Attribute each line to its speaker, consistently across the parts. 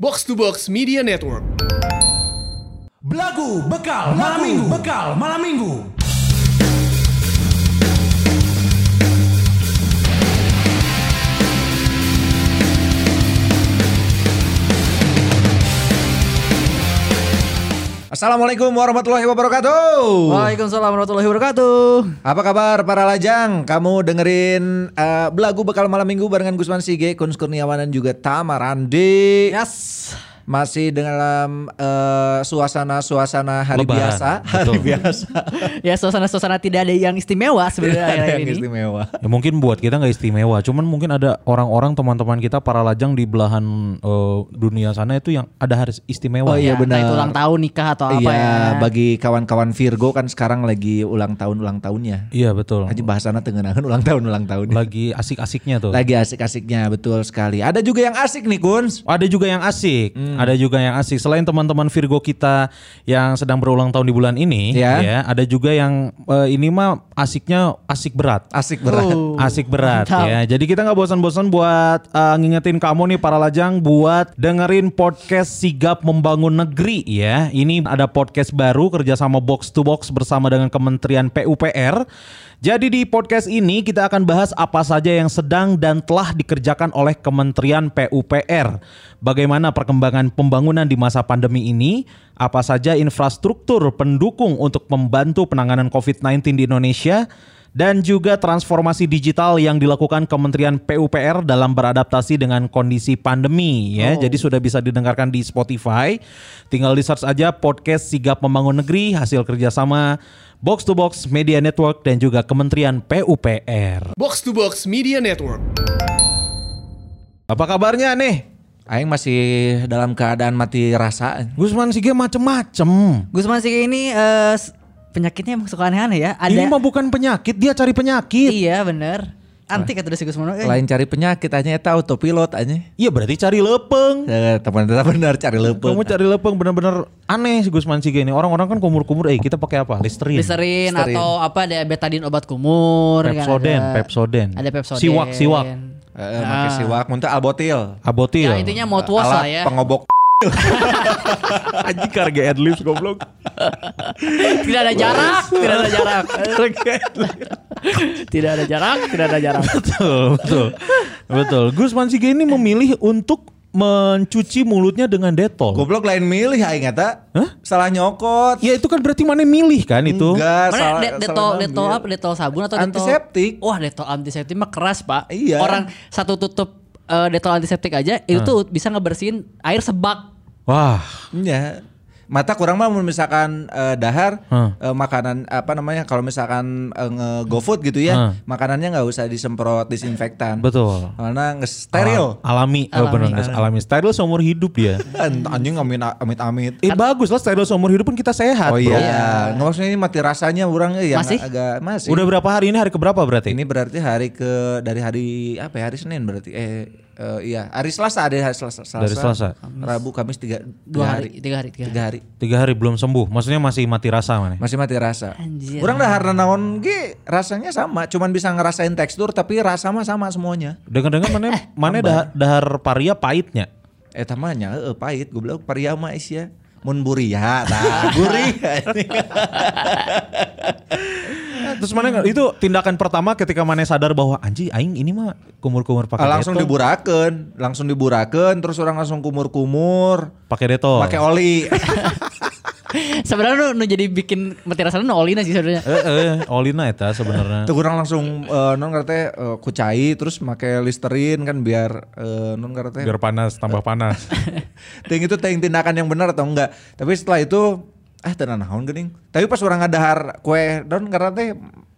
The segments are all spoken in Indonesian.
Speaker 1: Box to Box Media Network.
Speaker 2: Belagu bekal malam minggu, bekal malam minggu.
Speaker 3: Assalamualaikum warahmatullahi wabarakatuh.
Speaker 4: Waalaikumsalam warahmatullahi wabarakatuh.
Speaker 3: Apa kabar para lajang? Kamu dengerin eh, belagu bekal malam minggu barengan Gusman Sige, Kun Kurniawan dan juga Tama Randi.
Speaker 4: Yes.
Speaker 3: Masih dalam eh, suasana-suasana hari
Speaker 2: Lebaran,
Speaker 3: biasa, hari biasa.
Speaker 4: ya suasana-suasana tidak ada yang istimewa sebenarnya
Speaker 3: Ada
Speaker 4: hari
Speaker 3: yang
Speaker 4: ini.
Speaker 3: istimewa.
Speaker 2: Ya mungkin buat kita nggak istimewa, cuman mungkin ada orang-orang teman-teman kita para lajang di belahan eh, dunia sana itu yang ada harus
Speaker 3: Oh
Speaker 2: istimewa.
Speaker 3: iya,
Speaker 4: Ya, entah
Speaker 3: benar.
Speaker 4: Itu ulang tahun nikah atau apa
Speaker 3: Iya,
Speaker 4: ya.
Speaker 3: bagi kawan-kawan Virgo kan sekarang lagi ulang tahun ulang tahunnya.
Speaker 2: Iya betul.
Speaker 3: Haji bahasana tengenangan ulang tahun ulang tahun.
Speaker 2: Lagi asik-asiknya tuh.
Speaker 3: Lagi asik-asiknya betul sekali. Ada juga yang asik nih Kuns.
Speaker 2: Ada juga yang asik,
Speaker 3: Hmm.
Speaker 2: ada juga yang asik. Selain teman-teman Virgo kita yang sedang berulang tahun di bulan ini,
Speaker 3: Iya.
Speaker 2: ya, ada juga yang eh, ini mah asiknya asik berat.
Speaker 3: Asik berat.
Speaker 4: Oh.
Speaker 2: Asik berat
Speaker 4: Mantap.
Speaker 2: ya. Jadi kita nggak bosan-bosan buat eh, ngingetin kamu nih para lajang buat dengerin podcast Sigap Membangun Negeri ya. Ini ada podcast baru kerjasama Box to Box bersama dengan Kementerian PUPR. Jadi di podcast ini kita akan bahas apa saja yang sedang dan telah dikerjakan oleh Kementerian PUPR. Bagaimana perkembangan pembangunan di masa pandemi ini? Apa saja infrastruktur pendukung untuk membantu penanganan COVID-19 di Indonesia? dan juga transformasi digital yang dilakukan Kementerian PUPR dalam beradaptasi dengan kondisi pandemi
Speaker 4: Oh.
Speaker 2: ya. Jadi sudah bisa didengarkan di Spotify. Tinggal di search aja podcast Sigap Membangun Negeri hasil kerjasama Box to Box Media Network dan juga Kementerian PUPR.
Speaker 1: Box to Box Media Network.
Speaker 2: Apa kabarnya nih?
Speaker 3: Aing masih dalam keadaan mati rasa.
Speaker 2: Gusman Sige macem-macem.
Speaker 4: Gusman Sige ini eh, s- penyakitnya emang suka aneh-aneh ya. Ada
Speaker 2: Ini mah bukan penyakit, dia cari penyakit.
Speaker 4: Iya bener. Anti kata si Gusman. Eh,
Speaker 3: Lain cari penyakit aja eta autopilot aja.
Speaker 2: Iya berarti cari lepeng.
Speaker 4: Iya,
Speaker 3: Eh, Teman teman benar cari lepeng.
Speaker 2: Kamu cari lepeng bener-bener aneh si Gusman Sige ini. Orang-orang kan kumur-kumur, eh kita pakai apa? Listerine.
Speaker 4: Listerin
Speaker 3: Listerin.
Speaker 4: atau apa ada betadin obat kumur. kan
Speaker 2: Pepsoden,
Speaker 4: ada.
Speaker 2: Pepsoden.
Speaker 4: Ada Pepsoden.
Speaker 2: Siwak, siwak. Iya.
Speaker 3: Eh, pakai siwak, muntah albotil.
Speaker 2: Abotil.
Speaker 4: Ya intinya mouthwash
Speaker 3: Alat
Speaker 4: lah ya.
Speaker 3: pengobok.
Speaker 2: anjing karga adlibs goblok.
Speaker 4: Tidak ada jarak, tidak ada jarak. tidak ada jarak, tidak ada jarak.
Speaker 2: betul, betul. betul. Gusman Sige ini memilih untuk mencuci mulutnya dengan detol.
Speaker 3: Goblok lain milih aing eta.
Speaker 2: Hah?
Speaker 3: Salah nyokot.
Speaker 2: Ya itu kan berarti mana milih kan itu.
Speaker 3: Enggak,
Speaker 4: Gitu. Mana
Speaker 3: salah.
Speaker 4: de- detol,
Speaker 3: salah
Speaker 4: detol
Speaker 3: ngambil.
Speaker 4: apa? Detol sabun atau detol?
Speaker 3: Antiseptik.
Speaker 4: Wah detol antiseptik mah keras pak.
Speaker 3: Iya.
Speaker 4: Orang satu tutup eh, detol antiseptik aja itu tuh bisa ngebersihin air sebak.
Speaker 2: Wah,
Speaker 3: Iya. Mata kurang mah mun misalkan eh, dahar
Speaker 2: Hmm.
Speaker 3: eh, makanan apa namanya kalau misalkan eh, nge GoFood gitu ya,
Speaker 2: Hmm.
Speaker 3: makanannya nggak usah disemprot disinfektan.
Speaker 2: betul.
Speaker 3: Karena nge steril.
Speaker 4: Ah.
Speaker 2: Al- alami, alami. Oh, bener, guys. alami. Steril seumur hidup dia.
Speaker 3: Ent- Kan, Anjing amit-amit.
Speaker 2: Eh bagus lah steril seumur hidup pun kita sehat.
Speaker 3: Oh
Speaker 2: bro.
Speaker 3: iya, nggak maksudnya ini mati rasanya orang eh, yang
Speaker 4: Masih?
Speaker 3: agak masih.
Speaker 2: Udah berapa hari ini hari keberapa berarti?
Speaker 3: Ini berarti hari ke dari hari apa ya? Hari Senin berarti. Eh, eh, iya, hari Selasa ada hari Selasa. Selasa,
Speaker 2: Dari Selasa.
Speaker 3: Rabu, Kamis tiga,
Speaker 4: Dua
Speaker 3: tiga
Speaker 4: hari, tiga hari, tiga hari.
Speaker 3: Tiga hari.
Speaker 2: Tiga hari belum sembuh. Maksudnya masih mati rasa mana?
Speaker 3: Masih mati rasa.
Speaker 4: Anjir.
Speaker 3: Orang dah harna naon ge rasanya sama, cuman bisa ngerasain tekstur tapi rasa mah sama semuanya.
Speaker 2: Dengar-dengar mana mana dahar, dahar paria pahitnya.
Speaker 3: Eh tamanya eh, pahit gue bilang paria mah is ya. Mun buria tah, buria.
Speaker 2: Terus mana itu tindakan pertama ketika mana sadar bahwa anji aing ini mah kumur-kumur pakai
Speaker 3: Ah, langsung
Speaker 2: detol.
Speaker 3: diburakeun, langsung diburakeun terus orang langsung kumur-kumur.
Speaker 2: pakai detol.
Speaker 3: Pakai oli.
Speaker 4: Sebenarnya nu, nu jadi bikin mati rasanya nu olina sih sebenarnya.
Speaker 2: Eh, eh, olina eta sebenarnya.
Speaker 3: Tuh kurang langsung eh, non ngerti kucai terus make listerin kan biar eh, non ngerti
Speaker 2: Biar panas, tambah panas.
Speaker 3: ting itu ting tindakan yang benar atau enggak tapi setelah itu ah tenan naon geuning tapi pas orang ngadahar kue non ngerti teh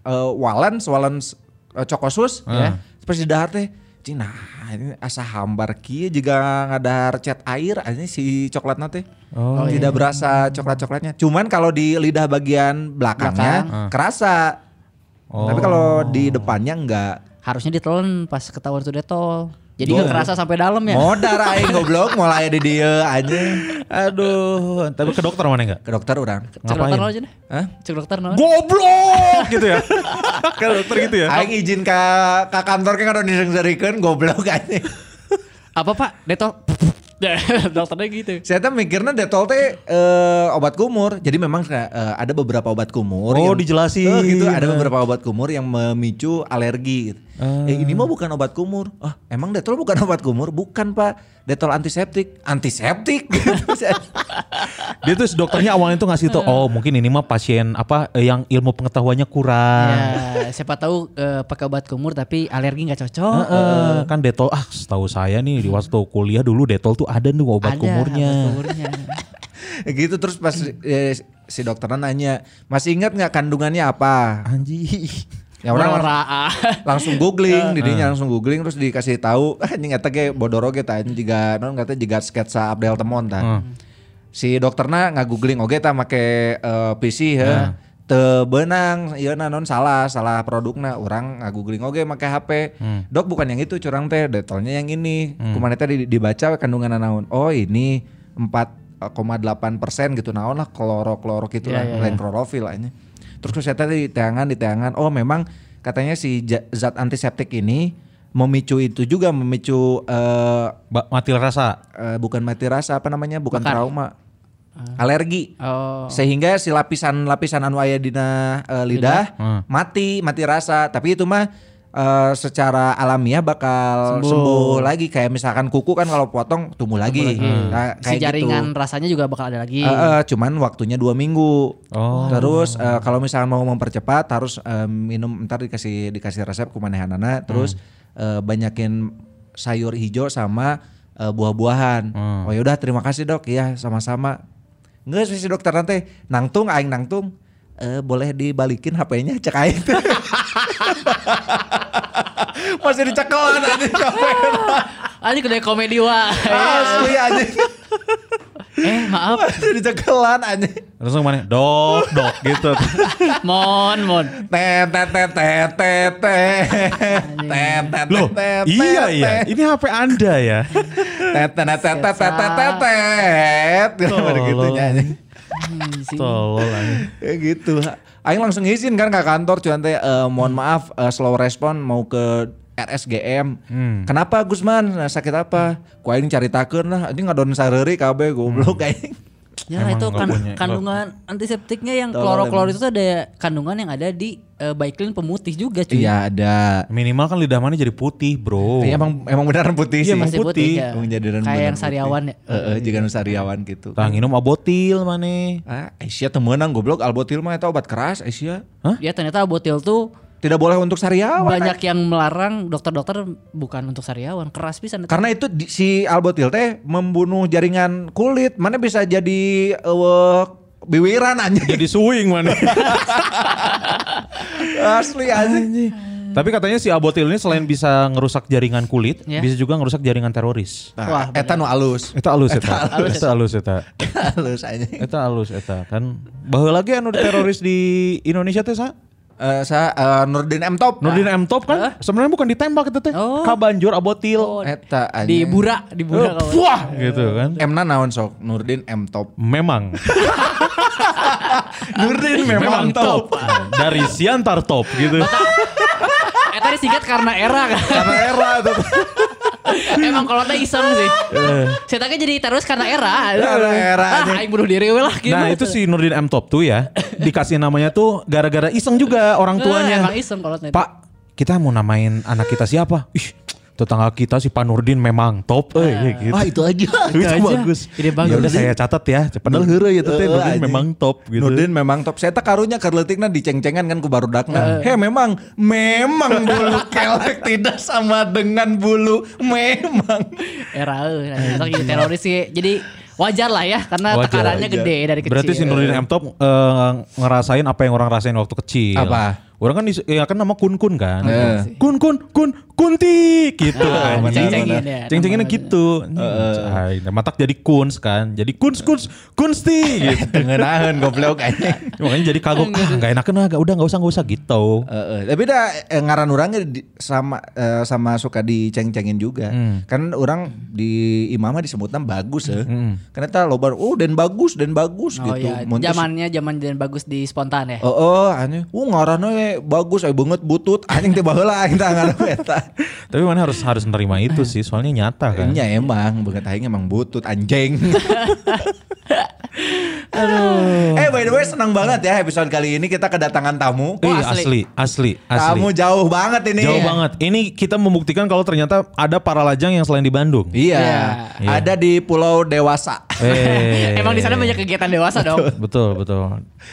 Speaker 3: eh, walan walan eh, cokosus ya pas didahar teh Cina ini asa hambar kieu juga ngadahar cat air ini si coklatna teh tidak berasa coklat-coklatnya cuman kalau di lidah bagian belakangnya kerasa tapi kalau di depannya enggak
Speaker 4: Harusnya ditelan pas ketahuan itu detol. Jadi nggak kerasa sampai dalam ya.
Speaker 3: Modar aing goblok mulai di dia aja.
Speaker 2: Aduh, tapi ke dokter mana enggak?
Speaker 3: Ke dokter orang.
Speaker 4: Cek dokter
Speaker 2: Ngapain?
Speaker 4: no aja deh.
Speaker 3: Hah?
Speaker 4: Cek dokter no.
Speaker 2: Goblok gitu ya. ke dokter gitu ya.
Speaker 3: Aing izin ke ke kantor kan udah disering-serikeun goblok aja.
Speaker 4: Apa pak? Detol. Ya, Dokternya gitu.
Speaker 3: Saya tuh mikirnya detol teh eh, obat kumur. Jadi memang eh, ada beberapa obat kumur.
Speaker 2: Oh,
Speaker 3: yang-
Speaker 2: dijelasin.
Speaker 3: Eh, gitu ada beberapa obat kumur yang memicu alergi. Gitu.
Speaker 2: Ah.
Speaker 3: Eh, ini mah bukan obat kumur. Ah emang detol bukan obat kumur? Bukan pak. Detol antiseptik. Antiseptik. Gitu. Saya-
Speaker 2: Dia tuh dokternya awalnya tuh ngasih tuh, oh mungkin ini mah pasien apa eh, yang ilmu pengetahuannya
Speaker 3: Ah.
Speaker 2: kurang.
Speaker 4: Ya, siapa tahu eh, pakai obat kumur tapi alergi nggak cocok.
Speaker 2: Heeh, kan detol ah setahu saya nih di waktu kuliah dulu detol tuh ada nih obat
Speaker 4: Ada
Speaker 2: kumurnya.
Speaker 4: obat kumurnya.
Speaker 3: gitu terus pas eh, si dokternya nanya masih ingat nggak kandungannya apa?
Speaker 2: Anjing.
Speaker 3: Ya orang
Speaker 4: Ora, ah.
Speaker 3: langsung googling didinya langsung googling terus dikasih tahu "Ah, anjing eta ge ya, bodoro ge tah anjing jiga non kata jiga sketsa Abdel Temon tah. Si dokterna ngagoogling oge tah make eh, PC he. Teu benang ieu na non salah salah produkna orang ngagoogling oge make HP.
Speaker 4: Hmm.
Speaker 3: Dok bukan yang itu curang teh detolnya yang ini. Kumaha tadi dibaca kandungan naon? Oh ini 4,8 persen gitu naon lah kloro kloro gitu
Speaker 4: Iya,
Speaker 3: lah
Speaker 4: iya,
Speaker 3: lain klorofil lah ini. Terus kan saya tadi di tangan di tangan oh memang katanya si ja- zat antiseptik ini memicu itu juga memicu eh,
Speaker 2: Ba- Mati rasa.
Speaker 3: eh, bukan mati rasa apa namanya bukan
Speaker 4: Bakar.
Speaker 3: trauma alergi
Speaker 4: Oh.
Speaker 3: sehingga si lapisan-lapisan anu aya dina eh, lidah
Speaker 2: Heeh.
Speaker 3: mati mati rasa tapi itu mah eh, secara alamiah bakal sembuh.
Speaker 4: Sembuh.
Speaker 3: lagi kayak misalkan kuku kan kalau potong tumbuh lagi, Nah, kayak
Speaker 4: si
Speaker 3: gitu.
Speaker 4: jaringan rasanya juga bakal ada
Speaker 3: Eh,
Speaker 4: lagi.
Speaker 3: eh, cuman waktunya dua minggu.
Speaker 2: Oh.
Speaker 3: Terus eh, kalau misalnya mau mempercepat harus eh, minum ntar dikasih dikasih resep kumanehanana. Terus eh, banyakin sayur hijau sama eh, buah-buahan. Oh yaudah terima kasih dok. Iya sama-sama. Nggak sih si dokter nanti nangtung aing nangtung. Eh, boleh dibalikin HP-nya cek aing. Masih dicekelan anjing HP-nya.
Speaker 4: Anjing Ah, kedai komedi wah.
Speaker 3: Asli anjing.
Speaker 4: eh maaf,
Speaker 3: Masih dicekelan anjing.
Speaker 2: Langsung mana? Dok, dok gitu.
Speaker 4: mon mon.
Speaker 3: Tet, tet, tet, tet, tet, tet. Tet, tet,
Speaker 2: Loh,
Speaker 3: tet, tet,
Speaker 2: iya
Speaker 3: tet,
Speaker 2: ya.
Speaker 3: tet,
Speaker 2: Ini HP Anda ya.
Speaker 3: tet, tet, tet, tet, tet, tet, tet, tet. Gitu,
Speaker 2: Tolong.
Speaker 3: gitu, nyanyi.
Speaker 4: Anjing.
Speaker 2: Tolol anjing.
Speaker 3: Ya gitu. Aing langsung izin kan ke kantor cuman teh eh, mohon maaf eh, slow respon mau ke RSGM. Kenapa Gusman? Nah, sakit apa? Ku aing caritakeun lah, anjing ngadon sareri kabeh goblok aing.
Speaker 4: Ya
Speaker 2: Emang
Speaker 4: itu
Speaker 2: nggak
Speaker 4: kan
Speaker 2: punya.
Speaker 4: kandungan antiseptiknya yang
Speaker 3: Tolol
Speaker 4: kloro-kloro itu tuh ada kandungan yang ada di eh, Baiklin pemutih juga cuy.
Speaker 3: Iya ada.
Speaker 2: Minimal kan lidah mana jadi putih, Bro.
Speaker 3: Iya, emang emang beneran putih sih.
Speaker 2: Iya, emang
Speaker 4: Masih
Speaker 2: putih.
Speaker 4: ya.
Speaker 3: Emang jadiran
Speaker 4: Kayak
Speaker 3: beneran
Speaker 4: yang sariawan ya.
Speaker 3: putih. Heeh, jika nu sariawan gitu.
Speaker 2: Tah minum abotil mana?
Speaker 3: Ah, Aisyah temenang goblok albotil mah itu obat keras Aisyah.
Speaker 4: Ya ternyata botil tuh
Speaker 3: Tidak boleh untuk sariawan.
Speaker 4: banyak yang melarang dokter-dokter bukan untuk sariawan, keras pisan.
Speaker 3: Karena itu di- si albotil teh membunuh jaringan kulit, mana bisa jadi eh, biwiran anjing.
Speaker 2: Jadi suing mana?
Speaker 3: Asli anjing.
Speaker 2: Tapi katanya si abotil ini selain bisa ngerusak jaringan kulit,
Speaker 4: Ya.
Speaker 2: bisa juga ngerusak jaringan teroris.
Speaker 3: Nah,
Speaker 4: Wah,
Speaker 3: eta nu alus.
Speaker 2: Eta alus eta. Eta alus eta.
Speaker 3: alus anjing.
Speaker 2: Eta alus eta kan. Bahwa lagi anu teroris di Indonesia teh sa?
Speaker 3: Eh, sa eh, Nurdin M Top.
Speaker 2: Nurdin M Top kan sebenarnya bukan ditembak itu teh.
Speaker 4: Oh.
Speaker 2: Kabanjur abotil.
Speaker 3: Eta
Speaker 4: Di
Speaker 3: anjing.
Speaker 4: Bura,
Speaker 2: Eh,
Speaker 4: di Bura kawan.
Speaker 2: Wah gitu kan.
Speaker 3: M na naon sok Nurdin M Top.
Speaker 2: Memang.
Speaker 3: Nurdin
Speaker 2: Memang top. Dari Siantar top gitu.
Speaker 4: Nah, Eh tadi singkat karena era kan.
Speaker 3: Karena era tuh.
Speaker 4: Emang kalau teh iseng sih.
Speaker 2: Eh.
Speaker 4: Saya tanya jadi terus karena era.
Speaker 3: Karena era
Speaker 4: Ah,
Speaker 3: aja.
Speaker 4: aing bunuh diri we lah gitu.
Speaker 2: Nah itu si Nurdin M Top tuh ya dikasih namanya tuh gara-gara iseng juga orang tuanya.
Speaker 4: Nah, Eh, Emang iseng kalau teh.
Speaker 2: Pak, kita mau namain anak kita siapa? Ih, tetangga kita si Panurdin memang top eh kayak gitu.
Speaker 3: itu aja.
Speaker 2: itu
Speaker 4: Ah. aja.
Speaker 2: bagus.
Speaker 4: Ide bagus.
Speaker 2: Ya udah saya catat ya. Padahal heureuy ya teh
Speaker 3: Eh,
Speaker 2: Nurdin
Speaker 3: anjing.
Speaker 2: memang top gitu.
Speaker 3: Nurdin memang top. Saya tak karunya kerletikna diceng-cengan kan ku barudakna. He memang memang bulu kelek tidak sama dengan bulu memang.
Speaker 4: era euy. Nah, besok jadi teroris sih. Jadi wajar lah ya
Speaker 2: Wajar,
Speaker 4: karena tekanannya
Speaker 3: wajar.
Speaker 4: gede dari kecil.
Speaker 2: Berarti si Nurdin M Top eh, ngerasain apa yang orang rasain waktu kecil.
Speaker 3: Apa?
Speaker 2: Orang kan dis- ya kan nama Kun Kun kan.
Speaker 3: Iya.
Speaker 2: Kun Kun Kun Kunti gitu.
Speaker 4: Ah,
Speaker 2: anjing.
Speaker 4: diceng-cengin ya.
Speaker 2: Ceng-cenginnya gitu. Cai, nah, Matak jadi Kuns kan. Jadi Kuns Kuns Kunsti gitu.
Speaker 3: Tengenahan goblok aja.
Speaker 2: Makanya jadi kagok ah nggak enakan ah nggak- udah nggak usah nggak usah gitu.
Speaker 3: Heeh. tapi dah eh, ngaran orangnya di- sama eh, sama suka diceng-cengin juga.
Speaker 2: Hmm.
Speaker 3: Kan orang di imamah disebutnya bagus ya.
Speaker 2: Hmm,
Speaker 3: Karena tak lobar, oh dan bagus dan bagus
Speaker 4: Oh
Speaker 3: gitu.
Speaker 4: iya,
Speaker 3: Mun teu
Speaker 4: zamannya zaman dan bagus di spontan ya.
Speaker 3: Oh, oh, aneh. Uh, ngaran we we bagus, we banget butut, anjing teh baheula aing teh ngarep eta.
Speaker 2: Tapi mana harus harus nerima itu sih, soalnya nyata kan.
Speaker 3: Nya emang banget aing emang butut anjing. Aduh. Eh by the way senang banget ya episode kali ini kita kedatangan tamu.
Speaker 2: Eh,
Speaker 4: Oh,
Speaker 2: asli,
Speaker 4: asli.
Speaker 2: asli, asli.
Speaker 3: Tamu jauh banget ini.
Speaker 2: Jauh
Speaker 4: Iya.
Speaker 2: banget. Ini kita membuktikan kalau ternyata ada para lajang yang selain di Bandung.
Speaker 3: Iya,
Speaker 4: Iya.
Speaker 3: ada di Pulau Dewasa.
Speaker 2: Eh,
Speaker 4: Emang di sana banyak kegiatan dewasa dong.
Speaker 2: Betul, betul.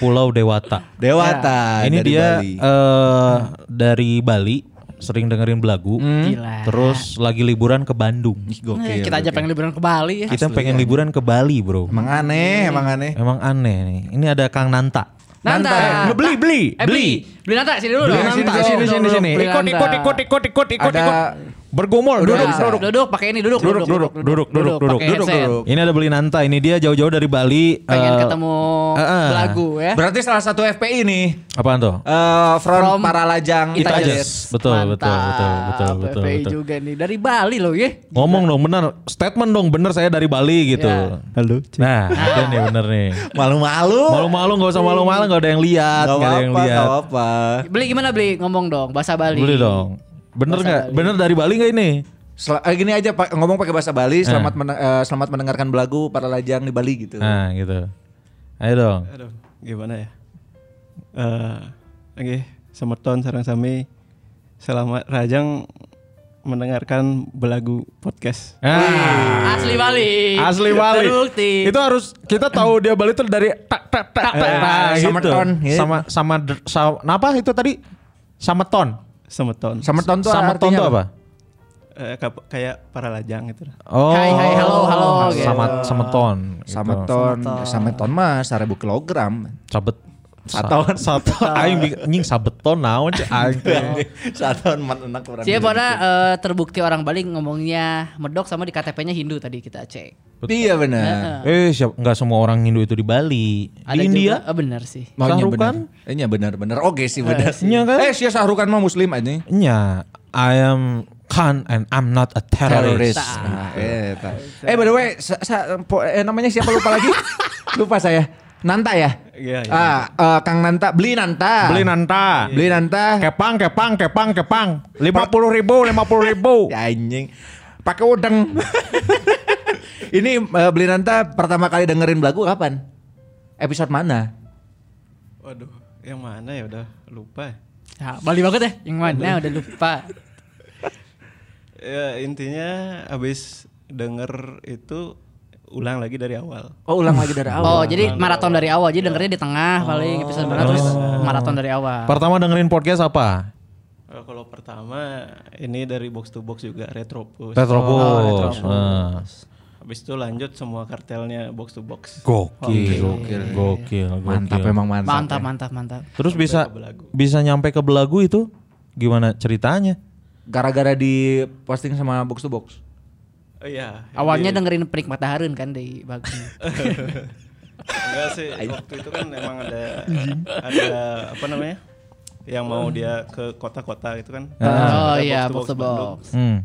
Speaker 2: Pulau Dewata.
Speaker 3: Dewata.
Speaker 2: ini
Speaker 3: Ah, dari
Speaker 2: dia
Speaker 3: Bali.
Speaker 2: eh, dari Bali sering dengerin belagu.
Speaker 4: Gila.
Speaker 2: Terus lagi liburan ke Bandung.
Speaker 3: Hmm. Ih,
Speaker 4: Eh,
Speaker 3: gokil. iya.
Speaker 4: kita aja pengen liburan ke Bali ya.
Speaker 2: Kita pengen liburan ke Bali, Bro.
Speaker 3: Emang aneh, emang aneh.
Speaker 2: Emang aneh nih. Ini ada Kang Nanta.
Speaker 4: Nanta.
Speaker 2: Eh, beli, beli,
Speaker 4: Nah. Eh, beli. Beli Nanta sini dulu.
Speaker 2: Beli
Speaker 4: dong.
Speaker 2: sini,
Speaker 4: Dulu,
Speaker 2: sini,
Speaker 4: dulu,
Speaker 2: sini,
Speaker 4: dulu,
Speaker 2: sini.
Speaker 4: beli
Speaker 2: Ikut,
Speaker 4: Nanta.
Speaker 2: ikut, ikut, ikut, ikut, ikut, ikut.
Speaker 3: Ada
Speaker 2: Bergumul, duduk,
Speaker 4: Nah,
Speaker 2: duduk.
Speaker 4: Duduk, pakai ini duduk,
Speaker 2: Duduk, duduk, duduk, duduk, duduk,
Speaker 4: pakai
Speaker 2: duduk,
Speaker 4: headset.
Speaker 3: duduk.
Speaker 2: Ini ada beli Nanta. Ini dia jauh-jauh dari Bali.
Speaker 4: Pengen
Speaker 2: eh,
Speaker 4: ketemu
Speaker 2: eh, eh.
Speaker 4: lagu ya.
Speaker 3: Berarti salah satu FPI nih.
Speaker 2: Apaan tuh?
Speaker 3: eh front
Speaker 4: From
Speaker 3: para lajang
Speaker 2: Kita aja.
Speaker 3: Itajes.
Speaker 2: Betul, betul, betul, betul,
Speaker 4: Mantap,
Speaker 2: betul,
Speaker 4: FPI
Speaker 2: betul.
Speaker 4: juga nih dari Bali loh ya.
Speaker 2: Ngomong dong bener, statement dong bener saya dari Bali gitu.
Speaker 4: Ya.
Speaker 3: Halo.
Speaker 2: Nah, ada nih bener nih.
Speaker 3: Malu-malu.
Speaker 2: Malu-malu nggak usah malu-malu nggak ada yang lihat,
Speaker 3: Gak
Speaker 2: nggak ada yang
Speaker 3: apa-apa,
Speaker 2: lihat.
Speaker 3: gak apa.
Speaker 4: Beli gimana beli? Ngomong dong bahasa Bali.
Speaker 2: Boleh dong. Bener
Speaker 4: Bahasa
Speaker 2: nggak?
Speaker 4: Bali.
Speaker 2: Bener dari Bali nggak ini?
Speaker 3: Sel- eh, gini aja Pak, ngomong pakai bahasa Bali, selamat mene- eh, selamat mendengarkan belagu para lajang di Bali gitu.
Speaker 2: Nah gitu. Ayo dong.
Speaker 5: Aduh, gimana ya? Eh, Oke, semeton sarang sami. Selamat Rajang mendengarkan belagu podcast.
Speaker 2: Ah,
Speaker 4: Asli Bali.
Speaker 2: asli Bali.
Speaker 4: Terbukti.
Speaker 2: Itu harus kita tahu dia Bali itu dari tak tak tak tak
Speaker 3: Eh,
Speaker 2: gitu.
Speaker 3: sama ton, ya.
Speaker 2: Sama sama der- sa- apa itu tadi? Sama ton.
Speaker 5: Semeton.
Speaker 3: Sameton tuh
Speaker 2: sama
Speaker 3: artinya
Speaker 2: ton tuh apa?
Speaker 5: Eh, kap- kayak para lajang gitu.
Speaker 2: Oh.
Speaker 4: Hai, hai, halo, halo, gitu.
Speaker 2: Sama sama ton. gitu.
Speaker 3: Sameton, sameton mah 1000 kilogram.
Speaker 2: Sabet.
Speaker 3: Saton.
Speaker 2: Satu. Aing bi- nying sabeton naon cek aing.
Speaker 3: Saton menenak
Speaker 2: Oh.
Speaker 3: orang.
Speaker 4: Siapa pada eh, terbukti orang Bali ngomongnya medok sama di KTP-nya Hindu tadi kita cek.
Speaker 3: Iya benar.
Speaker 2: Eh, siap enggak semua orang Hindu itu di Bali. di India.
Speaker 4: juga- eh, bener sih.
Speaker 3: Maunya
Speaker 2: Sahrukan?
Speaker 3: benar. Iya benar-benar. Oke sih benar.
Speaker 2: Iya kan?
Speaker 3: Eh, sia Sahrukan mah muslim aja.
Speaker 2: Nya, Ya, I am Khan and I'm not a terrorist.
Speaker 3: Teroris. Nah, eta. eh, by the way, sa- sa- po- eh, namanya siapa lupa lagi? lupa saya. Nanta ya?
Speaker 5: Iya, iya.
Speaker 3: Ah, eh, Kang Nanta, beli Nanta.
Speaker 2: Beli nanta.
Speaker 3: Beli Nanta.
Speaker 2: Kepang, kepang, kepang, kepang. Lima puluh ribu, lima puluh ribu.
Speaker 3: Ya, anjing. Pakai udang. Ini eh, beli Nanta pertama kali dengerin lagu kapan? Episode mana?
Speaker 5: Waduh, yang mana ya udah lupa.
Speaker 4: Ya, Bali banget ya. Yang mana udah lupa.
Speaker 5: Ya intinya abis denger itu ulang lagi dari awal.
Speaker 3: Oh, ulang lagi dari
Speaker 4: Oh,
Speaker 3: awal.
Speaker 4: jadi maraton dari awal. Jadi dengernya di
Speaker 2: Oh.
Speaker 4: tengah paling episode mana terus maraton dari awal.
Speaker 2: Pertama dengerin podcast apa?
Speaker 5: Eh, Kalau pertama ini dari box to box juga Retropus.
Speaker 2: Retropus. Eh.
Speaker 5: Habis itu lanjut semua kartelnya box to box.
Speaker 2: Gokil, gokil, gokil,
Speaker 3: mantap memang
Speaker 2: ya.
Speaker 3: mantap.
Speaker 4: Mantap, mantap, mantap.
Speaker 2: Terus bisa
Speaker 5: ke Belagu.
Speaker 2: bisa nyampe ke Belagu itu gimana ceritanya?
Speaker 3: Gara-gara di posting sama box to box.
Speaker 5: Oh iya.
Speaker 4: Awalnya dengerin penikmat Harun kan di Bagus.
Speaker 5: Enggak sih, waktu itu kan emang ada ada apa namanya? Yang mau dia ke kota-kota gitu kan.
Speaker 4: Oh
Speaker 5: Ada
Speaker 4: iya, box
Speaker 5: box-to-box
Speaker 4: to
Speaker 5: Bandung.
Speaker 4: box.
Speaker 2: Hmm.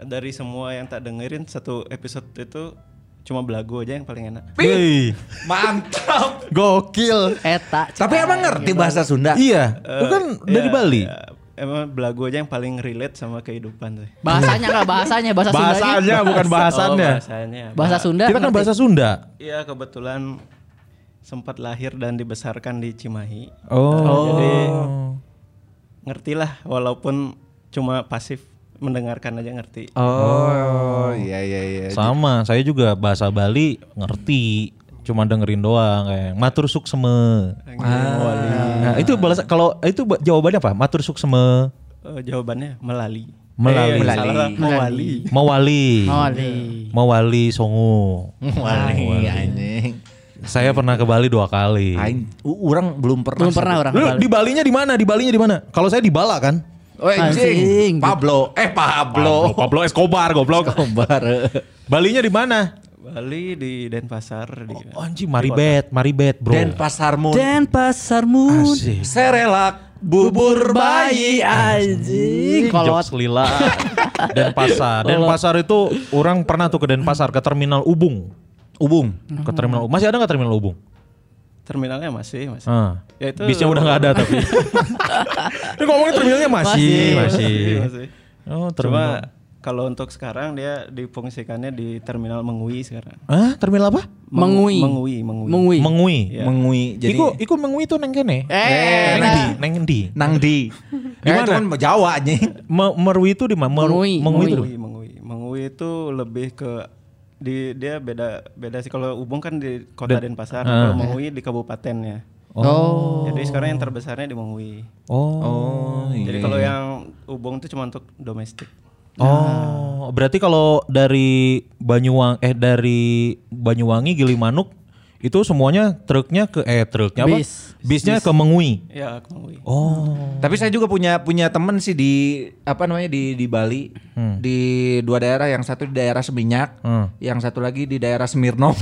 Speaker 5: Dari semua yang tak dengerin satu episode itu cuma belagu aja yang paling enak.
Speaker 2: Wih,
Speaker 3: Mantap.
Speaker 2: gokil.
Speaker 4: Eta.
Speaker 3: Tapi emang ngerti bahasa Sunda?
Speaker 2: Iya, itu kan dari
Speaker 5: Ya,
Speaker 2: Bali.
Speaker 5: ya, emang belagu aja yang paling relate sama kehidupan sih.
Speaker 4: Bahasanya enggak bahasanya, bahasa Sundanya.
Speaker 2: Bahasanya bukan bahasannya.
Speaker 5: Oh, bahasannya.
Speaker 4: Bahasa
Speaker 5: Ba-
Speaker 4: Sunda.
Speaker 2: Kita kan
Speaker 4: ngerti.
Speaker 2: bahasa Sunda.
Speaker 5: Iya, kebetulan sempat lahir dan dibesarkan di Cimahi.
Speaker 2: Oh.
Speaker 5: Jadi ngertilah walaupun cuma pasif mendengarkan aja ngerti.
Speaker 3: Oh, iya iya iya.
Speaker 2: Sama, saya juga bahasa Bali ngerti, cuma dengerin doang kayak matur sukseme. Nah, itu bahasa kalau itu ba- jawabannya apa? Matur sukseme,
Speaker 5: Eh, jawabannya melali.
Speaker 2: Melali.
Speaker 5: Eh, salah lah, mewali.
Speaker 2: mawali.
Speaker 4: Mawali.
Speaker 2: Mawali songo.
Speaker 3: Wali iya, anjing.
Speaker 2: Saya pernah ke Bali dua kali.
Speaker 3: Aing u- orang belum pernah.
Speaker 4: Belum pernah orang.
Speaker 2: Lu di Balinya di mana? Di Balinya di mana? Kalau saya di Bala kan.
Speaker 3: Oh,
Speaker 4: Anjing.
Speaker 3: anjing. Pablo, eh Pablo.
Speaker 2: Pablo Escobar goblok.
Speaker 3: Kembar.
Speaker 2: Balinya di mana?
Speaker 5: Bali di Denpasar di
Speaker 2: Oh, anjing Maribet, Maribet, Bro.
Speaker 3: Dan pasarmu.
Speaker 4: Dan pasarmu.
Speaker 2: Asik.
Speaker 3: Serelak bubur bayi. Ah,
Speaker 4: anjing. Kolot.
Speaker 2: Jokes lila Denpasar Denpasar itu orang pernah tuh ke Denpasar ke terminal Ubung
Speaker 3: Ubung.
Speaker 2: ke terminal masih ada nggak terminal Ubung
Speaker 5: terminalnya masih masih.
Speaker 2: Ah.
Speaker 5: Ya itu-
Speaker 2: bisnya udah nggak ada tapi Ini ngomongin terminalnya masih,
Speaker 4: Masih.
Speaker 2: masih.
Speaker 5: Masih.
Speaker 2: Oh, terminal.
Speaker 5: Cuma kalau untuk sekarang dia difungsikannya di terminal Mengui sekarang.
Speaker 2: Hah, terminal apa?
Speaker 4: Mengui.
Speaker 5: Mengui, Mengui.
Speaker 4: Mengui.
Speaker 2: Mengui.
Speaker 5: Iya.
Speaker 3: Mengui jadi
Speaker 2: Iku, iku mengui tuh neng kene.
Speaker 4: Eh,
Speaker 2: neng
Speaker 4: nah.
Speaker 2: di, neng di.
Speaker 3: nang di.
Speaker 2: Di
Speaker 3: Eh,
Speaker 2: mana?
Speaker 3: itu kan Jawa anjing.
Speaker 2: Me- merui itu di mana? Meru-
Speaker 4: Mengui,
Speaker 2: Mengui itu.
Speaker 5: Mengui, Mengui. Mengui itu lebih ke di dia beda beda sih kalau Ubung kan di Kota Denpasar,
Speaker 2: Ah.
Speaker 5: kalau Mengui di kabupatennya.
Speaker 4: Oh.
Speaker 5: Jadi sekarang yang terbesarnya di Mengui.
Speaker 2: Oh.
Speaker 5: Jadi kalau yang Ubung itu cuma untuk domestik.
Speaker 4: Nah.
Speaker 2: Oh, berarti kalau dari Banyuwangi eh dari Banyuwangi Gilimanuk itu semuanya truknya ke eh truknya apa?
Speaker 4: Bis.
Speaker 2: Bisnya ke Mengui.
Speaker 5: Ya, ke Mengui.
Speaker 2: Oh.
Speaker 3: Tapi saya juga punya punya temen sih di apa namanya di di Bali di dua daerah yang satu di daerah Seminyak,
Speaker 2: Hmm.
Speaker 3: yang satu lagi di daerah Semirno.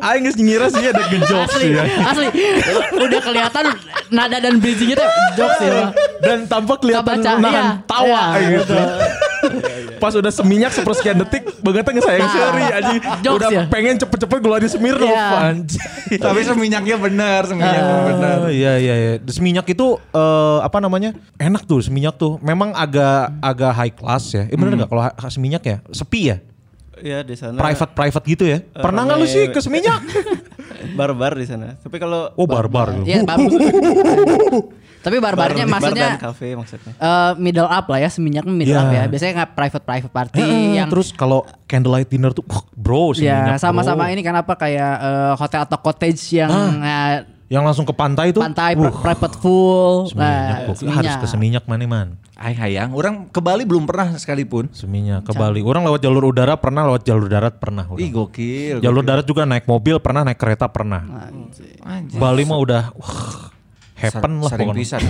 Speaker 2: Aing geus ngira sih ya. ada gejok
Speaker 4: Asli, asli. Udah kelihatan nada dan bridgingnya tuh jokes ya. Bang.
Speaker 2: Dan tanpa kelihatan
Speaker 4: Kebaca,
Speaker 2: nahan
Speaker 4: iya.
Speaker 2: tawa
Speaker 4: Iya,
Speaker 2: gitu. Pas udah seminyak sepersekian detik, bangetnya ngesayang
Speaker 4: Nah,
Speaker 2: seri anjing.
Speaker 4: jokes
Speaker 2: Udah
Speaker 4: ya.
Speaker 2: pengen cepet-cepet keluar di Semirnov
Speaker 4: Iya.
Speaker 2: anjing.
Speaker 3: Tapi Seminyaknya benar, Seminyaknya benar.
Speaker 2: Oh, iya iya iya. Seminyak itu eh, apa namanya? Enak tuh seminyak tuh. Memang agak agak high class ya. Eh,
Speaker 3: Hmm.
Speaker 2: bener nggak kalau ha- ha- seminyak ya? Sepi ya?
Speaker 5: Ya, di
Speaker 3: Nah.
Speaker 5: sana
Speaker 2: Private private gitu ya.
Speaker 3: Eh,
Speaker 2: Pernah nggak lu
Speaker 3: iya,
Speaker 5: rame-
Speaker 2: sih ke seminyak?
Speaker 5: barbar di sana. Tapi kalau
Speaker 2: oh barbar. lu.
Speaker 4: Iya, baru. Tapi barbarnya
Speaker 5: bar-
Speaker 4: maksudnya
Speaker 5: bar dan kafe maksudnya.
Speaker 4: eh, middle up lah ya, seminyaknya middle
Speaker 2: Iya.
Speaker 4: up ya. Biasanya nggak private private party
Speaker 2: Eh,
Speaker 4: iya, yang
Speaker 2: terus kalau candlelight dinner tuh wah, bro
Speaker 4: ya
Speaker 2: seminyak. Oh.
Speaker 4: sama-sama
Speaker 2: bro.
Speaker 4: ini kan apa kayak eh, hotel atau cottage yang
Speaker 2: Ah.
Speaker 4: eh,
Speaker 2: Yang langsung ke pantai tuh.
Speaker 4: pantai
Speaker 2: wuh,
Speaker 4: pri- private pool.
Speaker 2: seminyak,
Speaker 4: Nah,
Speaker 2: gokil. uh, harus ke seminyak mana man?
Speaker 3: Ay hayang, orang ke Bali belum pernah sekalipun.
Speaker 2: Seminyak ke Bali. Orang lewat jalur udara pernah, lewat jalur darat pernah. orang.
Speaker 3: Ih gokil.
Speaker 2: Jalur darat juga naik mobil pernah, naik kereta pernah.
Speaker 4: Nah,
Speaker 3: Anjing.
Speaker 2: Bali
Speaker 4: iya.
Speaker 2: mah udah wah, happen lah
Speaker 3: Sering
Speaker 2: pokoknya.
Speaker 3: pisan.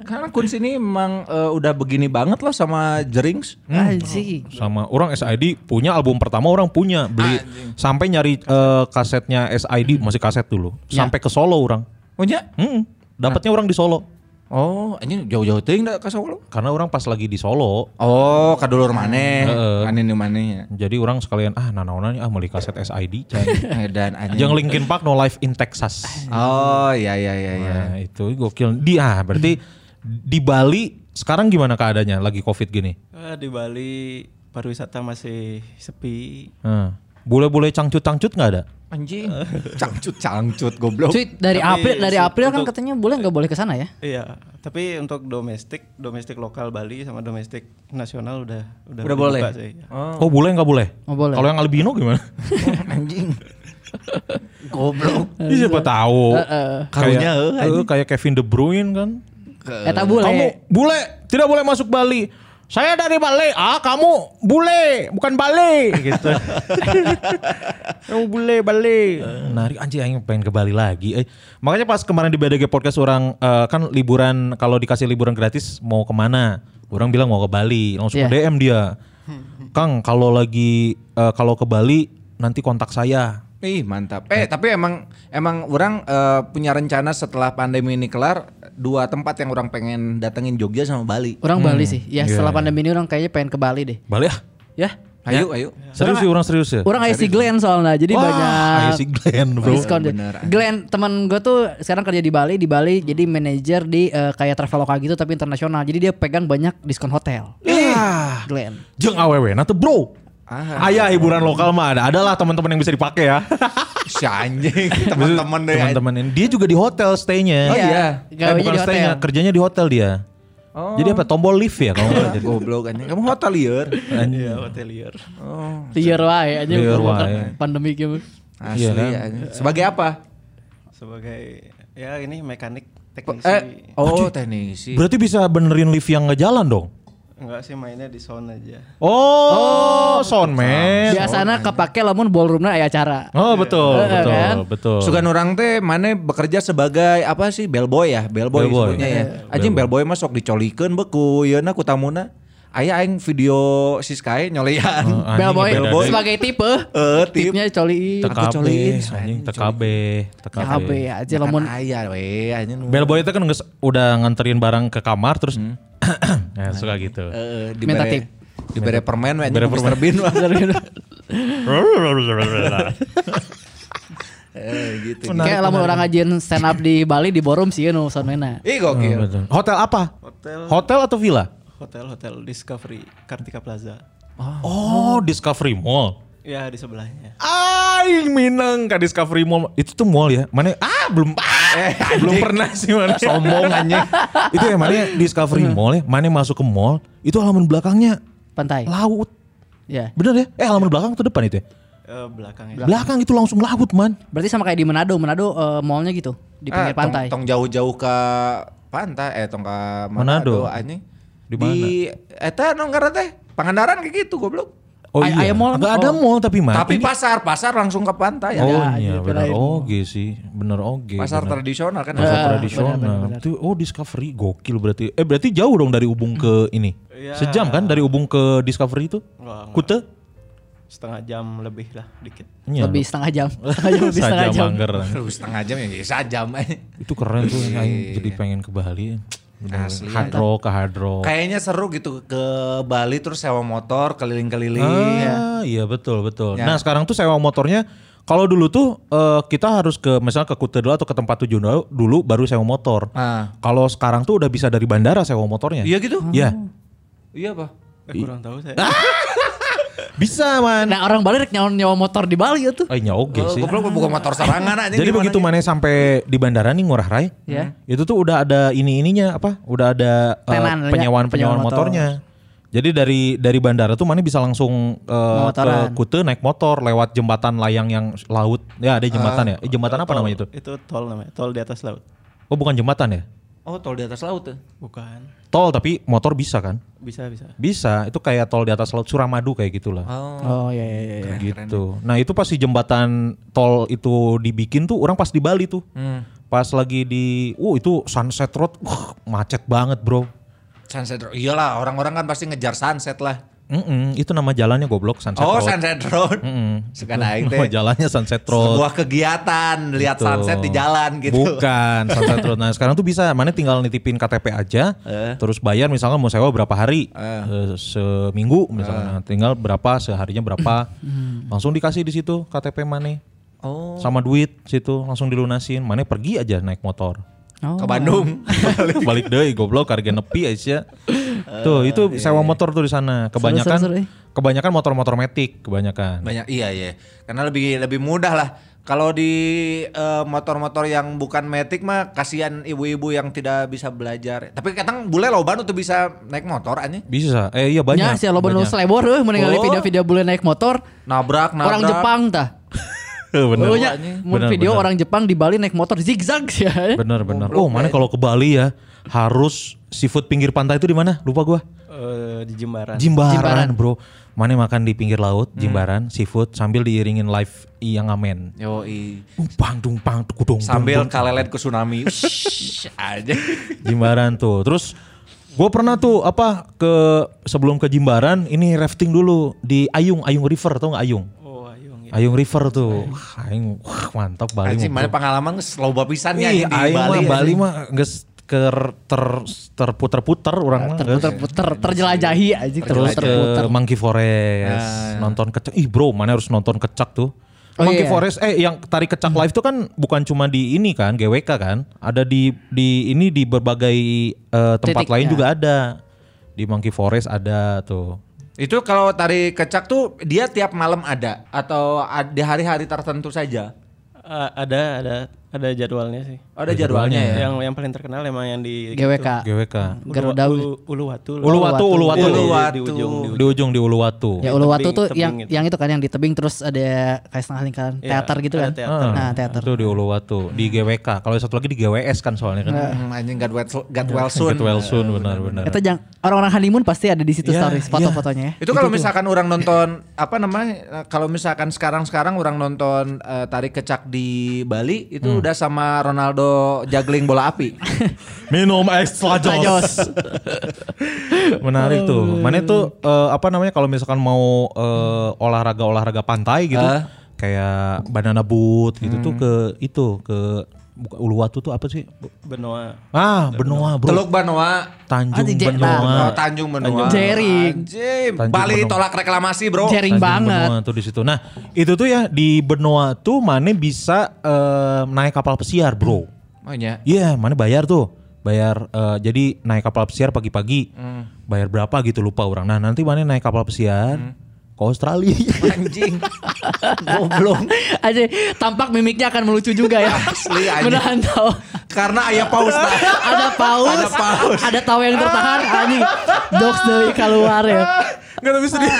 Speaker 3: Karena Kun sini emang eh, udah begini banget lah sama Jerings.
Speaker 2: Hmm.
Speaker 4: Anjing.
Speaker 2: Sama orang SID punya album pertama orang punya beli sampai nyari eh, kasetnya SID masih kaset dulu sampai ke Solo orang.
Speaker 3: Oh nya?
Speaker 2: Hmm, dapatnya orang di Solo
Speaker 3: Oh, anjing jauh-jauh teuing da ka Solo.
Speaker 2: karena orang pas lagi di Solo
Speaker 3: Oh, kadulur maneh.
Speaker 2: Heeh.
Speaker 3: Anu nu maneh.
Speaker 2: jadi orang sekalian ah nanaonan ah beli kaset SID can.
Speaker 3: Dan anjing.
Speaker 2: Yang Linkin Park No Life in Texas.
Speaker 3: Oh, iya iya iya iya.
Speaker 2: Nah, itu gokil. Di ah berarti di Bali sekarang gimana keadaannya lagi Covid gini?
Speaker 5: Ah, di Bali pariwisata masih sepi.
Speaker 2: Hmm. Boleh-boleh cangcut-cangcut nggak ada?
Speaker 3: Anjing. Cangcut cangcut goblok.
Speaker 4: Cuy, dari
Speaker 5: Oh.
Speaker 4: April
Speaker 5: Tapi
Speaker 4: dari
Speaker 5: se-
Speaker 4: April kan
Speaker 5: untuk-
Speaker 4: katanya boleh nggak boleh ke sana ya?
Speaker 5: Iya, tapi untuk domestik, domestik lokal Bali sama domestik nasional udah udah,
Speaker 3: Udah
Speaker 5: dibuka
Speaker 3: boleh?
Speaker 5: sih.
Speaker 2: Oh boleh nggak boleh?
Speaker 4: Oh, boleh.
Speaker 2: Kalau yang albino gimana?
Speaker 3: anjing. goblok.
Speaker 2: Ih, Iya, siapa tahu.
Speaker 3: Karunya, eh,
Speaker 2: kayak, eh, kayak Kevin De Bruyne kan.
Speaker 4: Eta
Speaker 2: Kamu
Speaker 4: Eh, boleh.
Speaker 2: bule tidak boleh masuk Bali. Saya dari Bali. Ah kamu bule bukan Bali gitu. kamu bule Bali. Eh, Nari anjing aing pengen ke Bali lagi. Eh, makanya pas kemarin di BDG podcast orang eh, kan liburan kalau dikasih liburan gratis mau kemana? Orang bilang mau ke Bali. Langsung
Speaker 4: Iya.
Speaker 2: DM dia. Kang kalau lagi eh, kalau ke Bali nanti kontak saya.
Speaker 3: Ih mantap. Eh tapi emang emang orang eh, punya rencana setelah pandemi ini kelar dua tempat yang orang pengen datengin Jogja sama Bali.
Speaker 4: Orang Bali sih. Ya,
Speaker 2: Iya.
Speaker 4: setelah pandemi ini orang kayaknya pengen ke Bali deh.
Speaker 2: Bali ah.
Speaker 4: Ya.
Speaker 3: Ayo ayo.
Speaker 2: Serius sih orang serius ya?
Speaker 4: Orang IC Glenn soalnya. Jadi
Speaker 2: Wah,
Speaker 4: banyak
Speaker 2: IC Glenn bro.
Speaker 4: diskon deh.
Speaker 3: bener.
Speaker 4: Glenn teman gue tuh sekarang kerja di Bali di Bali jadi
Speaker 5: Hmm.
Speaker 4: manajer di eh, kayak traveloka gitu tapi internasional jadi dia pegang banyak diskon hotel
Speaker 2: Iya.
Speaker 4: Glenn
Speaker 2: Jeng awewe nanti bro.
Speaker 3: Ah.
Speaker 2: Ayah iya, hiburan lokal mah ada, adalah teman-teman yang bisa dipakai ya.
Speaker 3: Si anjing teman-teman deh.
Speaker 2: Teman-teman yang- dia juga di hotel stay-nya.
Speaker 3: Oh, iya.
Speaker 2: Eh,
Speaker 4: Gawainya
Speaker 2: bukan
Speaker 4: di
Speaker 2: stay-nya,
Speaker 4: hotel Oh.
Speaker 2: kerjanya di hotel dia. Jadi apa tombol lift ya kalau nggak jadi.
Speaker 3: Oh. Goblok anjing. Kamu hotelier.
Speaker 5: Iya, hotelier.
Speaker 4: liar wae aja
Speaker 2: Liar
Speaker 4: bukan
Speaker 2: wae.
Speaker 4: pandemi gitu
Speaker 3: Asli
Speaker 2: Iya, kan?
Speaker 3: anjing. Sebagai apa?
Speaker 5: Sebagai ya ini mekanik teknisi.
Speaker 2: Iya.
Speaker 3: Eh, oh teknisi.
Speaker 2: Berarti bisa benerin lift yang nggak jalan dong.
Speaker 5: Enggak sih mainnya di sound aja.
Speaker 2: Oh, soundman.
Speaker 4: biasanya kepake lamun ballroomnya aya acara
Speaker 2: Oh betul,
Speaker 4: Iya,
Speaker 2: betul,
Speaker 4: kan?
Speaker 2: betul.
Speaker 3: Sugan orang teh mana bekerja sebagai apa sih bellboy ya, bellboy,
Speaker 2: Bellboy.
Speaker 3: sebutnya ya.
Speaker 2: Iya.
Speaker 3: Anjing bellboy mah sok dicolikeun beku yeuna ku tamuna. Aya aing video si Sky nyolean.
Speaker 2: Oh, anjing
Speaker 4: Bellboy
Speaker 2: beda
Speaker 3: Bellboy.
Speaker 2: deh.
Speaker 4: sebagai tipe
Speaker 3: Eh, tip.
Speaker 4: tipnya coli
Speaker 3: Aku
Speaker 2: TKB,
Speaker 3: colin,
Speaker 2: anjing
Speaker 3: anjing,
Speaker 2: TKB, TKB.
Speaker 4: KB ya, aja
Speaker 3: Kan
Speaker 4: lamun
Speaker 3: aya we anjing.
Speaker 2: Bellboy itu kan nges- udah nganterin barang ke kamar terus
Speaker 4: Hmm.
Speaker 2: Nah, suka gitu.
Speaker 3: Heeh,
Speaker 4: Minta tip.
Speaker 3: Eh, Dibere permen we anjing
Speaker 2: Dibere
Speaker 3: ku Mr. Bean wah.
Speaker 2: Gitu.
Speaker 3: Eh, gitu.
Speaker 2: Menarik,
Speaker 4: Kayak lamun
Speaker 2: menarik.
Speaker 4: orang ngajian stand up di Bali di Borum sih nu sonena.
Speaker 3: Ih gokil.
Speaker 2: Oh, Betul. Hotel apa?
Speaker 5: Hotel
Speaker 2: Hotel atau villa?
Speaker 5: hotel hotel Discovery Kartika Plaza.
Speaker 2: Oh, Discovery Mall.
Speaker 5: Ya di sebelahnya.
Speaker 2: Aing Minang ke Discovery Mall. Itu tuh mall ya. Mana ah belum ah,
Speaker 3: Eh,
Speaker 2: belum pernah sih mana.
Speaker 3: Sombong anjing.
Speaker 2: itu ya mana Discovery Mall ya. Mana masuk ke mall, itu halaman belakangnya
Speaker 4: Pantai.
Speaker 2: laut.
Speaker 4: Ya.
Speaker 2: Bener ya? Eh halaman belakang atau depan itu ya?
Speaker 5: Eh, belakang ya.
Speaker 2: Belakang itu langsung laut, man.
Speaker 4: Berarti sama kayak di Manado, Manado eh, mallnya gitu di
Speaker 3: Ah,
Speaker 4: pinggir
Speaker 3: tong-
Speaker 4: pantai.
Speaker 3: Tong jauh-jauh ke pantai eh tong ke Manado
Speaker 2: Manado.
Speaker 3: anjing.
Speaker 2: Di
Speaker 3: Di eta no ngaran teh Pangandaran kayak gitu goblok.
Speaker 2: Oh
Speaker 4: Ay-
Speaker 2: iya.
Speaker 4: ayam mall.
Speaker 2: Nggak ada
Speaker 4: Oh.
Speaker 2: mall tapi man.
Speaker 3: Tapi
Speaker 2: Nah, Ini-
Speaker 3: pasar, pasar langsung ke pantai.
Speaker 2: Oh
Speaker 4: Ya,
Speaker 2: iya,
Speaker 4: gitu
Speaker 2: bener
Speaker 4: lain.
Speaker 2: oge sih. Bener oge.
Speaker 3: Pasar
Speaker 2: bener.
Speaker 3: tradisional kan.
Speaker 2: Pasar
Speaker 4: Ah,
Speaker 2: tradisional.
Speaker 4: benar, benar, benar.
Speaker 2: Itu oh Discovery gokil berarti. Eh berarti jauh dong dari Ubung ke
Speaker 4: Hmm.
Speaker 2: ini.
Speaker 5: Iya.
Speaker 2: Sejam kan dari Ubung ke Discovery itu?
Speaker 5: Wah, nggak.
Speaker 2: Kute?
Speaker 5: Setengah jam lebih lah dikit.
Speaker 2: Iya.
Speaker 4: lebih setengah jam. Setengah jam, lebih
Speaker 2: Saja
Speaker 4: setengah jam.
Speaker 2: mangger.
Speaker 3: Lu setengah jam ya, ya sajam aja.
Speaker 2: Itu keren tuh
Speaker 4: Iya.
Speaker 2: aing jadi pengen ke Bali. Bener.
Speaker 3: Asli.
Speaker 2: Hadro ke Hadro.
Speaker 3: Kayaknya seru gitu ke Bali terus sewa motor keliling-keliling.
Speaker 2: Ah, iya betul betul.
Speaker 3: Ya.
Speaker 2: Nah sekarang tuh sewa motornya kalau dulu tuh eh, kita harus ke misalnya ke Kuta dulu atau ke tempat tujuan dulu, dulu baru sewa motor.
Speaker 3: Ah.
Speaker 2: Kalau sekarang tuh udah bisa dari bandara sewa motornya.
Speaker 3: Iya gitu?
Speaker 2: Iya.
Speaker 3: Iya pak.
Speaker 5: Eh, kurang tahu saya.
Speaker 2: Bisa man.
Speaker 4: Nah, orang Bali rek nyawa, nyawa motor di Bali ya tuh.
Speaker 2: Eh, nya oke sih.
Speaker 3: Goblok lu buka motor serangan aja.
Speaker 2: Jadi begitu mana sampai di bandara nih Ngurah Rai,
Speaker 4: Ya.
Speaker 2: itu tuh udah ada ini ininya apa? Udah ada eh,
Speaker 4: Tenan, ya,
Speaker 2: penyewaan
Speaker 4: penyewaan
Speaker 2: penyewaan
Speaker 4: motor.
Speaker 2: motornya. Jadi dari dari bandara tuh mana bisa langsung eh, ke
Speaker 4: Motoran.
Speaker 2: Kute naik motor lewat jembatan layang yang laut. Ya ada jembatan ya. Eh, Jembatan apa
Speaker 5: Tol.
Speaker 2: namanya itu?
Speaker 5: Itu tol namanya. Tol di atas laut.
Speaker 2: Oh bukan jembatan ya?
Speaker 3: Oh tol di atas laut tuh.
Speaker 5: Bukan.
Speaker 2: Tol tapi motor bisa kan?
Speaker 5: Bisa bisa.
Speaker 2: Bisa. Itu kayak tol di atas laut Suramadu kayak gitulah.
Speaker 3: Oh.
Speaker 4: Oh iya iya iya.
Speaker 2: gitu. Nah itu pas di jembatan tol itu dibikin tuh orang pas di Bali tuh.
Speaker 3: Hmm.
Speaker 2: Pas lagi di, uh itu Sunset Road, uh, macet banget bro.
Speaker 3: Sunset Road. Iyalah orang-orang kan pasti ngejar sunset lah.
Speaker 2: Mm-mm, itu nama jalannya goblok Sunset
Speaker 3: oh
Speaker 2: Road.
Speaker 3: Sunset Road. Sekarang aing
Speaker 2: Nama
Speaker 3: teh.
Speaker 2: jalannya Sunset Road.
Speaker 3: Sebuah kegiatan lihat
Speaker 2: Gitu.
Speaker 3: sunset di jalan gitu.
Speaker 2: Bukan Sunset Road. Nah sekarang tuh bisa, mana tinggal nitipin KTP aja,
Speaker 3: Eh.
Speaker 2: terus bayar misalnya mau sewa berapa hari, Eh, seminggu
Speaker 3: Eh.
Speaker 2: misalnya, Nah, tinggal berapa seharinya berapa,
Speaker 4: Hmm.
Speaker 2: langsung dikasih di situ KTP mana.
Speaker 3: Oh.
Speaker 2: Sama duit situ langsung dilunasin, mana pergi aja naik motor.
Speaker 4: Oh.
Speaker 3: Ke Bandung.
Speaker 2: balik balik deui goblok harga nepi Aisyah.
Speaker 3: Eh,
Speaker 2: Tuh itu
Speaker 3: iya,
Speaker 2: sewa motor tuh di sana. Kebanyakan
Speaker 4: seru, eh.
Speaker 2: kebanyakan motor-motor metik kebanyakan.
Speaker 3: Banyak iya iya. Karena lebih lebih mudah lah. Kalau di eh, motor-motor yang bukan metik mah kasihan ibu-ibu yang tidak bisa belajar. Tapi kadang bule loban tuh bisa naik motor anjing.
Speaker 2: Bisa. Eh iya banyak.
Speaker 4: Banyak. Ya, si Alobon
Speaker 2: banyak.
Speaker 4: Selebor eh meninggali
Speaker 3: Oh.
Speaker 4: video-video bulan naik motor.
Speaker 3: Nabrak, nabrak.
Speaker 4: Orang Jepang tah.
Speaker 2: bener.
Speaker 4: Pokoknya mau
Speaker 2: Bener,
Speaker 4: video
Speaker 2: bener.
Speaker 4: orang Jepang di Bali naik motor zigzag sih. ya.
Speaker 2: Bener bener. Oh, mana
Speaker 3: eh.
Speaker 2: kalau ke Bali ya harus seafood pinggir pantai itu di mana? Lupa gua.
Speaker 5: Eh, di Jimbaran.
Speaker 2: Jimbaran, bro. Mana makan di pinggir laut,
Speaker 3: Hmm.
Speaker 2: Jimbaran, seafood sambil diiringin live yang ngamen.
Speaker 3: Yoi.
Speaker 2: Umpang dumpang tukudung.
Speaker 3: Sambil kalelet ke tsunami. Shhh, aja.
Speaker 2: Jimbaran tuh. Terus gue pernah tuh apa ke sebelum ke Jimbaran ini rafting dulu di Ayung Ayung River tau nggak Ayung?
Speaker 5: Oh, ayo. Ya.
Speaker 2: Ayung River tuh. Wah, Ayung wah, mantap Bali.
Speaker 3: iya. Anjing
Speaker 2: mah,
Speaker 3: mana
Speaker 2: bro.
Speaker 3: pengalaman loba pisan ya
Speaker 2: Ih,
Speaker 3: anjing, di
Speaker 2: Ayung
Speaker 3: Bali.
Speaker 2: mah Bali
Speaker 3: anjing.
Speaker 2: mah geus ker ter terputer-puter orang
Speaker 3: Nah,
Speaker 2: mah. geus.
Speaker 4: Terputer-puter, terjelajahi aja
Speaker 2: Terus ke
Speaker 4: terputer-puter.
Speaker 2: Monkey
Speaker 4: Ah,
Speaker 2: Forest nonton kecak. Ih bro, mana harus nonton kecak tuh?
Speaker 4: ya. Oh,
Speaker 2: Monkey
Speaker 4: iya.
Speaker 2: Forest eh yang tarik kecak live tuh kan bukan cuma di ini kan GWK kan, ada di di ini di berbagai eh, tempat
Speaker 4: Titiknya.
Speaker 2: lain juga ada. Di Monkey Forest ada tuh.
Speaker 3: Itu kalau tari kecak tuh dia tiap malam ada atau ad- di hari-hari tertentu saja.
Speaker 5: Eh, ada ada ada jadwalnya sih.
Speaker 3: Ada jadwalnya ya.
Speaker 5: Yang yang paling terkenal emang yang di
Speaker 4: GWK.
Speaker 2: GWK.
Speaker 5: Ulu-
Speaker 4: Garuda
Speaker 5: Ulu- Uluwatu. lah.
Speaker 2: Uluwatu, Uluwatu.
Speaker 5: Di, di ujung. Di
Speaker 2: Di ujung di Uluwatu.
Speaker 4: Ya
Speaker 5: Yang
Speaker 4: Uluwatu
Speaker 5: tebing-
Speaker 4: tuh
Speaker 5: tebing
Speaker 4: yang
Speaker 5: itu.
Speaker 4: yang itu kan yang di tebing terus ada kayak setengah lingkaran
Speaker 5: Iya,
Speaker 4: teater gitu
Speaker 5: ada
Speaker 4: kan.
Speaker 5: teater.
Speaker 4: Nah, teater.
Speaker 2: Ah, Itu di Uluwatu, di GWK. Kalau satu lagi di GWS kan soalnya kan.
Speaker 3: Hmm, anjing got well, got well soon.
Speaker 2: Get well soon benar-benar.
Speaker 4: Nah. Itu yang orang-orang honeymoon pasti ada di situ
Speaker 2: Iya,
Speaker 4: stories foto-fotonya ya.
Speaker 3: Itu kalau misalkan orang nonton apa namanya? eh, Kalau misalkan sekarang-sekarang orang nonton eh, tari kecak di Bali itu udah sama Ronaldo juggling bola api.
Speaker 2: Minum extra jos. Menarik tuh. Mana tuh eh, apa namanya kalau misalkan mau eh, olahraga-olahraga pantai gitu
Speaker 3: Ah.
Speaker 4: Hmm.
Speaker 2: kayak banana boat gitu tuh ke itu ke bukan Uluwatu tuh apa sih?
Speaker 5: Benoa.
Speaker 2: Ah, Benoa, Bro.
Speaker 3: Teluk Banoa.
Speaker 2: Tanjung
Speaker 4: Ah, di
Speaker 3: Oh,
Speaker 4: Jepang.
Speaker 2: Benoa.
Speaker 3: Tanjung Benoa.
Speaker 4: Tanjung. Jering.
Speaker 3: Anjing,
Speaker 2: Tanjung
Speaker 3: Bali
Speaker 2: Benoa.
Speaker 3: ditolak reklamasi, Bro.
Speaker 4: Jering
Speaker 2: Tanjung
Speaker 4: banget.
Speaker 2: Benoa tuh di situ. Nah, itu tuh ya di Benoa tuh mana bisa eh, naik kapal pesiar, Bro.
Speaker 3: Oh iya.
Speaker 2: Iya, mana bayar tuh? Bayar eh, jadi naik kapal pesiar pagi-pagi. Bayar berapa gitu lupa orang. Nah, nanti mana naik kapal pesiar ke Australia.
Speaker 3: Anjing. Goblok.
Speaker 4: Aja tampak mimiknya akan melucu juga ya.
Speaker 3: Asli, anjing.
Speaker 4: Menahan tawa.
Speaker 3: Karena ayah paus nah.
Speaker 4: Ada paus, ada, tawa yang tertahan anjing. Dogs dari keluar ya.
Speaker 3: Enggak tapi serius.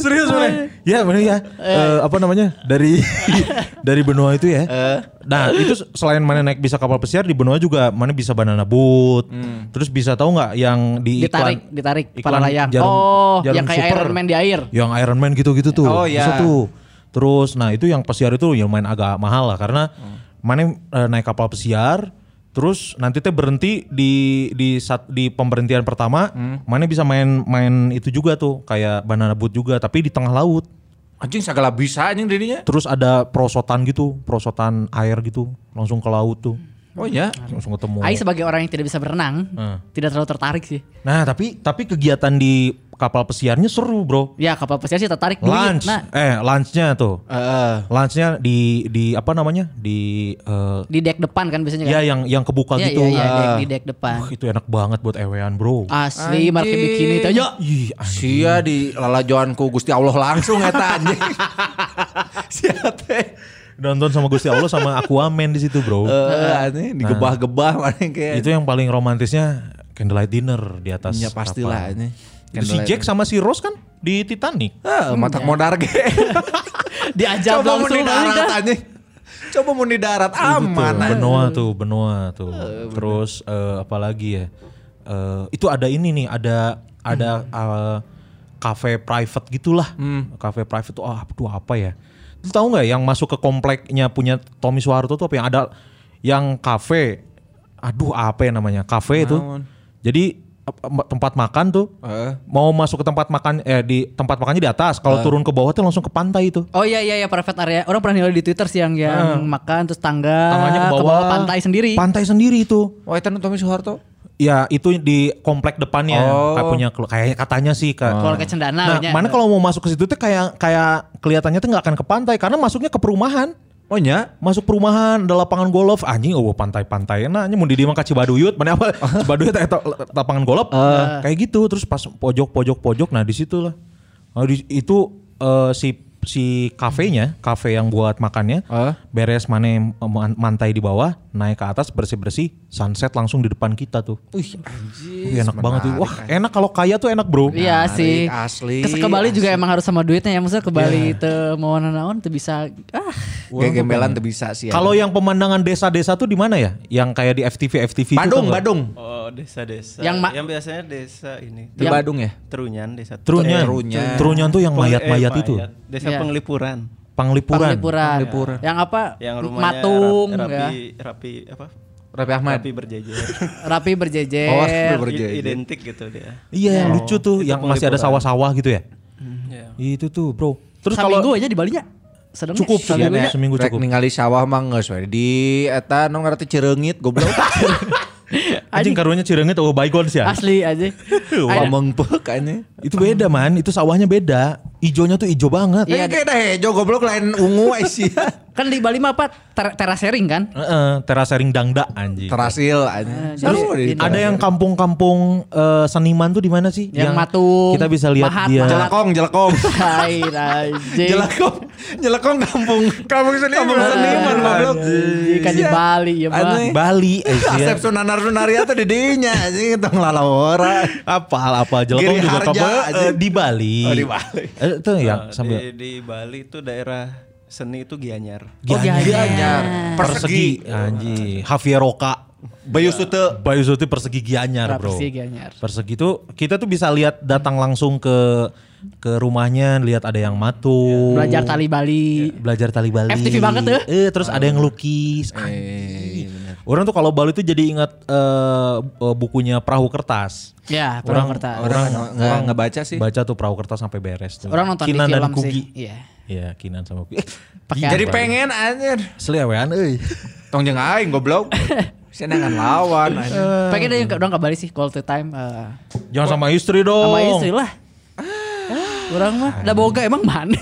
Speaker 3: serius boleh.
Speaker 2: ya, mana ya? Eh, apa namanya? Dari dari Benoa itu ya. Nah, itu selain mana naik bisa kapal pesiar di Benoa juga mana bisa banana boat. Terus bisa tahu nggak yang di
Speaker 4: Ditarik,
Speaker 2: iklan-
Speaker 4: ditarik
Speaker 2: iklan
Speaker 4: para layang.
Speaker 2: jarum-
Speaker 4: oh,
Speaker 2: jarum
Speaker 4: yang kayak
Speaker 2: super.
Speaker 4: Iron Man di air.
Speaker 2: Yang Iron Man gitu-gitu tuh.
Speaker 3: Oh,
Speaker 2: Bisa
Speaker 3: iya.
Speaker 2: tuh. Terus nah itu yang pesiar itu yang main agak mahal lah karena
Speaker 3: Hmm.
Speaker 2: mana eh, naik kapal pesiar terus nanti teh berhenti di di sat- di pemberhentian pertama
Speaker 3: Hmm.
Speaker 2: mana bisa main main itu juga tuh kayak banana boat juga tapi di tengah laut.
Speaker 3: Anjing segala bisa anjing dirinya.
Speaker 2: Terus ada prosotan gitu, prosotan air gitu langsung ke laut tuh.
Speaker 3: Oh iya.
Speaker 2: Langsung ketemu.
Speaker 4: Aing sebagai orang yang tidak bisa berenang,
Speaker 2: Hmm.
Speaker 4: tidak terlalu tertarik sih.
Speaker 2: Nah, tapi tapi kegiatan di kapal pesiarnya seru, Bro.
Speaker 4: Ya kapal pesiar sih tertarik duit.
Speaker 2: Lunch.
Speaker 4: Nah,
Speaker 2: Eh, lunchnya tuh.
Speaker 3: Heeh.
Speaker 2: Lunchnya di di apa namanya di eh,
Speaker 4: di deck depan kan biasanya
Speaker 2: ya
Speaker 4: kan.
Speaker 2: yang yang kebuka
Speaker 4: Iya,
Speaker 2: gitu
Speaker 3: ya,
Speaker 4: iya, iya,
Speaker 2: Ah.
Speaker 4: deck- di deck depan.
Speaker 2: Wah, itu enak banget buat ewean bro
Speaker 4: Asli market
Speaker 3: Anjing.
Speaker 4: bikini itu. Ya,
Speaker 2: Ih, anjing.
Speaker 3: Sia di lalajoanku Gusti Allah langsung eta anjing. Sia teh.
Speaker 2: nonton sama Gusti Allah sama Aquaman di situ bro
Speaker 3: Eh, anjing digebah-gebah mana yang kayak.
Speaker 2: itu yang paling romantisnya candlelight dinner di atas
Speaker 3: Ya pastilah
Speaker 2: kapal.
Speaker 3: anjing.
Speaker 2: itu si Jack sama si Rose kan di Titanic
Speaker 3: Heeh, matak modar Ah, ge.
Speaker 4: diajak
Speaker 3: Coba mau di
Speaker 4: langsung anjing,
Speaker 3: darat
Speaker 4: dah.
Speaker 3: anjing. Coba mau di darat aman.
Speaker 2: tuh,
Speaker 3: anjing.
Speaker 2: Benoa tuh Benoa tuh terus eh, apa apalagi ya Eh, itu ada ini nih ada ada eh, cafe private gitulah cafe private tuh ah aduh apa ya lu tahu nggak yang masuk ke kompleknya punya Tommy Soeharto tuh apa yang ada yang cafe aduh apa ya namanya cafe itu jadi ap- em- tempat makan tuh
Speaker 3: Heeh.
Speaker 2: mau masuk ke tempat makan eh di tempat makannya di atas kalau turun ke bawah tuh langsung ke pantai itu
Speaker 4: Oh iya iya iya private area. Orang pernah nilai di Twitter sih yang yang makan terus tangga
Speaker 2: tangannya Hmm. ke bawah,
Speaker 4: Eh, pantai sendiri.
Speaker 2: pantai sendiri itu
Speaker 3: Oh, itu Tommy Soeharto.
Speaker 2: Ya itu di komplek depannya
Speaker 3: Oh.
Speaker 2: kayak punya kelu- kayak katanya sih kak.
Speaker 4: Kalau ke Cendana
Speaker 2: Nah,
Speaker 4: kayaknya.
Speaker 2: mana kalau mau masuk ke situ tuh kayak kayak kelihatannya tuh nggak akan ke pantai karena masuknya ke perumahan.
Speaker 3: Oh nya.
Speaker 2: Masuk perumahan, ada lapangan golf, anjing oh pantai-pantai enaknya mau di dieu mah ka Cibaduyut, mana apa Cibaduyut eta lapangan golf. Kayak gitu terus pas pojok-pojok-pojok nah di situ lah. Nah, di- itu eh, si si kafenya, kafe yang buat makannya,
Speaker 3: Eh.
Speaker 2: beres mana man- mantai di bawah, naik ke atas bersih-bersih, sunset langsung di depan kita tuh.
Speaker 3: Wih, anjing.
Speaker 2: Wih, enak banget tuh. Wah,
Speaker 5: kan?
Speaker 2: enak kalau kaya tuh enak, Bro.
Speaker 4: Iya sih.
Speaker 3: asli,
Speaker 4: Kes- ke Bali juga emang harus sama duitnya ya. Maksudnya ke
Speaker 2: Iya.
Speaker 4: Bali itu mau nanaon tuh bisa ah
Speaker 3: Gegembelan tuh bisa sih.
Speaker 2: Kalau ya, yang pemandangan desa-desa tuh di mana ya? Yang kayak di FTV FTV itu
Speaker 3: Badung,
Speaker 2: tau nggak?
Speaker 3: Badung.
Speaker 5: Oh, desa-desa.
Speaker 4: Yang ma-
Speaker 5: yang biasanya desa ini.
Speaker 3: Di
Speaker 2: Iya.
Speaker 3: Badung ya?
Speaker 5: Terunyan desa.
Speaker 2: Trunyan.
Speaker 5: Eh,
Speaker 2: Trunyan.
Speaker 3: Trunyan.
Speaker 2: tuh yang
Speaker 5: Peng-
Speaker 2: mayat-mayat
Speaker 5: eh,
Speaker 2: itu. ya?
Speaker 5: Desa
Speaker 4: Iya.
Speaker 5: Penglipuran.
Speaker 2: Panglipuran.
Speaker 4: Panglipuran. Yang apa?
Speaker 5: Yang rumahnya
Speaker 4: Matung
Speaker 5: rap-
Speaker 4: ya.
Speaker 5: rapi, rapi apa?
Speaker 3: Raffi Ahmad.
Speaker 5: Rapi berjejer.
Speaker 4: Rapi berjejer.
Speaker 3: Oh,
Speaker 5: I-
Speaker 3: berjejer.
Speaker 5: Identik gitu dia.
Speaker 2: Iya, lucu tuh yang masih ada sawah-sawah gitu ya.
Speaker 4: Hmm.
Speaker 5: Iya.
Speaker 2: Itu tuh, Bro. Terus
Speaker 4: terus
Speaker 2: kalau
Speaker 4: gue aja di Balinya. Sedang
Speaker 2: Cukup, cukup.
Speaker 4: ya. Seminggu ya.
Speaker 2: Seminggu
Speaker 3: Rek
Speaker 2: cukup.
Speaker 3: ningali sawah mah geus we. Di eta nu ngarti Cireungit goblok.
Speaker 2: anjing karunya cireungit oh baygon sih ya.
Speaker 4: Asli aja. Ada-
Speaker 3: Lameng peuk anjing.
Speaker 2: Itu beda, Man. Itu sawahnya beda. Ijonya tuh ijo banget.
Speaker 4: Iya.
Speaker 3: Iya, kayak dah hejo goblok lain ungu ai sia.
Speaker 4: kan di Bali mah apa? Ter- terasering kan?
Speaker 2: Heeh, terasering dangda anjing.
Speaker 3: Terasil anjing.
Speaker 4: jadi
Speaker 3: Seru di-
Speaker 2: Ada yang kampung-kampung eh, seniman tuh di mana sih?
Speaker 4: Yang Matung,
Speaker 2: Kita bisa lihat
Speaker 4: Mahat,
Speaker 2: dia.
Speaker 4: Mahat.
Speaker 3: Jelekong, jelekong.
Speaker 4: Hai anjing.
Speaker 3: jelekong. Jelekong kampung. Kampung seniman. Iya, Kampung seniman goblok.
Speaker 4: Anjing, kan di Bali ya, Bang.
Speaker 3: Anjing.
Speaker 2: Ah, Bali, eh, iya.
Speaker 3: Asep Sunanar Sunaria tuh di dinya anjing tong lalawara.
Speaker 2: Apal apa Jelekong
Speaker 3: Giri
Speaker 2: juga
Speaker 3: Harja
Speaker 2: kamu
Speaker 3: aja.
Speaker 2: di Bali.
Speaker 3: Oh, di Bali. Ah,
Speaker 2: Eh, itu yang
Speaker 5: Nah,
Speaker 2: sambil
Speaker 5: di, di Bali itu daerah seni itu Gianyar.
Speaker 4: Oh,
Speaker 2: Gianyar.
Speaker 4: Gianyar.
Speaker 2: persegi.
Speaker 3: Ah,
Speaker 2: Anji, Javier Roca.
Speaker 3: Bayu Sute.
Speaker 2: Bayu Suti persegi Gianyar, Bro.
Speaker 4: Nah, Persegi Gianyar.
Speaker 2: Persegi itu kita tuh bisa lihat datang langsung ke ke rumahnya, lihat ada yang matung.
Speaker 4: Ya, Belajar tali Bali.
Speaker 2: belajar tali Bali.
Speaker 4: FTV banget tuh.
Speaker 2: Eh, terus ada yang lukis.
Speaker 3: Eh,
Speaker 2: Anjing. Orang tuh kalau Bali tuh jadi ingat eh, eh, bukunya Perahu Kertas.
Speaker 4: Ya, Perahu Kertas.
Speaker 3: Orang nggak nggak baca sih.
Speaker 2: Baca tuh Perahu Kertas sampai beres tuh.
Speaker 4: Orang nonton
Speaker 2: Kinan
Speaker 4: di film
Speaker 2: dan Kugi.
Speaker 4: sih. Iya.
Speaker 2: Iya, Kinan sama Kugi.
Speaker 4: Pakai
Speaker 2: Jadi ya,
Speaker 3: Jadi pengen anjir.
Speaker 2: selewean euy.
Speaker 3: Tong jeung aing goblok. Senengan lawan anjing.
Speaker 4: Pengen deh dong kabari sih call to time eh,
Speaker 2: Jangan sama istri dong.
Speaker 4: sama istri lah. Ah, Orang mah udah boga emang mana?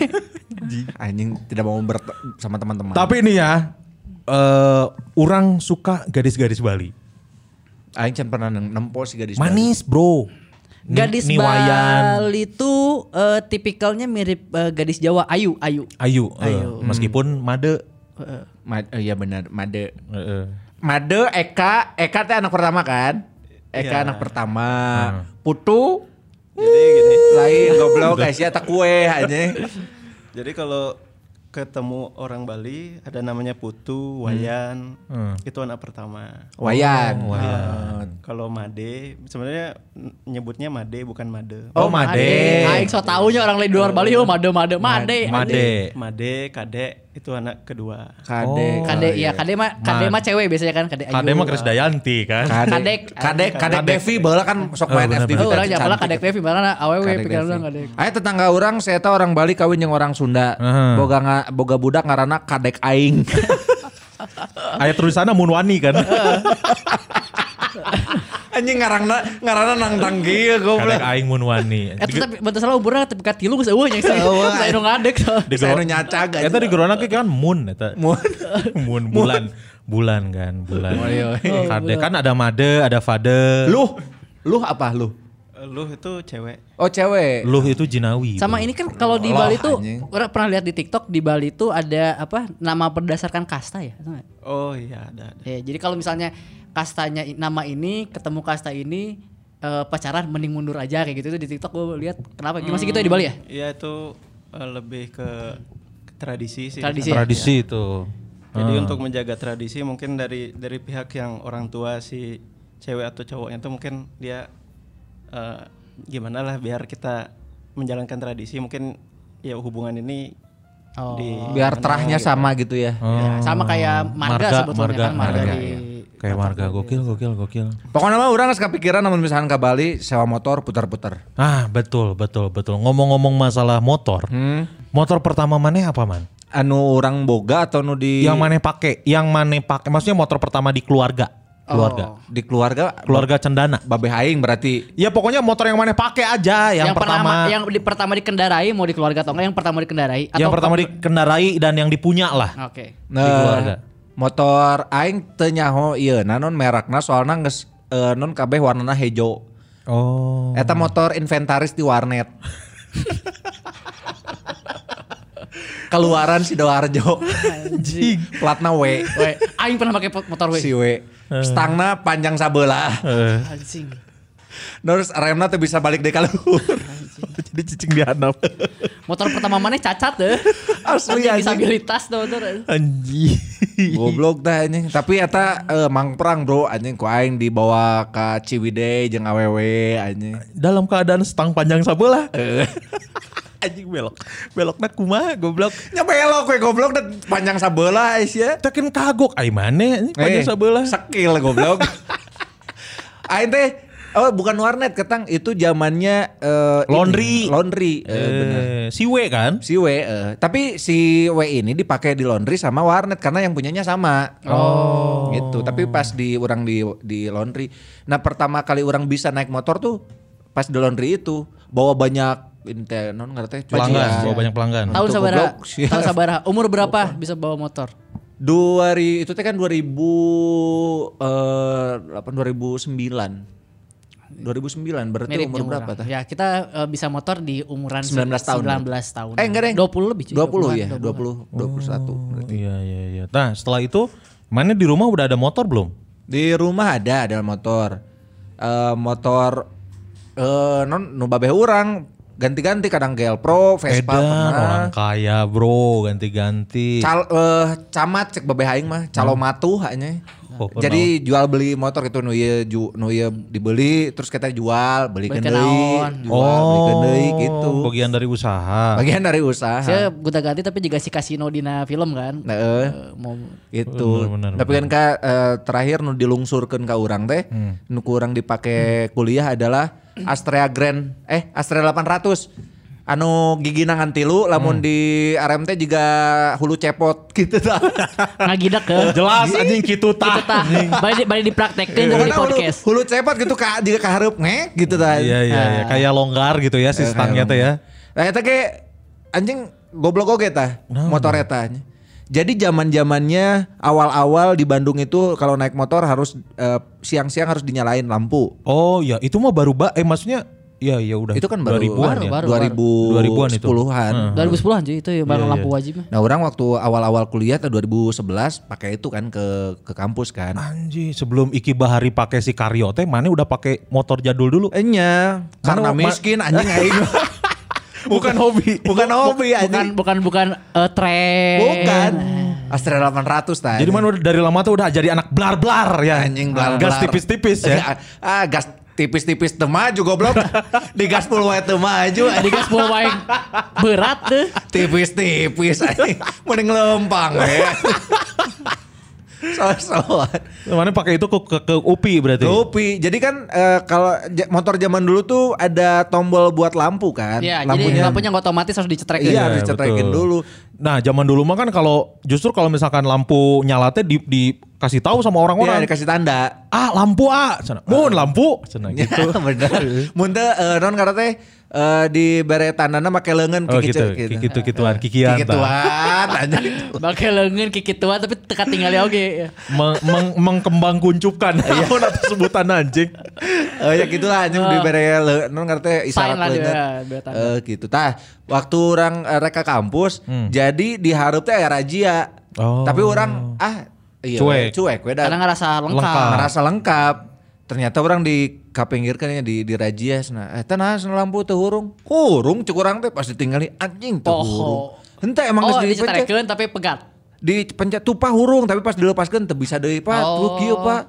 Speaker 3: Anjing, Anjing tidak mau ber sama teman-teman.
Speaker 2: Tapi ini ya, eh orang suka gadis-gadis Bali.
Speaker 3: aing can pernah neng- nempo si gadis.
Speaker 2: Manis bro. Ni-
Speaker 4: Gadis
Speaker 2: niwayan.
Speaker 4: Bali tuh eh, tipikalnya mirip eh, gadis Jawa Ayu Ayu.
Speaker 2: Ayu, eh,
Speaker 4: Ayu.
Speaker 3: Hmm.
Speaker 2: meskipun made.
Speaker 3: Ma- eh, iya benar, Made.
Speaker 2: eh, eh.
Speaker 3: Made Eka, Eka teh anak pertama kan? Eka
Speaker 5: Iya.
Speaker 3: anak pertama.
Speaker 2: Hmm.
Speaker 3: Putu
Speaker 5: Jadi gini,
Speaker 3: lain goblok Aisyah tak kue anjing.
Speaker 5: jadi kalau ketemu orang Bali ada namanya Putu, Wayan, itu anak pertama.
Speaker 3: Oh, Wayan. Oh,
Speaker 5: Kalau Made, sebenarnya n- nyebutnya Made bukan Made.
Speaker 2: Oh, made.
Speaker 4: Aing so taunya orang lain di luar Bali oh made made made.
Speaker 2: Made.
Speaker 5: Made, Kade itu anak kedua.
Speaker 3: Kade.
Speaker 4: Kade
Speaker 3: iya.
Speaker 4: ya kade mah kade mah cewek biasanya kan kade Ayu.
Speaker 2: Kade mah Chris Dayanti kan.
Speaker 3: Kadek, kadek,
Speaker 4: Kadek.
Speaker 3: kadek, Devi, baheula kan sok main
Speaker 2: bener,
Speaker 3: FTV.
Speaker 4: Oh, orang
Speaker 3: teh,
Speaker 4: nyapa
Speaker 3: cantik.
Speaker 4: lah
Speaker 3: gitu.
Speaker 4: kadek Devi mana awewe
Speaker 3: Kadek
Speaker 4: pikiran
Speaker 3: Devi.
Speaker 4: orang kadek.
Speaker 3: Aya tetangga orang, saya tahu orang Bali kawin yang orang Sunda.
Speaker 2: Heeh.
Speaker 3: Boga nga, boga budak ngarana kadek aing.
Speaker 2: Ayat tulisannya Munwani kan.
Speaker 4: Oh,
Speaker 3: Anjing ngarana ngarana nang tanggil
Speaker 2: Kadek
Speaker 3: goblok.
Speaker 2: Aing Munwani.
Speaker 4: Eh tapi bentar salah ukuran tapi katilu geus eueuh nya sih. Saya nu ngadek so.
Speaker 2: Di
Speaker 3: Saya nu
Speaker 2: Gro-
Speaker 3: nyacaga.
Speaker 2: Eta di Gerona ke kan Moon eta. Moon. bulan. Bulan kan, bulan.
Speaker 4: Oh, iya,
Speaker 2: Kade kan ada Made, ada Fade.
Speaker 3: Luh, luh apa luh?
Speaker 5: Lu itu cewek.
Speaker 3: Oh cewek.
Speaker 2: Luh itu Jinawi.
Speaker 4: Sama
Speaker 2: bro.
Speaker 4: ini kan kalau di
Speaker 3: Allah,
Speaker 4: Bali tuh
Speaker 3: anjing.
Speaker 4: orang pernah lihat di TikTok di Bali tuh ada apa nama berdasarkan kasta ya. Tau nggak?
Speaker 5: Oh iya ada ada.
Speaker 4: Ya, jadi kalau misalnya kastanya i- nama ini ketemu kasta ini eh, pacaran mending mundur aja kayak gitu itu di TikTok gue lihat kenapa Gimana sih gitu ya di Bali ya?
Speaker 5: Iya itu eh, lebih ke ke tradisi sih.
Speaker 4: Tradisi. ya?
Speaker 2: tradisi itu.
Speaker 5: Jadi untuk menjaga tradisi mungkin dari dari pihak yang orang tua si cewek atau cowoknya tuh mungkin dia eh, gimana lah biar kita menjalankan tradisi mungkin ya hubungan ini
Speaker 4: Oh.
Speaker 5: di
Speaker 3: Biar terahnya sama gitu ya.
Speaker 4: Ya, sama kayak marga, sebetulnya
Speaker 2: marga,
Speaker 4: kan marga,
Speaker 2: marga. iya.
Speaker 4: di
Speaker 2: Kayak marga gokil, gokil, gokil.
Speaker 3: Pokoknya mah orang nggak kepikiran namun misalkan ke Bali sewa motor putar-putar.
Speaker 2: Ah, betul, betul, betul. Ngomong-ngomong masalah motor.
Speaker 4: Hmm.
Speaker 2: Motor pertama mana apa, Man?
Speaker 3: Anu orang boga atau nu di
Speaker 4: Iya.
Speaker 2: Yang mana pakai? Yang mana pakai? Maksudnya motor pertama di keluarga. Keluarga.
Speaker 3: di keluarga
Speaker 4: Oh.
Speaker 2: Keluarga Cendana.
Speaker 3: babe aing berarti
Speaker 2: Ya pokoknya motor yang mana pakai aja yang,
Speaker 4: yang,
Speaker 2: pertama.
Speaker 4: pertama yang di, pertama dikendarai mau di keluarga atau enggak yang pertama dikendarai atau
Speaker 2: yang pertama dikendarai dan yang dipunya lah.
Speaker 4: Oke.
Speaker 3: Nah,
Speaker 2: keluarga.
Speaker 3: motor aing teu nyaho ieu na non merakna soalna geus eh, non kabeh warnana hejo.
Speaker 2: Oh.
Speaker 3: Eta motor inventaris di warnet. Keluaran Sidoarjo.
Speaker 4: Anjing.
Speaker 3: Platna W.
Speaker 4: We, aing pernah pakai po- motor we.
Speaker 3: Si W. Stangna panjang sabelah.
Speaker 4: Anjing.
Speaker 3: Terus remna teu bisa balik deui ka luhur. Jadi cicing di handap.
Speaker 4: Motor pertama mana cacat deh.
Speaker 3: Asli,
Speaker 4: Anjing
Speaker 3: anjing.
Speaker 4: disabilitas tuh motor.
Speaker 2: Anji.
Speaker 3: Goblok dah anjing. Tapi eta eh, mangprang bro anjing ku aing dibawa ka Ciwidey jeung awewe anjing.
Speaker 2: Dalam keadaan stang panjang sabelah.
Speaker 3: Eh.
Speaker 2: Anjing belok. Belokna kumaha goblok.
Speaker 3: Nya belok we goblok dan panjang sabelah is ya.
Speaker 2: Tekan kagok ai mana anjing
Speaker 3: Eh,
Speaker 2: panjang sabelah.
Speaker 3: Sekil goblok. Aing teh oh bukan warnet ketang itu zamannya eh, ini,
Speaker 2: Laundry.
Speaker 3: laundry. Eh, bener.
Speaker 2: Eh, siwe kan?
Speaker 3: Si W, eh. tapi si W ini dipakai di laundry sama warnet karena yang punyanya sama. Oh. Gitu. Tapi pas di orang di di laundry. Nah, pertama kali orang bisa naik motor tuh pas di laundry itu bawa banyak ini teh non ngerti teh
Speaker 2: Pelanggan,
Speaker 3: cucian.
Speaker 2: bawa banyak pelanggan.
Speaker 4: Tahun
Speaker 3: Untuk
Speaker 4: sabaraha?
Speaker 3: goblok, sih.
Speaker 4: Tahun sabaraha? Umur berapa bisa bawa motor?
Speaker 3: dua ri- itu teh kan 2000 eh, delapan 2009 2009 berarti
Speaker 4: Miripnya
Speaker 3: umur
Speaker 4: umur
Speaker 3: berapa tah?
Speaker 4: Ya, kita eh, bisa motor di umuran
Speaker 3: 19 tahun.
Speaker 4: 19 tahun.
Speaker 3: Eh enggak deh.
Speaker 4: 20 lebih cuy.
Speaker 3: 20
Speaker 4: 20-an,
Speaker 3: ya, 20 21.
Speaker 2: Iya iya iya. Nah setelah itu mana di rumah udah ada motor belum?
Speaker 3: Di rumah ada ada motor. Eh, motor eh non nu babeh urang ganti-ganti kadang GL Pro, Vespa
Speaker 2: Edan,
Speaker 3: pernah.
Speaker 2: orang kaya bro ganti-ganti.
Speaker 3: Cal, eh, camat cek babeh aing mah calomatu hanya.
Speaker 2: Oh,
Speaker 3: Jadi jual beli motor itu nu ieu ju- nu ieu dibeli terus kita jual, beli
Speaker 4: Beli ke
Speaker 3: deui,
Speaker 4: naon.
Speaker 3: jual
Speaker 2: Oh.
Speaker 3: belikan deui gitu.
Speaker 2: Bagian dari usaha.
Speaker 3: Bagian dari usaha.
Speaker 4: Saya gonta ganti tapi juga si kasino dina film kan.
Speaker 3: Nah, eh,
Speaker 4: Eh, mau
Speaker 3: gitu.
Speaker 2: Benar, Hmm. benar,
Speaker 3: Tapi kan ka eh, terakhir nu dilungsurkeun ka urang teh, nu ku urang dipake kuliah adalah Astrea Grand eh Astrea 800. anu gigi nangan tilu lamun
Speaker 2: Hmm.
Speaker 3: di E RMT juga hulu cepot gitu tah.
Speaker 4: ngagidak eh. ke
Speaker 2: Jelas anjing kitu Gitu, tah.
Speaker 4: Gitu, balik balik dipraktekin jadi
Speaker 3: Pokoknya
Speaker 4: di
Speaker 3: hulu,
Speaker 4: podcast
Speaker 3: hulu cepot gitu ka jika kahareup ngek gitu tah.
Speaker 2: Iya iya iya. kayak longgar gitu ya si stangnya tuh ya.
Speaker 3: Nah eta ge anjing goblok oge tah motor eta. Jadi zaman-zamannya awal-awal di Bandung itu kalau naik motor harus eh, siang-siang harus dinyalain lampu.
Speaker 2: Oh ya itu mah baru ba eh maksudnya ya ya udah
Speaker 3: Itu kan baru
Speaker 2: 2000-an ya.
Speaker 4: baru.
Speaker 2: 2000-an
Speaker 3: baru,
Speaker 2: itu.
Speaker 3: 2010-an.
Speaker 2: Hmm.
Speaker 4: 2010 anjir itu ya barang
Speaker 2: Iya,
Speaker 4: lampu
Speaker 2: iya.
Speaker 4: wajib mah
Speaker 3: Nah, orang waktu awal-awal kuliah tahun 2011 pakai itu kan ke ke kampus kan.
Speaker 2: Ah. Anjir, sebelum Iki Bahari pakai si Karyo teh mana udah pakai motor jadul dulu. Eh,
Speaker 3: Enya, karena
Speaker 2: Mana-
Speaker 3: miskin anjing aing.
Speaker 2: Bukan hobi.
Speaker 3: bukan hobi
Speaker 4: bukan
Speaker 3: Iya, anjing.
Speaker 4: bukan bukan eh, tren
Speaker 3: Bukan.
Speaker 4: Nah.
Speaker 3: Astra 800 tadi.
Speaker 2: Jadi mana udah dari lama tuh udah jadi anak blar-blar ya.
Speaker 3: anjing blar
Speaker 2: Gas tipis-tipis ya.
Speaker 3: Ah, gas tipis-tipis teu maju goblok. Di gas puluh wae teu maju
Speaker 4: Tadi
Speaker 3: anjing.
Speaker 4: kan 10 wae berat tuh
Speaker 3: Tipis-tipis anjing. Mending ya. lempang we. Sosokan.
Speaker 2: Mana pakai itu ke, ke, ke UPI berarti.
Speaker 3: Lupi. Jadi kan eh, kalau ja- motor zaman dulu tuh ada tombol buat lampu kan.
Speaker 4: ya jadi
Speaker 3: lampunya.
Speaker 4: lampunya nggak otomatis harus dicetrekin
Speaker 3: Iya, harus dicetrekin
Speaker 2: betul.
Speaker 3: dulu.
Speaker 2: Nah, zaman dulu mah kan kalau justru kalau misalkan lampu nyalate di dikasih tahu
Speaker 3: Iya,
Speaker 2: sama orang-orang.
Speaker 3: dikasih tanda.
Speaker 2: ah, lampu ah. Cenah, Mun lampu. Cenah gitu.
Speaker 3: Bener. Mun teh eh, non karena teh eh, di bere tandana make leungeun
Speaker 2: Oh gitu, gitu-gituan, kikian. tah.
Speaker 3: Kikituan anjing.
Speaker 4: pakai lengan kiki tua tapi teka tinggalnya oke
Speaker 2: Meng, meng- mengkembang kuncupkan.
Speaker 3: Iya.
Speaker 2: Apa nanti sebutan anjing.
Speaker 3: Eh ya gitulah anjing di bere le- non karena teh isyarat
Speaker 4: Sign lah dia,
Speaker 3: leungeun.
Speaker 4: bere tanda.
Speaker 3: Eh gitu. Tah, waktu orang eh, rek ke kampus, jadi diharap teh aya razia.
Speaker 2: Hmm. Oh.
Speaker 3: Tapi orang ah iya,
Speaker 2: Cuek.
Speaker 3: Cuek we da.
Speaker 4: karena ngerasa
Speaker 2: Lengkap.
Speaker 4: lengkap
Speaker 3: merasa lengkap ternyata orang di kapinggirkan ya di di razia sana eh tanah sana lampu teh hurung hurung cek orang teh pas ditinggali anjing teh
Speaker 4: Poho.
Speaker 3: hurung henteu emang
Speaker 4: oh
Speaker 3: geus dipencet
Speaker 4: dicetrekin tapi pegat
Speaker 3: dipencet tupah hurung tapi pas dilepaskan teu bisa deui pak
Speaker 4: Oh.
Speaker 3: lu kieu pak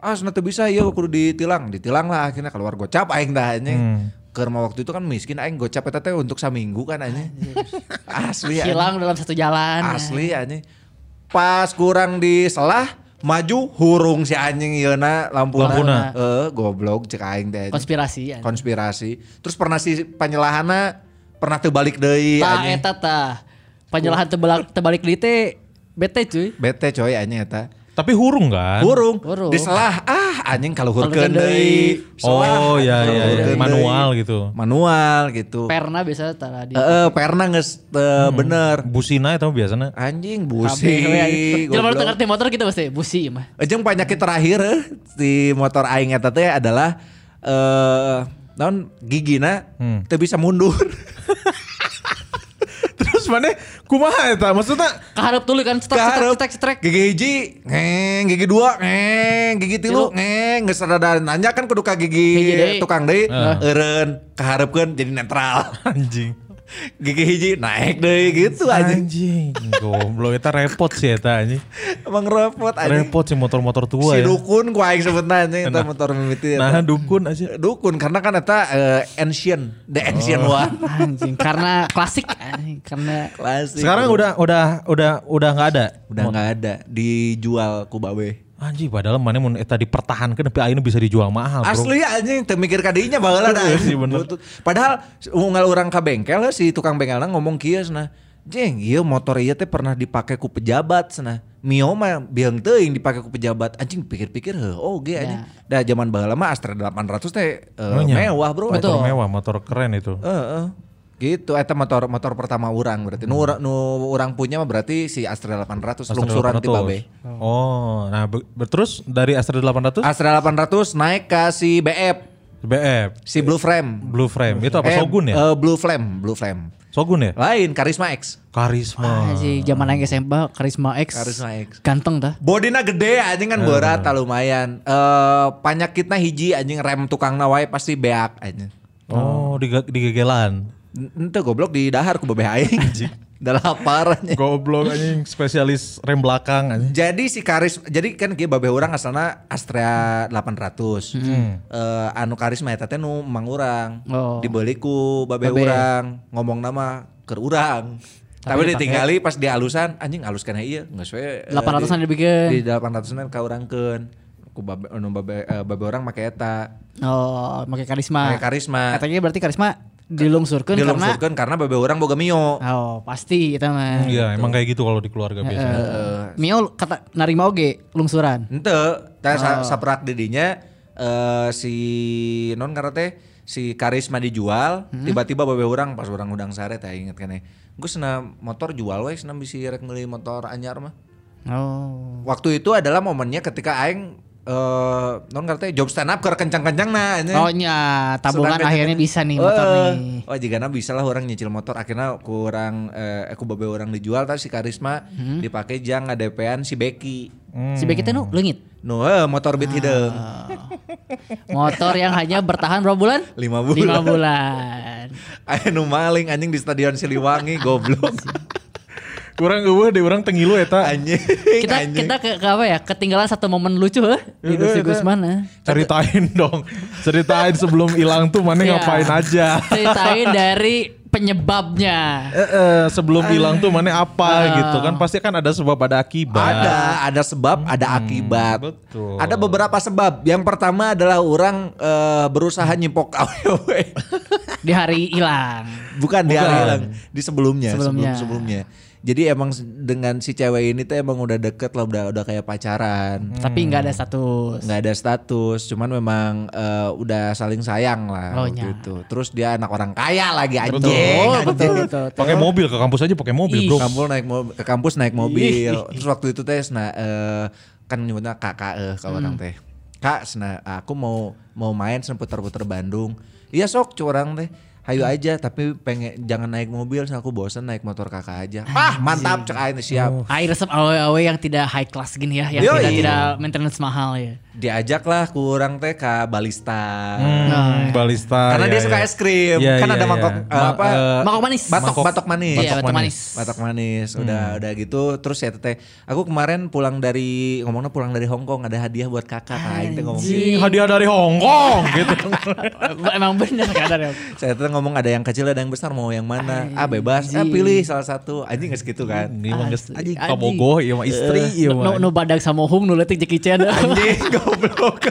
Speaker 3: ah sana teu bisa ieu kudu ditilang ditilang lah akhirnya keluar gocap aing dah anjing Keur mah waktu itu kan miskin aing gocap eta teh untuk saminggu kan anjing asli Iya, anjing.
Speaker 4: hilang dalam satu jalan
Speaker 3: Asli anjing. Pas kurang diselah maju hurung si anjing yeuna lampuna.
Speaker 2: Lampuna.
Speaker 3: Eh goblok cek aing teh. anjing.
Speaker 4: konspirasi ya
Speaker 3: Konspirasi. Terus pernah si penyelahana pernah teu balik deui iya,
Speaker 4: tak
Speaker 3: anjing.
Speaker 4: eta tah penyalahan tebalik tebalik di teh bete cuy
Speaker 3: Bete coy anjing eta.
Speaker 2: Tapi hurung kan?
Speaker 3: Hurung,
Speaker 4: Hurung.
Speaker 3: diselah ah anjing kalau hurkeun
Speaker 4: Kalahurkeun
Speaker 3: deui.
Speaker 4: deui.
Speaker 3: Selah,
Speaker 2: Oh, iya,
Speaker 3: kalau
Speaker 2: iya, iya.
Speaker 3: hurkeun deui.
Speaker 2: Manual gitu.
Speaker 3: Manual gitu.
Speaker 4: perna biasa tara di
Speaker 3: Heeh, perna geus teu
Speaker 2: Hmm.
Speaker 3: bener.
Speaker 2: Busina itu biasanya.
Speaker 3: Anjing
Speaker 4: Kabeh,
Speaker 3: busi.
Speaker 4: we. Jelema nu
Speaker 3: goblok.
Speaker 4: teu ngerti motor Iya, kita pasti busi mah.
Speaker 3: Ejeng penyakit terakhir eh, di motor aing eta teh adalah eh non gigina
Speaker 2: Hmm.
Speaker 3: teu bisa mundur.
Speaker 2: Terus mana kumaha eta? Maksudnya
Speaker 4: Kaharap tuluy kan cetek cetek
Speaker 3: Keharap
Speaker 4: cetek cetek.
Speaker 3: gigi hiji, ngeng, gigi dua, ngeng, gigi tilu,
Speaker 4: Tilu.
Speaker 3: ngeng, geus rada nanya kan kudu ka
Speaker 4: Hiji deui.
Speaker 3: gigi tukang deui,
Speaker 2: Heeh.
Speaker 3: eureun kaharepkeun jadi netral.
Speaker 2: anjing.
Speaker 3: gigi hiji naik deui gitu aja.
Speaker 2: Anjing. Goblok eta repot sih eta anjing.
Speaker 3: Emang repot aja.
Speaker 2: Repot sih motor-motor tua
Speaker 3: Si
Speaker 2: ya.
Speaker 3: dukun ku aing sebutna anjing eta motor mimiti.
Speaker 2: Nah
Speaker 3: eta.
Speaker 2: dukun aja.
Speaker 3: Dukun karena kan eta eh, ancient, the ancient
Speaker 2: Oh.
Speaker 3: one.
Speaker 4: Anjing karena klasik anjing karena
Speaker 3: Klasik.
Speaker 2: Sekarang udah udah udah udah nggak ada.
Speaker 3: udah nggak ada dijual ku babe.
Speaker 2: Anjing padahal mana mun eta dipertahankan tapi akhirnya bisa dijual mahal Ah, bro.
Speaker 3: Asli anjing teu mikir ka dinya baheula dah.
Speaker 2: Iya sih, bener.
Speaker 3: Butut. Padahal unggal urang ka bengkel si tukang bengkelna ngomong kieu cenah. Jeng, ieu motor ieu teh pernah dipake ku pejabat cenah. Mio mah biang teuing dipake ku pejabat. Anjing pikir-pikir heuh oge anjing. Dah zaman baheula mah Astra 800 teh eh,
Speaker 2: Emangnya?
Speaker 3: mewah bro.
Speaker 2: Motor
Speaker 4: Betul.
Speaker 2: mewah, motor keren itu.
Speaker 3: Heeh. Gitu eta motor motor pertama orang berarti. Nu ura- nu urang punya mah berarti si Astra 800 lungsuran ti
Speaker 2: 800.
Speaker 3: babe.
Speaker 2: Oh, nah be- be- terus dari Astra 800
Speaker 3: Astra 800 naik ke si BF
Speaker 2: BF
Speaker 3: Si Blue Frame.
Speaker 2: Blue Frame itu apa
Speaker 3: Eh,
Speaker 2: Shogun ya?
Speaker 3: eh, Blue Flame, Blue Flame.
Speaker 2: Shogun ya?
Speaker 3: Lain Karisma X.
Speaker 2: Karisma.
Speaker 4: anjing zaman aing SMA Karisma X.
Speaker 3: Oh. Karisma X.
Speaker 4: Ganteng dah.
Speaker 3: Bodina gede anjing kan berat tak lumayan. Eh panyakitna hiji anjing rem tukang nawai pasti beak anjing.
Speaker 2: Oh, di, di gegelan.
Speaker 3: N- Ente goblok di dahar ku bebeh aing. Udah lapar anjing.
Speaker 2: Goblok anjing spesialis rem belakang anjing.
Speaker 3: Jadi si Karis, jadi kan kieu babeh urang asalna Astra 800. Eh, anu karisma eta teh nu emang urang.
Speaker 4: Oh.
Speaker 3: Dibeli ku babeh
Speaker 4: Babeh.
Speaker 3: urang, ngomong nama keur urang. Tapi, ditinggali pas di alusan anjing alus kana ieu, geus we. eh,
Speaker 4: 800-an
Speaker 3: di-
Speaker 4: dibikeun.
Speaker 3: Di 800-an ka urangkeun. Ku babe anu babe eh, babe urang make eta.
Speaker 4: Oh, pakai karisma.
Speaker 3: Make karisma.
Speaker 4: Katanya berarti karisma dilungsurkan karena
Speaker 3: Dilungsurkeun karena bebe orang boga mio.
Speaker 4: oh pasti itu mah.
Speaker 2: Iya, emang kayak gitu kalau di keluarga
Speaker 4: eh.
Speaker 2: biasanya.
Speaker 4: Mio kata narima oge lungsuran.
Speaker 3: Ente, teh sa- saprak didinya eh, si non karena teh si karisma dijual, tiba-tiba bebe orang pas orang udang sare teh inget kan Gue sena motor jual we, sena bisi rek ngeuli motor anyar mah.
Speaker 4: Oh.
Speaker 3: Waktu itu adalah momennya ketika aing eh non karena teh job stand up keur kencang-kencang nah. anjing.
Speaker 4: Oh nya, tabungan
Speaker 3: Sedangkan-
Speaker 4: akhirnya bisa nih motor
Speaker 3: Eh,
Speaker 4: nih.
Speaker 3: Oh, jika bisa lah orang nyicil motor akhirnya kurang eh aku babe orang dijual tapi si Karisma
Speaker 4: Hmm.
Speaker 3: dipakai jang ngadepean si Becky.
Speaker 4: Si Becky teh nu leungit.
Speaker 3: Nu eh, motor
Speaker 4: Ah.
Speaker 3: beat hideung.
Speaker 4: Motor yang hanya bertahan berapa bulan?
Speaker 3: Lima bulan.
Speaker 4: Lima bulan.
Speaker 3: Aya nu maling anjing di stadion Siliwangi goblok.
Speaker 2: Kurang gue deh orang eh, tengilu ya, eta.
Speaker 3: anjing.
Speaker 4: Kita
Speaker 3: Eh, anjing.
Speaker 4: kita ke, ke apa ya? Ketinggalan satu momen lucu eh, di Gusti Gusman. eh.
Speaker 2: Ceritain dong. Ceritain sebelum hilang tuh mana
Speaker 4: Iya.
Speaker 2: ngapain aja.
Speaker 4: Ceritain dari penyebabnya.
Speaker 2: Eh, eh, sebelum hilang tuh mana apa gitu kan pasti kan ada sebab ada akibat.
Speaker 4: Ah.
Speaker 3: Ada, ada sebab, ada
Speaker 4: Hmm,
Speaker 3: akibat.
Speaker 2: betul.
Speaker 3: Ada beberapa sebab. Yang pertama adalah orang eh, berusaha
Speaker 4: Hmm.
Speaker 3: nyipok awewe.
Speaker 4: di hari hilang.
Speaker 3: Bukan, di hari hilang, di sebelumnya,
Speaker 4: Sebelumnya.
Speaker 3: sebelum sebelumnya. Jadi emang s- dengan si cewek ini tuh emang udah deket lah, udah udah kayak pacaran,
Speaker 4: Tapi nggak ada status.
Speaker 3: Hmm. nggak ada status, cuman memang eh, udah saling sayang lah
Speaker 4: Oh, nya.
Speaker 3: gitu. Terus dia anak orang kaya lagi anjing.
Speaker 4: Oh,
Speaker 3: anjing.
Speaker 4: betul betul.
Speaker 2: Pakai mobil ke kampus aja pakai mobil,
Speaker 4: Ih.
Speaker 2: Bro.
Speaker 3: Kampul naik mobil, ke kampus naik mobil. Terus waktu itu teh sena eh, kan nyebutnya kakak eh kalau orang teh. Kak, sena aku mau mau main sena putar-putar Bandung. Iya sok curang teh. Hayu aja tapi pengen jangan naik mobil sena aku bosen naik motor kakak aja. Ah, mantap cek aing siap.
Speaker 4: Air resep awe-awe yang tidak high class gini ya, yang
Speaker 3: Yoi.
Speaker 4: tidak tidak maintenance mahal ya.
Speaker 3: Diajaklah kurang teh ke balista.
Speaker 2: Hmm, balista.
Speaker 3: Karena
Speaker 2: ya,
Speaker 3: dia suka
Speaker 2: ya.
Speaker 3: es krim.
Speaker 2: Iya,
Speaker 3: kan
Speaker 2: iya,
Speaker 3: ada
Speaker 2: iya.
Speaker 3: mangkok eh,
Speaker 2: Ma-
Speaker 3: apa?
Speaker 2: eh,
Speaker 4: Mangkok manis.
Speaker 3: batok
Speaker 4: Mangkok-
Speaker 3: batok manis.
Speaker 4: Iya, batok manis.
Speaker 3: Batak manis,
Speaker 2: Hmm.
Speaker 3: udah udah gitu. Terus ya teteh, aku kemarin pulang dari ngomongnya pulang dari Hong Kong ada hadiah buat kakak. Aing teh ngomong.
Speaker 2: Ih, hadiah dari Hong Kong gitu.
Speaker 4: Emang bener ya? kata dia.
Speaker 3: Saya teteh ngomong ada yang kecil ada yang besar mau yang mana? Ah bebas, ah, pilih salah satu. Anjing nggak segitu kan?
Speaker 2: Ini mah geus anjing
Speaker 4: Asli, anjing. Eh.
Speaker 2: kabogoh ieu mah istri iya. ieu
Speaker 4: Nu
Speaker 2: mah.
Speaker 4: nu badag samohung nu leutik Jackie Chan.
Speaker 3: Iya, Anjing goblok.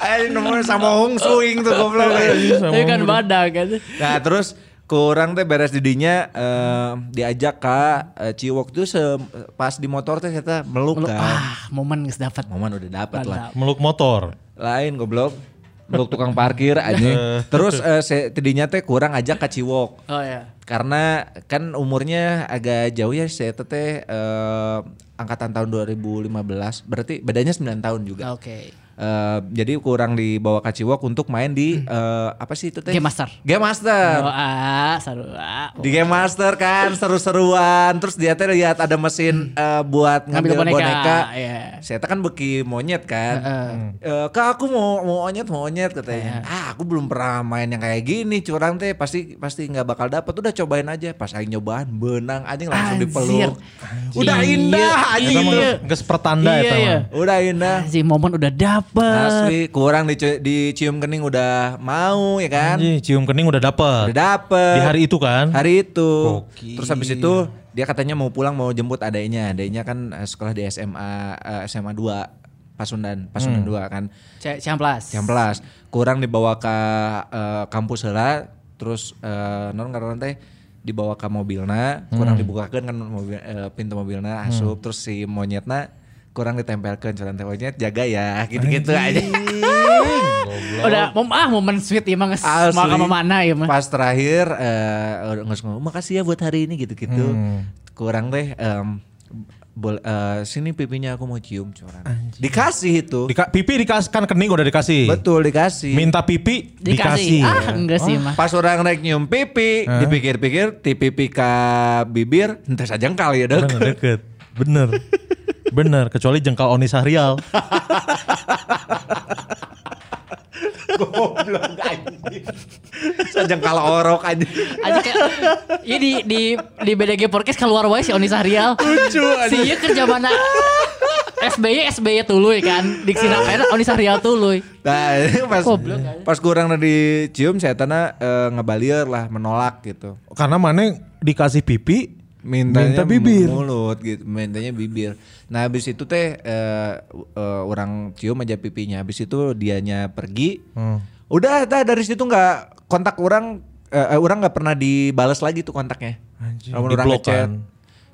Speaker 3: Aing nomor sama Hong Suing tuh goblok.
Speaker 4: Tapi kan badag kan.
Speaker 3: Nah terus kurang teh beres didinya eh, diajak ke eh, Ciwok tuh se- pas di motor teh saya meluk
Speaker 4: Lu-
Speaker 3: kan.
Speaker 4: Ah, momen geus dapat.
Speaker 3: Momen udah dapat lah.
Speaker 2: Meluk motor.
Speaker 3: Lain goblok. Meluk tukang parkir aja. terus eh, se- tidinya teh kurang ajak ke Ciwok.
Speaker 4: Oh ya.
Speaker 3: Karena kan umurnya agak jauh ya saya teh eh, angkatan tahun 2015. Berarti bedanya 9 tahun juga.
Speaker 4: Oke.
Speaker 3: Eh, jadi kurang dibawa ke Ciwok untuk main di eh, apa sih itu teh?
Speaker 4: Hmm. Game Master.
Speaker 3: Game Master.
Speaker 4: Oh, ah, sarua.
Speaker 3: Di game master kan seru-seruan, terus dia teh lihat ada mesin eh, buat ngambil
Speaker 4: Ngambil
Speaker 3: boneka.
Speaker 4: boneka, iya.
Speaker 3: Saya teh kan beki monyet kan. Eh, Kak aku mau mau monyet mau monyet katanya. Ah aku belum pernah main yang kayak gini, curang teh pasti pasti nggak bakal dapat. Udah cobain aja. Pas aing nyobaan benang anjing langsung
Speaker 4: Anjir.
Speaker 3: dipeluk. Udah
Speaker 4: Iya,
Speaker 3: indah anjing
Speaker 2: Eta mah
Speaker 3: itu.
Speaker 4: Iya.
Speaker 2: geus pertanda
Speaker 4: Iya,
Speaker 2: eta
Speaker 4: iya.
Speaker 2: mah.
Speaker 3: Udah indah.
Speaker 4: Si momen udah dapat.
Speaker 3: Asli kurang dicu- dicium kening udah mau ya kan.
Speaker 2: Anjing, cium kening udah dapet.
Speaker 3: Udah dapet.
Speaker 2: Di hari itu kan?
Speaker 3: Hari itu.
Speaker 2: Gokil.
Speaker 3: Terus habis itu dia katanya mau pulang mau jemput adanya. Adanya kan eh, sekolah di SMA eh, SMA 2 Pasundan, Pasundan
Speaker 2: Hmm.
Speaker 3: 2 kan.
Speaker 4: C- Ciamplas.
Speaker 3: Ciamplas. Kurang dibawa ke eh, kampus heula terus eh, non ngaran teh dibawa ke mobilna,
Speaker 2: Hmm.
Speaker 3: kurang dibukakan kan mobil, eh, pintu mobilna asup terus si monyetna kurang ditempelkan cuman teh monyet jaga ya gitu-gitu aja.
Speaker 4: Udah mom ah momen sweet emang geus
Speaker 3: Asli.
Speaker 4: mau sama mana ya mah.
Speaker 3: Pas terakhir eh nggak ngomong makasih ya buat hari ini gitu-gitu.
Speaker 2: Hmm.
Speaker 3: Kurang deh em, bol- eh, sini pipinya aku mau cium curang. Dikasih itu.
Speaker 2: Dika- pipi dikasih kan kening udah dikasih.
Speaker 3: Betul dikasih.
Speaker 2: Minta pipi dikasih.
Speaker 4: Dikasih. Ah, enggak sih mah.
Speaker 3: Pas orang naik nyium pipi, dipikir-pikir ti pipi ka bibir, entes aja jengkal ya
Speaker 2: Bener
Speaker 3: dok.
Speaker 2: deket. Bener. Bener, kecuali jengkal Oni Sahrial.
Speaker 3: Goblok anjing. Sajengkal orok aja.
Speaker 4: Aja kayak Iya di di di BDG podcast keluar wae si Oni Sahrial. Lucu Si ieu kerja mana? SBY SBY tuluy kan. Diksi kayak Oni Sahrial tuluy.
Speaker 3: Nah, pas
Speaker 4: Goblok aja.
Speaker 3: pas kurang di cium saya tanah ngebalier lah menolak gitu.
Speaker 2: Karena mana dikasih pipi,
Speaker 3: mintanya
Speaker 2: minta bibir.
Speaker 3: mulut gitu mintanya bibir nah habis itu teh eh, eh, orang cium aja
Speaker 2: Hmm.
Speaker 3: pipinya habis itu dianya pergi udah tah dari situ nggak kontak orang eh, eh, eh, orang nggak pernah dibales lagi tuh kontaknya. Walaupun
Speaker 2: Di
Speaker 3: orang
Speaker 2: blok
Speaker 3: ngechat.
Speaker 2: kan?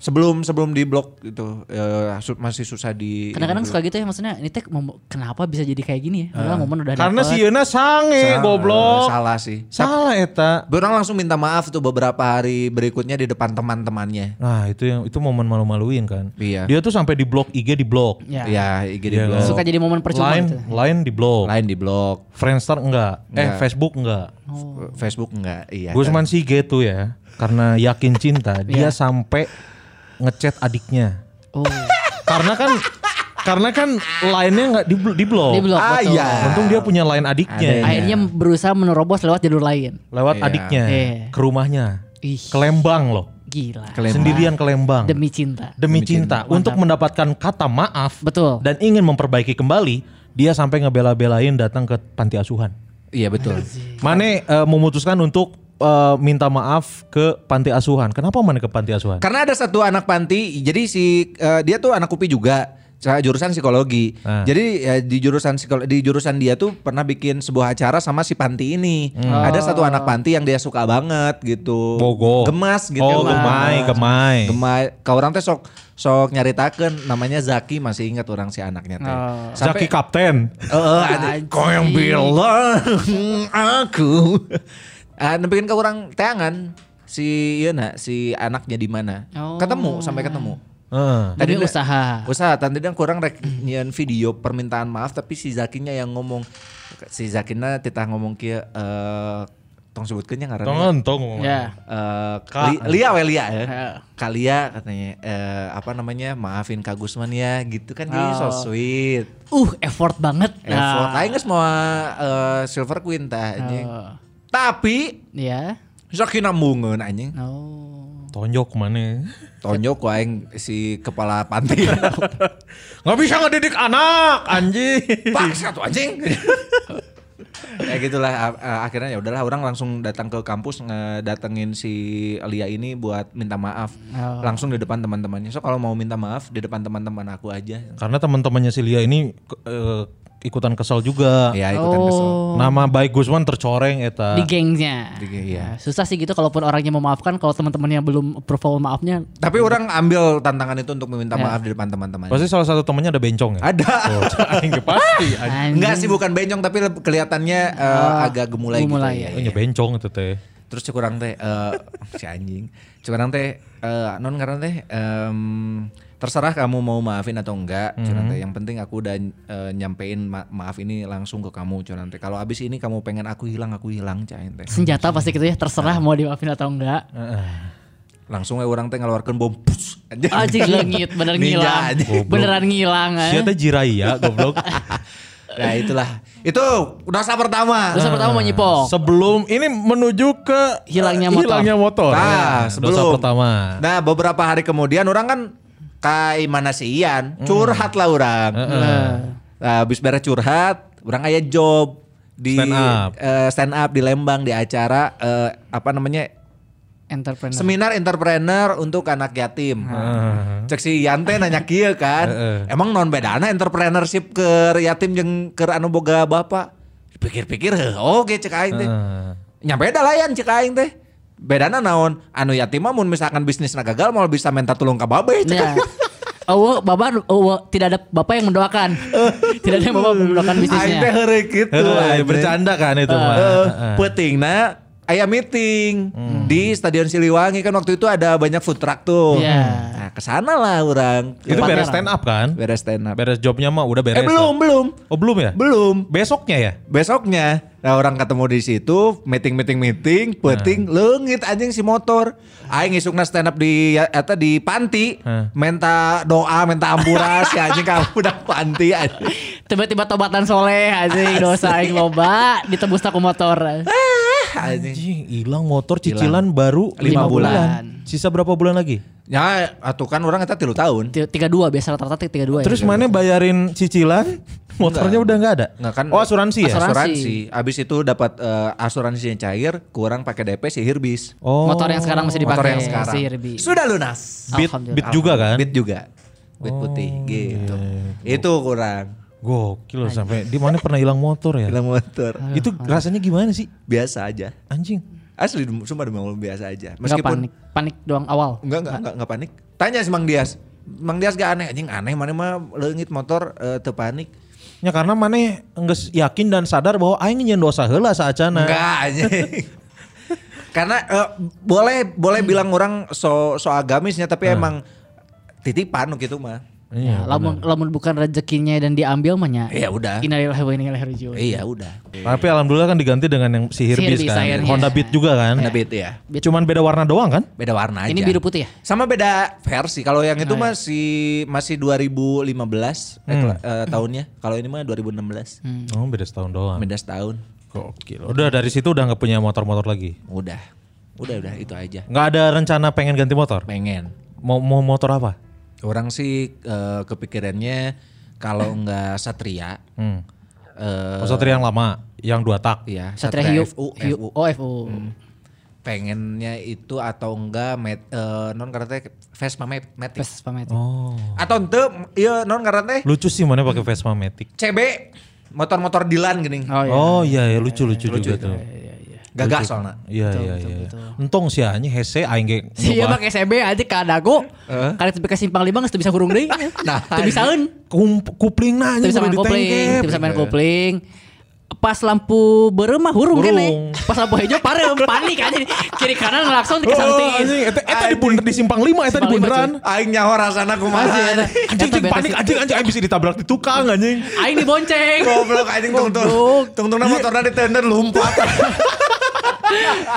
Speaker 3: Sebelum sebelum di blok itu eh, su- masih susah di. ini
Speaker 4: Kadang-kadang suka gitu ya maksudnya ini teh mem- kenapa bisa jadi kayak gini ya? Padahal momen udah
Speaker 2: Karena si
Speaker 4: dapet.
Speaker 2: Yena
Speaker 3: dulu.
Speaker 2: sange
Speaker 4: Eh,
Speaker 3: Salah-
Speaker 2: goblok.
Speaker 3: Eh, Salah sih.
Speaker 2: Salah eta.
Speaker 3: Orang langsung minta maaf tuh beberapa hari berikutnya di depan teman-temannya.
Speaker 2: Nah, itu yang itu momen malu-maluin kan.
Speaker 3: Iya.
Speaker 2: Dia tuh sampai di blok IG di blok.
Speaker 4: Ya.
Speaker 3: Ya, IG di
Speaker 2: Iya,
Speaker 3: blok.
Speaker 4: Suka jadi momen percuma
Speaker 2: Line,
Speaker 4: gitu.
Speaker 2: line di blok.
Speaker 3: Lain di blok.
Speaker 2: Friendster enggak. Eh,
Speaker 3: Enggak.
Speaker 2: Facebook enggak.
Speaker 4: Oh.
Speaker 3: Facebook enggak. Iya.
Speaker 2: Gue cuman sih gitu ya. Karena yakin cinta,
Speaker 4: Iya.
Speaker 2: dia sampai ngechat adiknya.
Speaker 4: Oh.
Speaker 2: Karena kan karena kan lainnya enggak di di blok.
Speaker 4: Dia blok
Speaker 3: Ah,
Speaker 4: betul.
Speaker 3: iya.
Speaker 2: Untung dia punya lain adiknya.
Speaker 3: Ada.
Speaker 4: Akhirnya berusaha menerobos lewat jalur lain.
Speaker 2: Lewat
Speaker 3: Iya.
Speaker 2: adiknya
Speaker 4: Iya.
Speaker 2: ke rumahnya.
Speaker 4: Ih.
Speaker 2: Ke Lembang loh.
Speaker 4: Gila.
Speaker 3: Ke Lembang.
Speaker 2: Sendirian ke Lembang.
Speaker 4: Demi cinta.
Speaker 2: demi cinta untuk mendapatkan kata maaf
Speaker 4: Betul.
Speaker 2: dan ingin memperbaiki kembali dia sampai ngebela-belain datang ke panti asuhan
Speaker 3: Iya betul.
Speaker 2: Mane eh, memutuskan untuk eh, minta maaf ke panti asuhan kenapa Mane ke panti asuhan
Speaker 3: Karena ada satu anak panti, jadi si eh, dia tuh anak kupi juga, sa- jurusan psikologi.
Speaker 2: Ah.
Speaker 3: Jadi eh, di jurusan psikolo- di jurusan dia tuh pernah bikin sebuah acara sama si panti ini.
Speaker 2: Hmm.
Speaker 3: Ada satu anak panti yang dia suka banget gitu.
Speaker 2: Bogo.
Speaker 3: Gemas gitu.
Speaker 2: Oh, gemai, gemai.
Speaker 3: Gemai. Kau orang teh sok sok nyaritakeun namanya Zaki masih ingat orang si anaknya teh.
Speaker 2: Zaki kapten
Speaker 3: Heeh, Eh, ada- kau yang bilang hmm, aku. Ah, nempikin ke orang teangan si ieu na, si anaknya di mana?
Speaker 4: Oh.
Speaker 3: Ketemu sampai ketemu.
Speaker 2: Heeh.
Speaker 4: Demi
Speaker 3: Tadi-
Speaker 4: usaha.
Speaker 3: Usaha tadi yang kurang rek nyian video permintaan maaf tapi si Zakinya yang ngomong si Zakinya titah ngomong kia eh tong sebutkeun nya ngaranna.
Speaker 2: Tonton, tong
Speaker 4: Ya.
Speaker 3: Eh,
Speaker 2: Ka-
Speaker 3: Li- Lia we Lia ya.
Speaker 4: Heeh.
Speaker 3: Kalia katanya eh apa namanya? Maafin Kak Gusman ya gitu kan jadi so
Speaker 4: Oh.
Speaker 3: sweet.
Speaker 4: Uh, effort banget.
Speaker 3: Effort
Speaker 4: Nah.
Speaker 3: aing geus mau eh, Silver Queen tah anjing.
Speaker 4: Oh.
Speaker 3: Tapi
Speaker 4: Ya.
Speaker 3: Zaki namungkeun anjing.
Speaker 4: Oh.
Speaker 2: tonjok Mane
Speaker 3: Tonjok ku aing si kepala panti.
Speaker 2: nggak bisa ngedidik anak anjing
Speaker 3: Paksa tuh anjing. ya gitulah a- a- akhirnya ya udahlah orang langsung datang ke kampus ngedatengin si Lia ini buat minta maaf
Speaker 4: Oh.
Speaker 3: langsung di depan teman-temannya. So kalau mau minta maaf di depan teman-teman aku aja.
Speaker 2: karena teman-temannya si Lia ini ke- eh, ikutan kesel juga
Speaker 3: Ya ikutan kesel.
Speaker 4: Oh.
Speaker 2: nama baik Gusman tercoreng eta
Speaker 4: Di gengnya.
Speaker 3: Di geng, iya.
Speaker 4: Nah, susah sih gitu kalaupun orangnya memaafkan kalau teman-temannya belum approval maafnya.
Speaker 3: Tapi orang ambil tantangan itu untuk meminta
Speaker 4: Ya.
Speaker 3: maaf di depan teman-temannya.
Speaker 2: pasti salah satu temannya ada bencong ya
Speaker 3: Ada.
Speaker 2: Oh, anjing, pasti anjing.
Speaker 3: Enggak sih bukan bencong tapi le- kelihatannya eh, agak gemulai,
Speaker 4: Oh, gemulai,
Speaker 3: gitu.
Speaker 4: ya.
Speaker 3: ya.
Speaker 2: Oh, nya bencong itu teh.
Speaker 3: Terus cek orang teh eh, si anjing. Cek orang teh eh, non karena teh em, terserah kamu mau maafin atau enggak. Cek
Speaker 4: Mhm.
Speaker 3: orang teh yang penting aku udah eh, nyampein ma- maaf ini langsung ke kamu cek orang teh. Kalau abis ini kamu pengen aku hilang, aku hilang cek orang teh.
Speaker 4: Senjata pasti gitu ya, terserah mau dimaafin atau enggak.
Speaker 3: Langsung we orang teh ngeluarkan bom. Pus, anjing.
Speaker 4: Anjing lengit, bener
Speaker 3: Ninja
Speaker 4: ngilang.
Speaker 3: anjing.
Speaker 2: Goblok.
Speaker 4: Beneran ngilang. eh.
Speaker 2: Sia teh jiraya goblok.
Speaker 3: Nah, itulah. Itu dosa pertama.
Speaker 4: Terus yang pertama mau
Speaker 2: Ah.
Speaker 4: nyipok.
Speaker 2: Sebelum ini menuju ke Ah,
Speaker 4: Hilangnya motor.
Speaker 2: Hilangnya motor.
Speaker 3: Nah,
Speaker 2: Ya,
Speaker 3: sebelum
Speaker 2: dosa pertama.
Speaker 3: Nah, beberapa hari kemudian orang kan kai mana si Ian,
Speaker 2: Hmm.
Speaker 3: curhat lah orang. Nah, habis beres curhat, orang kayak job di
Speaker 2: Stand up.
Speaker 3: eh, stand up di Lembang di acara eh, apa namanya?
Speaker 4: Entrepreneur.
Speaker 3: Seminar entrepreneur untuk anak yatim. Cek si Ian teh nanya kieu kan.
Speaker 2: Heeh.
Speaker 3: Emang non bedana entrepreneurship ke yatim jeung ke anu boga bapak? Pikir-pikir, heh, oke cek aing teh.
Speaker 2: Heeh.
Speaker 3: Nya beda lah yan cik aing teh. Bedana naon? Anu yatim mah mun misalkan bisnisna gagal mau bisa minta tolong ka babe. cik.
Speaker 4: Ya. Oh, bapak oh, tidak ada bapak yang mendoakan. tidak ada yang bapak mendoakan
Speaker 3: Aing
Speaker 4: bisnisnya.
Speaker 3: teh heureuh kitu.
Speaker 2: Heeh,
Speaker 3: anjing.
Speaker 2: Eh, bercanda kan itu mah.
Speaker 3: Heeh,
Speaker 2: Heeh.
Speaker 3: Peutingna aya meeting
Speaker 2: Hmm.
Speaker 3: di Stadion Siliwangi kan waktu itu ada banyak food truck tuh.
Speaker 4: Iya.
Speaker 3: Nah, kesana lah orang.
Speaker 2: Itu
Speaker 4: Tempatnya
Speaker 2: beres
Speaker 4: rame.
Speaker 2: stand up kan?
Speaker 3: Beres stand up.
Speaker 2: Beres jobnya mah udah
Speaker 3: eh
Speaker 2: beres.
Speaker 3: belum,
Speaker 2: lah.
Speaker 3: belum.
Speaker 2: Oh, belum ya?
Speaker 3: Belum.
Speaker 2: Besoknya ya?
Speaker 3: Besoknya, nah orang ketemu di situ, meeting meeting meeting, penting leungit anjing si motor. Aing isukna stand up di ya, eta di panti,
Speaker 2: Hah.
Speaker 3: minta doa, minta ampura si anjing kamu udah panti anjing.
Speaker 4: Tiba-tiba tobatan soleh anjing dosa aing loba ditebus tak ku motor.
Speaker 3: anjing.
Speaker 2: Anjing, hilang motor cicilan baru
Speaker 3: Lima
Speaker 2: 5 bulan.
Speaker 3: bulan.
Speaker 2: Sisa berapa bulan lagi?
Speaker 3: Ya, atuh kan orang eta 3 tahun.
Speaker 4: Ti- 32 biasa rata-rata
Speaker 3: Eh, iya,
Speaker 4: 32 ya.
Speaker 2: Terus mana bayarin cicilan? Motornya udah nggak ada?
Speaker 3: Nggak kan?
Speaker 2: Oh, asuransi ya?
Speaker 4: Asuransi.
Speaker 3: Abis itu dapat eh, asuransi yang cair, kurang pakai DP si Hirbis.
Speaker 2: Oh.
Speaker 4: motor yang sekarang masih dipakai
Speaker 3: Motor yang sekarang.
Speaker 4: si Irbi.
Speaker 3: Sudah lunas.
Speaker 2: Beat,
Speaker 4: Alhamdulillah.
Speaker 2: beat juga kan?
Speaker 3: Beat juga. Beat putih gitu. Itu kurang.
Speaker 2: Gokil loh sampai di mana pernah hilang motor ya?
Speaker 3: Film motor.
Speaker 2: Itu rasanya gimana sih?
Speaker 3: Biasa aja.
Speaker 2: Anjing.
Speaker 3: Asli, dem- sumpah demam lembut biasa aja.
Speaker 4: Nggak
Speaker 3: Meskipun
Speaker 4: panik, panik doang awal.
Speaker 3: Enggak, enggak, enggak, enggak panik. Tanya si Mang Dias. Mang Dias gak aneh anjing aneh mana mah leungit motor eh, teu panik.
Speaker 2: Ya karena mana nggak yakin dan sadar bahwa aing nyen dosa heula
Speaker 4: Nah.
Speaker 2: saacana.
Speaker 3: Enggak anjing. Karena eh, boleh boleh bilang orang so so agamisnya
Speaker 4: Nah.
Speaker 3: tapi emang titipan gitu mah.
Speaker 2: Iya.
Speaker 4: Ya, lamun lamun bukan rezekinya dan diambil mah nya.
Speaker 3: Iya udah.
Speaker 4: Innalillahi wa inna ilaihi rajiun.
Speaker 3: Iya udah.
Speaker 2: Tapi alhamdulillah kan diganti dengan yang si Hirbis
Speaker 4: Hirbis
Speaker 2: kan.
Speaker 4: akhirnya.
Speaker 2: Honda Beat juga kan.
Speaker 3: Ada beda ya.
Speaker 4: Beat.
Speaker 2: Cuman beda warna doang kan?
Speaker 3: Beda warna aja.
Speaker 4: Ini biru putih ya? Nah, iya.
Speaker 3: Sama beda versi. Kalau yang itu masih masih 2015
Speaker 4: Hmm.
Speaker 3: ekla- eh, tahunnya. Kalau ini mah 2016.
Speaker 2: Oh beda setahun doang.
Speaker 3: Beda setahun.
Speaker 2: Gokil. Udah dari situ udah nggak punya motor-motor lagi.
Speaker 3: Udah. Udah udah itu aja.
Speaker 2: Nggak ada rencana pengen ganti motor.
Speaker 3: Pengen.
Speaker 2: Mau mau motor apa?
Speaker 3: Orang sih eh, kepikirannya kalau nggak Satria,
Speaker 2: Hmm.
Speaker 3: eh,
Speaker 2: Motor yang lama, yang dua tak.
Speaker 3: ya
Speaker 4: Satria Hiu.
Speaker 3: FU,
Speaker 4: Hiu.
Speaker 3: FU.
Speaker 4: Oh, FU.
Speaker 3: Hmm. pengennya itu atau enggak met, eh, non karena teh Vespa Mat- Matic.
Speaker 4: Vespa Matic.
Speaker 2: Oh.
Speaker 3: Atau ente, iya non karena teh
Speaker 2: Lucu sih mana pakai Vespa Matic.
Speaker 3: CB motor-motor Dilan gini,
Speaker 4: Oh, iya.
Speaker 2: Oh iya, iya lucu lucu, juga tuh.
Speaker 3: gagah soalnya.
Speaker 2: Iya iya iya. Untung sih anjing hese aing ge.
Speaker 4: Si ieu
Speaker 2: nyoba.
Speaker 4: Iya, pakai SB aja ka dago. Karek tepi ka simpang lima geus teu bisa hurung deui.
Speaker 3: Nah,
Speaker 4: Teu bisaeun.
Speaker 2: Kump- kupling nah
Speaker 4: Teu
Speaker 2: anjing
Speaker 4: bisa
Speaker 2: kudu
Speaker 4: main kopling,
Speaker 2: ditengkep.
Speaker 4: teu bisa main kopling. Pas lampu berem mah hurung
Speaker 2: Hurung.
Speaker 4: kene. Pas lampu hejeu pareum panik aja kiri kanan
Speaker 2: Oh,
Speaker 4: ngelakson tiga
Speaker 2: anjing,
Speaker 4: santai.
Speaker 2: eta eta di bundar di simpang lima eta di
Speaker 4: Simpang lima,
Speaker 2: bundaran.
Speaker 3: Aing nyaho rasana kumaha.
Speaker 2: Anjing anjing panik anjing anjing aing bisa ditabrak di tukang anjing.
Speaker 4: Aing dibonceng.
Speaker 3: Goblok anjing
Speaker 4: Goblok.
Speaker 3: tungtung. Tungtungna
Speaker 4: Iya.
Speaker 3: motorna ditender
Speaker 2: Iya,
Speaker 3: lompat.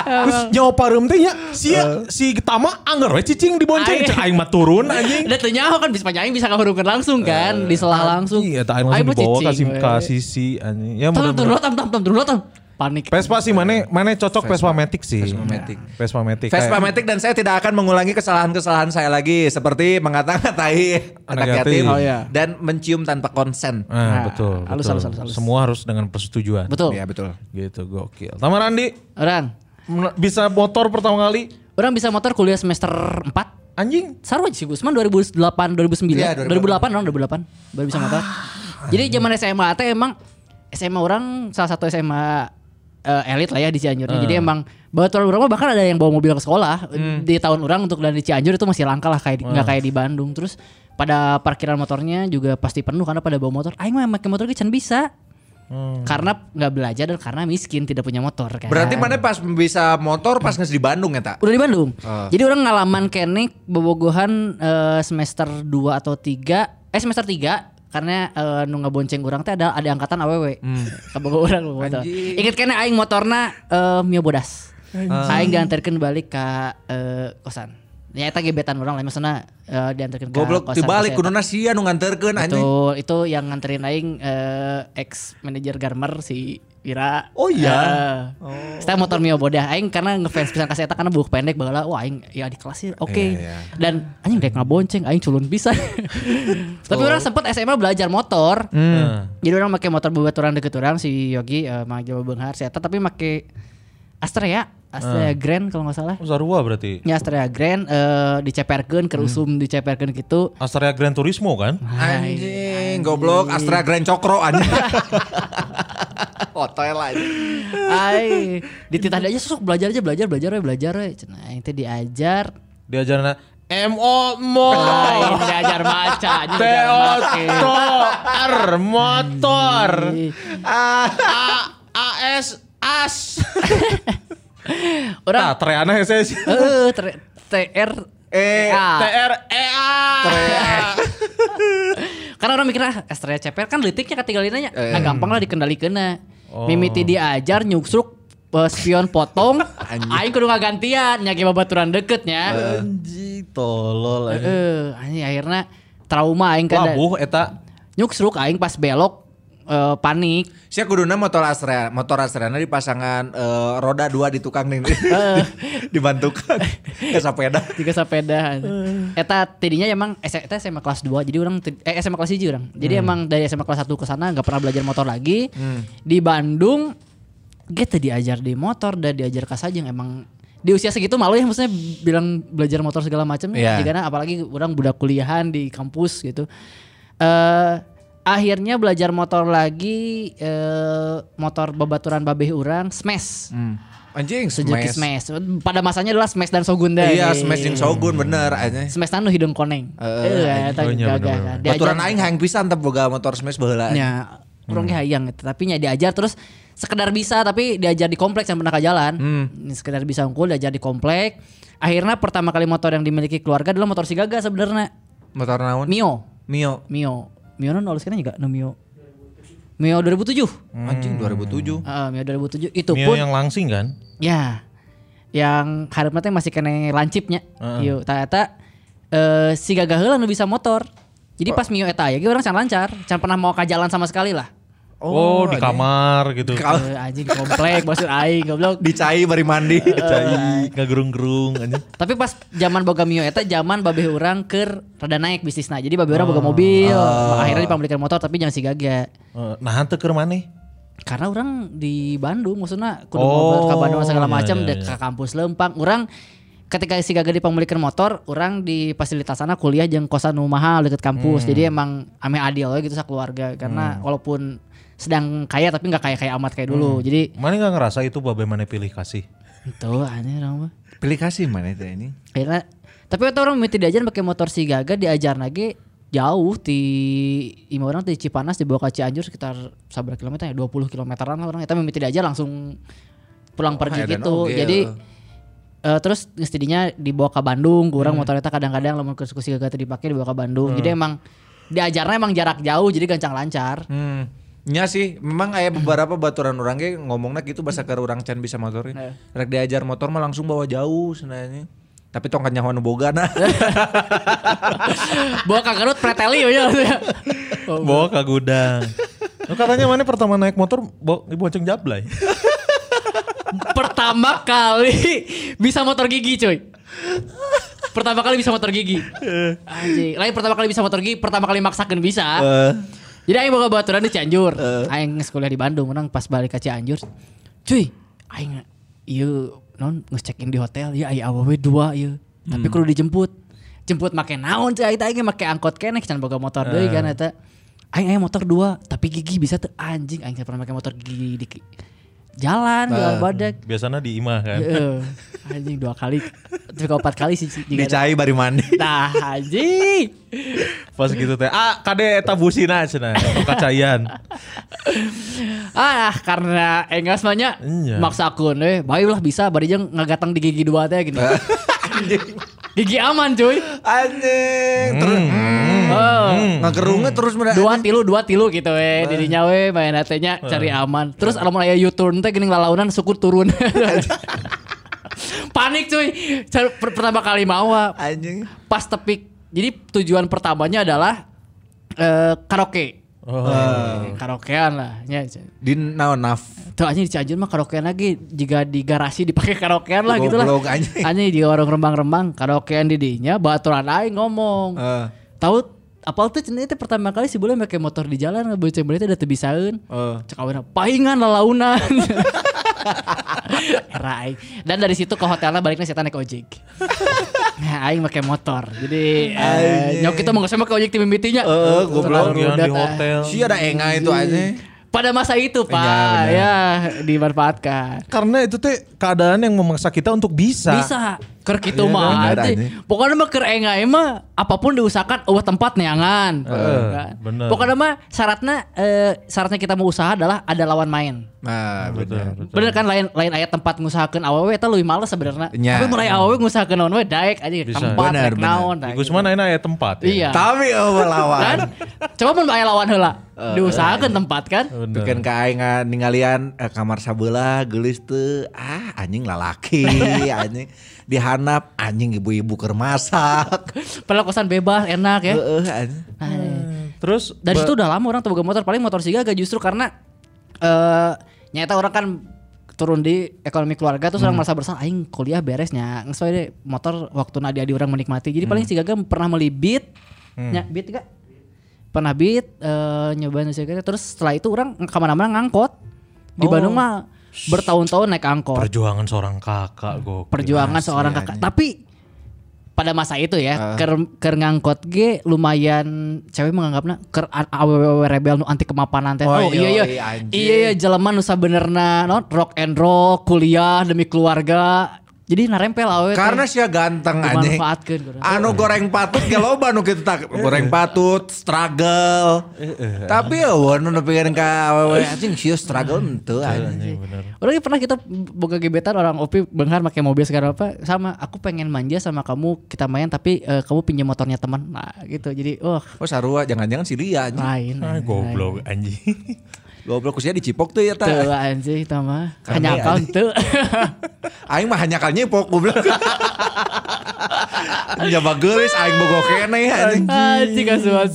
Speaker 2: Terus nyawa pareum teh nya si ya, si Tama anger we cicing dibonceng
Speaker 4: Aing.
Speaker 2: cek aing mah turun anjing.
Speaker 4: Dan ternyaho kan bisa nyaho bisa ngahurungkan langsung kan, diselah langsung.
Speaker 2: Iya, eta aing langsung
Speaker 4: mah
Speaker 2: dibawa
Speaker 4: cicing, we.
Speaker 2: ke sisi anjing. Ya
Speaker 4: Tam tam
Speaker 2: mudah-mudahan.
Speaker 4: tam tam tam tam tam. Panik.
Speaker 2: Vespa sih mana mana cocok Vespa Matic sih.
Speaker 3: Vespa
Speaker 2: Nah,
Speaker 3: Matic.
Speaker 2: Vespa Matic.
Speaker 3: Vespa
Speaker 2: Kayak-
Speaker 3: Matic dan saya tidak akan mengulangi kesalahan-kesalahan saya lagi seperti mengata-ngatai anak
Speaker 2: yatim.
Speaker 3: yatim
Speaker 2: Oh,
Speaker 4: iya.
Speaker 3: dan mencium tanpa konsen.
Speaker 2: Ah,
Speaker 4: Nah,
Speaker 2: betul, betul.
Speaker 4: halus, halus, halus, halus.
Speaker 2: Semua harus dengan persetujuan.
Speaker 4: Betul.
Speaker 3: Iya betul.
Speaker 2: Gitu, gokil. Tama Randi,
Speaker 4: Orang.
Speaker 2: men- bisa motor pertama kali
Speaker 4: Orang bisa motor kuliah semester 4.
Speaker 2: anjing.
Speaker 4: Sarwa sih Gusman 2008, 2009,
Speaker 3: Iya,
Speaker 4: 2008, 2008 orang 2008 baru bisa motor.
Speaker 3: Ah,
Speaker 4: Jadi zaman SMA teh emang SMA orang salah satu SMA eh, elit lah ya di Cianjur. Jadi
Speaker 3: Ah.
Speaker 4: emang bawa motor orang mah bahkan ada yang bawa mobil ke sekolah
Speaker 3: Hmm.
Speaker 4: di tahun orang untuk dan di Cianjur itu masih langka lah kayak di- nggak kayak di Bandung. Terus pada parkiran motornya juga pasti penuh karena pada bawa motor. Aing mah pakai motor ke can bisa. Karena nggak belajar dan karena miskin tidak punya motor kan.
Speaker 3: Hmm. Berarti mana pas bisa motor pas nges di Bandung ya tak?
Speaker 4: Udah di Bandung. Jadi orang ngalaman kene bobogohan eh, semester 2 atau 3, eh semester 3 karena eh, nu ngabonceng urang teh ada ada angkatan awewe. Kabogo urang bobogoh motor.
Speaker 3: Hmm. Anjing.
Speaker 4: Ingat kene aing motorna eh, Mio Bodas. Aing diantarkeun balik ka eh, kosan. Ya eta gebetan orang lain maksudna eh, diantarkeun ka
Speaker 3: Goblok
Speaker 4: kosan.
Speaker 3: dibalik
Speaker 4: saya eta.
Speaker 3: kuduna sia nu nganterkeun anjing.
Speaker 4: Betul, itu yang nganterin aing eh, ex manajer Garmer si Ira.
Speaker 3: Oh iya?
Speaker 4: Eh, Saya motor Mio Bodah aing karena ngefans pisan ka si Eta karena buku pendek baheula wah aing ya di kelas sih oke.
Speaker 3: Iya, iya.
Speaker 4: Dan anjing dek ngabonceng aing culun pisan. Tapi
Speaker 3: Oh.
Speaker 4: orang sempet SMA belajar motor.
Speaker 3: Hmm.
Speaker 4: Eh, Jadi orang pakai motor bebaturan orang deket orang si Yogi eh, manggil Benghar si Eta tapi make Astrea, Astrea
Speaker 3: Ah.
Speaker 4: Grand kalau nggak salah.
Speaker 2: Oh, Sarua berarti.
Speaker 4: Ya Astrea Grand eh, diceperkeun ke
Speaker 3: Hmm.
Speaker 4: usum diceperkeun gitu.
Speaker 2: Astrea Gran Turismo kan?
Speaker 3: Anjing, goblok Astra Grand Cokro anjing. Hotel aja.
Speaker 4: Ay, dititah dia aja sok belajar aja belajar belajar we belajar we. Cenah aing teh diajar.
Speaker 2: Diajarna MO mo
Speaker 4: Aing diajar maca, anjing diajar make.
Speaker 2: Teoto R motor
Speaker 4: Ih.
Speaker 2: AS AS
Speaker 4: Orang
Speaker 2: Nah, Treana SS
Speaker 4: eh tre- TR
Speaker 3: Eh,
Speaker 2: Ya.
Speaker 4: TR
Speaker 2: TREA
Speaker 4: Karena Kan orang mikirnya Astrea CPR kan litiknya ketinggalan nanya.
Speaker 3: Eh.
Speaker 4: Nah gampang lah dikendalikan
Speaker 2: Oh.
Speaker 4: Mimiti diajar nyuksruk eh, spion potong. Aing kudu ngagantian nyaki babaturan deketnya.
Speaker 2: Anjing tolol anjing.
Speaker 4: Heeh, anjing akhirnya trauma aing kada.
Speaker 2: Labuh eta
Speaker 4: Nyuksruk aing pas belok eh, panik.
Speaker 3: Sia kuduna motor Astra, motor Astrana di pasangan eh, roda dua di tukang nih. Dibantukan ke sepeda.
Speaker 4: tiga sepeda eta tidinya emang S- eta SMA kelas 2 jadi orang ti- eh SMA kelas 1 orang
Speaker 3: Hmm.
Speaker 4: jadi emang dari SMA kelas 1 ke sana nggak pernah belajar motor lagi di Bandung gitu diajar di motor dan diajar kas aja emang di usia segitu malu ya maksudnya bilang belajar motor segala macam
Speaker 3: Iya.
Speaker 4: Jika nah, apalagi orang budak kuliahan di kampus gitu eh akhirnya belajar motor lagi eh motor babaturan babeh orang smash
Speaker 3: Anjing
Speaker 4: Suzuki
Speaker 3: Hmm, smash.
Speaker 4: Smash. Pada masanya adalah Smash dan Shogun deh.
Speaker 3: Iya, smash jeung Shogun bener anjing.
Speaker 4: Smash tanu hidung koneng. Heeh, eta
Speaker 2: Oh, iya, bener-bener.
Speaker 4: gagah. kan. Diajar-
Speaker 3: Baturan aing kan? hayang pisan tep boga motor smash baheula. anjing.
Speaker 4: Ya, urang
Speaker 2: Hmm.
Speaker 4: ge hayang gitu. Tapi nya diajar terus sekedar bisa tapi diajar di kompleks yang pernah ke jalan.
Speaker 2: Hmm.
Speaker 4: Sekedar bisa unggul diajar di kompleks. Akhirnya pertama kali motor yang dimiliki keluarga adalah motor si Gaga sebenarnya.
Speaker 3: Motor naon?
Speaker 4: Mio,
Speaker 3: Mio.
Speaker 4: Mio. Mio nu nulis kana juga nu Mio. Mio 2007.
Speaker 3: Anjing 2007.
Speaker 4: Heeh, Mio 2007 itu
Speaker 2: Mio
Speaker 4: pun
Speaker 2: yang langsing kan?
Speaker 4: ya yang harapnya teh masih kena lancipnya. Yuk, ternyata eh, si Gaga heula nu bisa motor. Jadi pas Mio eta ya, ge orang can lancar, can pernah mau ke jalan sama sekali lah.
Speaker 2: Oh, di
Speaker 3: anjing.
Speaker 2: kamar gitu.
Speaker 3: Ka-
Speaker 4: Eh, anjing komplek maksud aing goblok.
Speaker 3: Dicai bari mandi.
Speaker 2: Cai, gerung-gerung Iya, anjing.
Speaker 4: Tapi pas zaman boga Mio eta zaman babeh urang keur rada naik bisnisna. Jadi babeh urang boga mobil, akhirnya dipamilikan motor tapi jangan si Gaga.
Speaker 2: Eh, Nah, teu keur maneh.
Speaker 4: Karena orang di Bandung maksudnya kudu
Speaker 2: Oh,
Speaker 4: ngobrol ke Bandung
Speaker 2: iya,
Speaker 4: segala macam
Speaker 2: iya,
Speaker 4: dek
Speaker 2: iya.
Speaker 4: ke kampus Lempang. Orang ketika si Gaga dipamilikan motor, orang di fasilitas sana kuliah jeung kosan nu mahal deket
Speaker 2: Hmm.
Speaker 4: kampus. Jadi emang ame adil we gitu sakeluarga karena walaupun sedang kaya tapi nggak kaya-kaya amat kayak
Speaker 2: Hmm.
Speaker 4: dulu. Jadi
Speaker 2: Mana nggak ngerasa itu babe mana pilih kasih?
Speaker 4: itu aneh orang mah.
Speaker 3: Pilih kasih mana itu ini?
Speaker 4: Akhirnya tapi itu orang mimpi diajar pakai motor si Gaga diajar lagi jauh di ima orang di Cipanas dibawa ke Cianjur sekitar sabar kilometer ya 20 kilometeran lah orang kita mimpi diajar langsung pulang pergi
Speaker 3: edan
Speaker 4: gitu
Speaker 3: oge,
Speaker 4: jadi
Speaker 3: eh.
Speaker 4: eh, terus istrinya dibawa ke Bandung kurang motor eta kadang-kadang lamun ke si Gaga teu dipake dibawa ke Bandung jadi emang diajarnya emang jarak jauh jadi gancang lancar
Speaker 3: Hmm. Nya sih, memang aya beberapa baturan orang ge ngomongna gitu bahasa keur urang can bisa motornya.
Speaker 4: Heeh.
Speaker 3: Rek diajar motor mah langsung bawa jauh sebenarnya. Tapi tong kan nyawa nu boga nah.
Speaker 4: bawa ke Garut iya, preteli we nya.
Speaker 2: Bawa ke gudang. Lu katanya mana pertama naik motor bawa dibonceng jablay.
Speaker 4: pertama kali bisa motor gigi cuy pertama kali bisa motor gigi anjing lain pertama kali bisa motor gigi pertama kali maksakan bisa jadi aing boga baturan di Cianjur aing geus kuliah di Bandung menang pas balik ke Cianjur cuy aing ieu non geus check in di hotel ya aing awewe dua ieu tapi kudu dijemput jemput make naon cuy aing teh aing make angkot kene can boga motor deui kan eta aing aya motor dua tapi gigi bisa tuh anjing aing teu pernah make motor gigi di jalan jalan badak
Speaker 2: Biasanya di imah
Speaker 3: Hmm.
Speaker 2: kan.
Speaker 4: Heeh. anjing dua kali, tiga empat kali sih. sih, tiga-
Speaker 3: Dicai bari mandi.
Speaker 4: Tah anjing.
Speaker 2: Pas gitu teh, ah kade eta busina cenah, kacayan.
Speaker 4: Ah karena engas banyak
Speaker 2: Iya.
Speaker 4: maksa akun eh baiklah bisa bari jeung ngagatang di gigi dua teh gini. gigi aman cuy.
Speaker 3: Anjing, terus Hmm.
Speaker 4: Oh.
Speaker 3: ngagerungnya terus mera-
Speaker 4: Dua tilu dua tilu gitu
Speaker 3: Nah.
Speaker 4: eh dirinya we main hatenya cari aman. Terus alamun aya U-turn teh gini lalaunan suku turun. Panik cuy. Car- per- Pertama kali mawa
Speaker 3: anjing.
Speaker 4: pas tepik. Jadi tujuan pertamanya adalah eh, karaoke.
Speaker 3: Oh.
Speaker 4: Eh, karaokean lah. Ya,
Speaker 3: Di naon naf.
Speaker 4: tuh anjing di Cianjur mah karaokean lagi jika di garasi dipakai karaokean lah gitu lah.
Speaker 3: Goblok, anjing.
Speaker 4: Anjing di warung rembang-rembang karaokean di dinya baturan aing ngomong.
Speaker 3: Eh.
Speaker 4: Tahu apal tuh cenah teh pertama kali si boleh pakai motor di jalan bocah boleh teh da teu bisaeun.
Speaker 3: Eh.
Speaker 4: Cek awena paingan lalaunan. Era aing. Dan dari situ ke hotelnya baliknya setan naik ojek. Nah, aing pakai motor. Jadi eh, nyok kita mau sama ke ojek tim mimitinya.
Speaker 3: Eh, goblok.
Speaker 2: Pelarian
Speaker 4: ah.
Speaker 2: di hotel.
Speaker 3: Si ada
Speaker 4: Eh,
Speaker 3: enga itu anjing.
Speaker 4: Pada masa itu, Pak, ya dimanfaatkan.
Speaker 2: Karena itu teh keadaan yang memaksa kita untuk bisa.
Speaker 4: bisa ker gitu
Speaker 3: Iya,
Speaker 4: mah
Speaker 3: bener,
Speaker 4: anjing.
Speaker 3: anjing.
Speaker 4: pokoknya mah ker enga mah apapun diusahakan oh tempat neangan
Speaker 3: Eh,
Speaker 2: Heeh,
Speaker 4: Kan?
Speaker 2: bener.
Speaker 4: pokoknya mah syaratnya eh, syaratnya kita mau usaha adalah ada lawan main
Speaker 3: Nah,
Speaker 2: Iya.
Speaker 3: betul.
Speaker 4: bener kan lain lain ayat tempat ngusahakeun awewe eta leuwih males sebenarnya
Speaker 3: Nya.
Speaker 4: tapi mulai awewe ngusahakeun naon we daek aja
Speaker 2: Bisa.
Speaker 4: tempat
Speaker 3: Bener,
Speaker 4: rek
Speaker 3: bener.
Speaker 4: naon
Speaker 2: Di
Speaker 4: rek.
Speaker 2: Gusman ayeuna aya tempat. ya.
Speaker 4: iya
Speaker 3: Tapi oh lawan.
Speaker 4: kan coba mun aya lawan heula
Speaker 3: Eh.
Speaker 4: diusahakeun tempat kan
Speaker 2: Bener.
Speaker 3: Bikin ke aing nga ningalian eh, kamar sabelah geulis teu ah anjing lalaki anjing dihanap anjing ibu-ibu keur masak.
Speaker 4: padahal kosan bebas enak ya
Speaker 3: Heeh anjing.
Speaker 4: Nah,
Speaker 2: Terus
Speaker 4: dari
Speaker 2: ba-
Speaker 4: situ udah lama orang tuh boga motor paling motor si Gaga justru karena eh nyata orang kan turun di ekonomi keluarga terus orang merasa bersalah aing kuliah beresnya ngesoy deh motor waktu nadi adi orang menikmati jadi paling si Gaga pernah beli beat nya beat gak pernah beat eh nyobain si Gaga terus setelah itu orang kemana-mana ngangkot di Bandung mah bertahun-tahun naik angkot
Speaker 2: perjuangan seorang kakak gokil.
Speaker 3: Iya,
Speaker 4: perjuangan seorang kakak tapi pada masa itu
Speaker 3: Ah.
Speaker 4: ya, ker, ker ngangkot ge lumayan cewek menganggapna ker a- awewe rebel nu anti kemapanan teh.
Speaker 3: Oh,
Speaker 4: Oh, iya iya.
Speaker 3: yoi, anjing.
Speaker 4: Iya iya jelema nu sabenerna non rock and roll, kuliah demi keluarga. Jadi narempel awewe. teh.
Speaker 3: Karena sia ganteng anjing.
Speaker 4: Dimanfaatkeun, kurang.
Speaker 3: Anu goreng patut ge loba nu kitu tak goreng patut struggle. Tapi eueun nu pikirin ka awewe anjing sia struggle henteu anjing.
Speaker 4: Orang pernah kita boga gebetan orang Opi Benghar pakai mobil sekarang apa sama aku pengen manja sama kamu kita main tapi eh, kamu pinjam motornya teman nah gitu jadi wah
Speaker 3: Oh sarua jangan-jangan si dia anjing.
Speaker 4: lain
Speaker 6: Ah, goblok anjing.
Speaker 3: Goblok kusia dicipok tuh ya
Speaker 4: tuh
Speaker 3: ta.
Speaker 4: anjir itu mah
Speaker 3: Kami,
Speaker 4: hanya akal
Speaker 3: anjing.
Speaker 4: tuh
Speaker 3: Aing mah hanya kalnya pok goblok. Ya bagelis aing bogo kene ya, anjing.
Speaker 4: anjir kasuan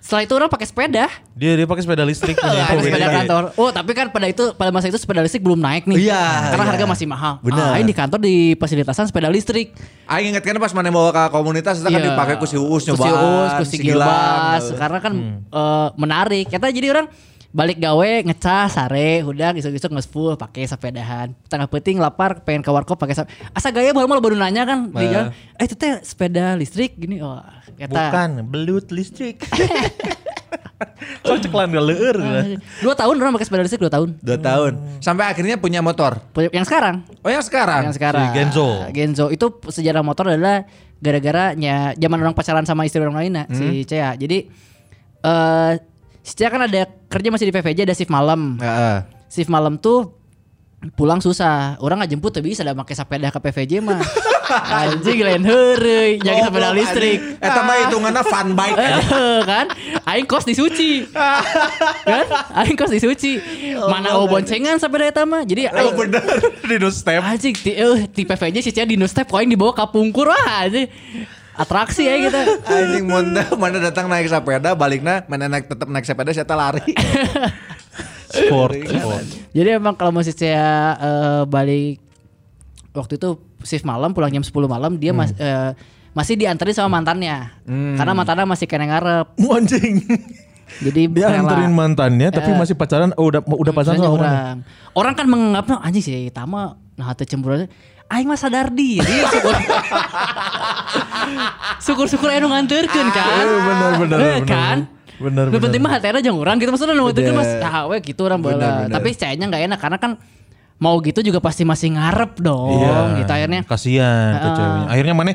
Speaker 4: setelah itu orang pakai sepeda
Speaker 2: Dia dia pakai sepeda listrik.
Speaker 3: Nah,
Speaker 2: punya
Speaker 4: pakai
Speaker 2: itu.
Speaker 4: sepeda
Speaker 3: iya.
Speaker 4: kantor oh tapi kan pada itu pada masa itu sepeda listrik belum naik nih
Speaker 3: Iya,
Speaker 4: karena
Speaker 3: iya.
Speaker 4: harga masih mahal
Speaker 3: Bener.
Speaker 4: ah, ini di kantor di fasilitasan sepeda listrik
Speaker 3: Aing inget kan pas mana bawa ke komunitas itu kan
Speaker 4: Iya.
Speaker 3: dipakai ku si Uus gitu.
Speaker 4: Ku
Speaker 3: nyoba.
Speaker 4: si Uus, ku si Gilbas. Karena kan
Speaker 3: Hmm.
Speaker 4: eh, menarik. Kita jadi orang balik gawe ngecas sare hudang isuk-isuk ngespul pakai sepedahan tengah peting lapar pengen ke warkop pakai sepeda asa gaya baru malah baru nanya kan
Speaker 3: Nah.
Speaker 4: di jalan eh itu teh sepeda listrik gini oh kata
Speaker 6: Bukan, belut listrik. Cocok lan leueur.
Speaker 4: dua tahun orang pakai sepeda listrik dua tahun
Speaker 3: Dua tahun. Sampai akhirnya punya motor.
Speaker 4: Punya- yang sekarang
Speaker 3: Oh yang sekarang?
Speaker 4: yang sekarang
Speaker 2: Ah,
Speaker 4: Ah,
Speaker 2: si Genzo.
Speaker 4: Genzo itu sejarah motor adalah gara-garanya zaman orang pacaran sama istri orang lain nah,
Speaker 2: Hmm.
Speaker 4: si Cea jadi eh si Cea kan ada kerja masih di PVJ ada shift malam
Speaker 3: Heeh.
Speaker 4: shift malam tuh pulang susah orang nggak jemput tapi bisa ada pakai sepeda ke PVJ mah anjing lain heureui
Speaker 2: Oh,
Speaker 4: jaga sepeda listrik
Speaker 3: Eta mah Eh, hitungannya fun bike.
Speaker 4: Eh, kan aing kos di suci kan aing kos di suci mana oh boncengan sepeda eta mah jadi aing-
Speaker 3: bener. Di no step.
Speaker 4: Anjing, ti, eh, ti PVJ sih Cia di no step koin dibawa ke pungkur wah anjing. Atraksi ya kita.
Speaker 3: Anjing munda mana datang naik sepeda baliknya mana naik tetap naik sepeda saya lari.
Speaker 2: Sport. sport.
Speaker 4: Jadi emang kalau masih Cia eh, balik waktu itu shift malam pulang jam 10 malam dia mas- eh, masih dianterin sama mantannya. Karena mantannya masih kena ngarep.
Speaker 6: Mu anjing.
Speaker 4: Jadi
Speaker 6: Dia
Speaker 4: rela. Eh.
Speaker 6: anterin mantannya tapi masih pacaran. Oh, udah udah pacaran
Speaker 4: Misalnya
Speaker 6: sama mana?
Speaker 4: orang. Orang kan menganggap "Nah, anjing sih Tama nah hati cemburu aing mah sadar diri syukur syukur-syukur anu nganterkeun kan
Speaker 6: Eh, benar, benar,
Speaker 4: Eh,
Speaker 6: benar.
Speaker 4: kan
Speaker 6: Benar,
Speaker 4: Nu
Speaker 6: benar.
Speaker 4: penting mah hatena jeung urang gitu maksudnya nu penting mas
Speaker 3: Benar.
Speaker 4: ah we gitu orang
Speaker 3: Benar,
Speaker 4: bola
Speaker 3: benar.
Speaker 4: tapi cayanya nggak enak karena kan mau gitu juga pasti masih ngarep dong
Speaker 2: Iya.
Speaker 4: gitu akhirnya Eh,
Speaker 2: Kasihan tuh ceweknya. Akhirnya mana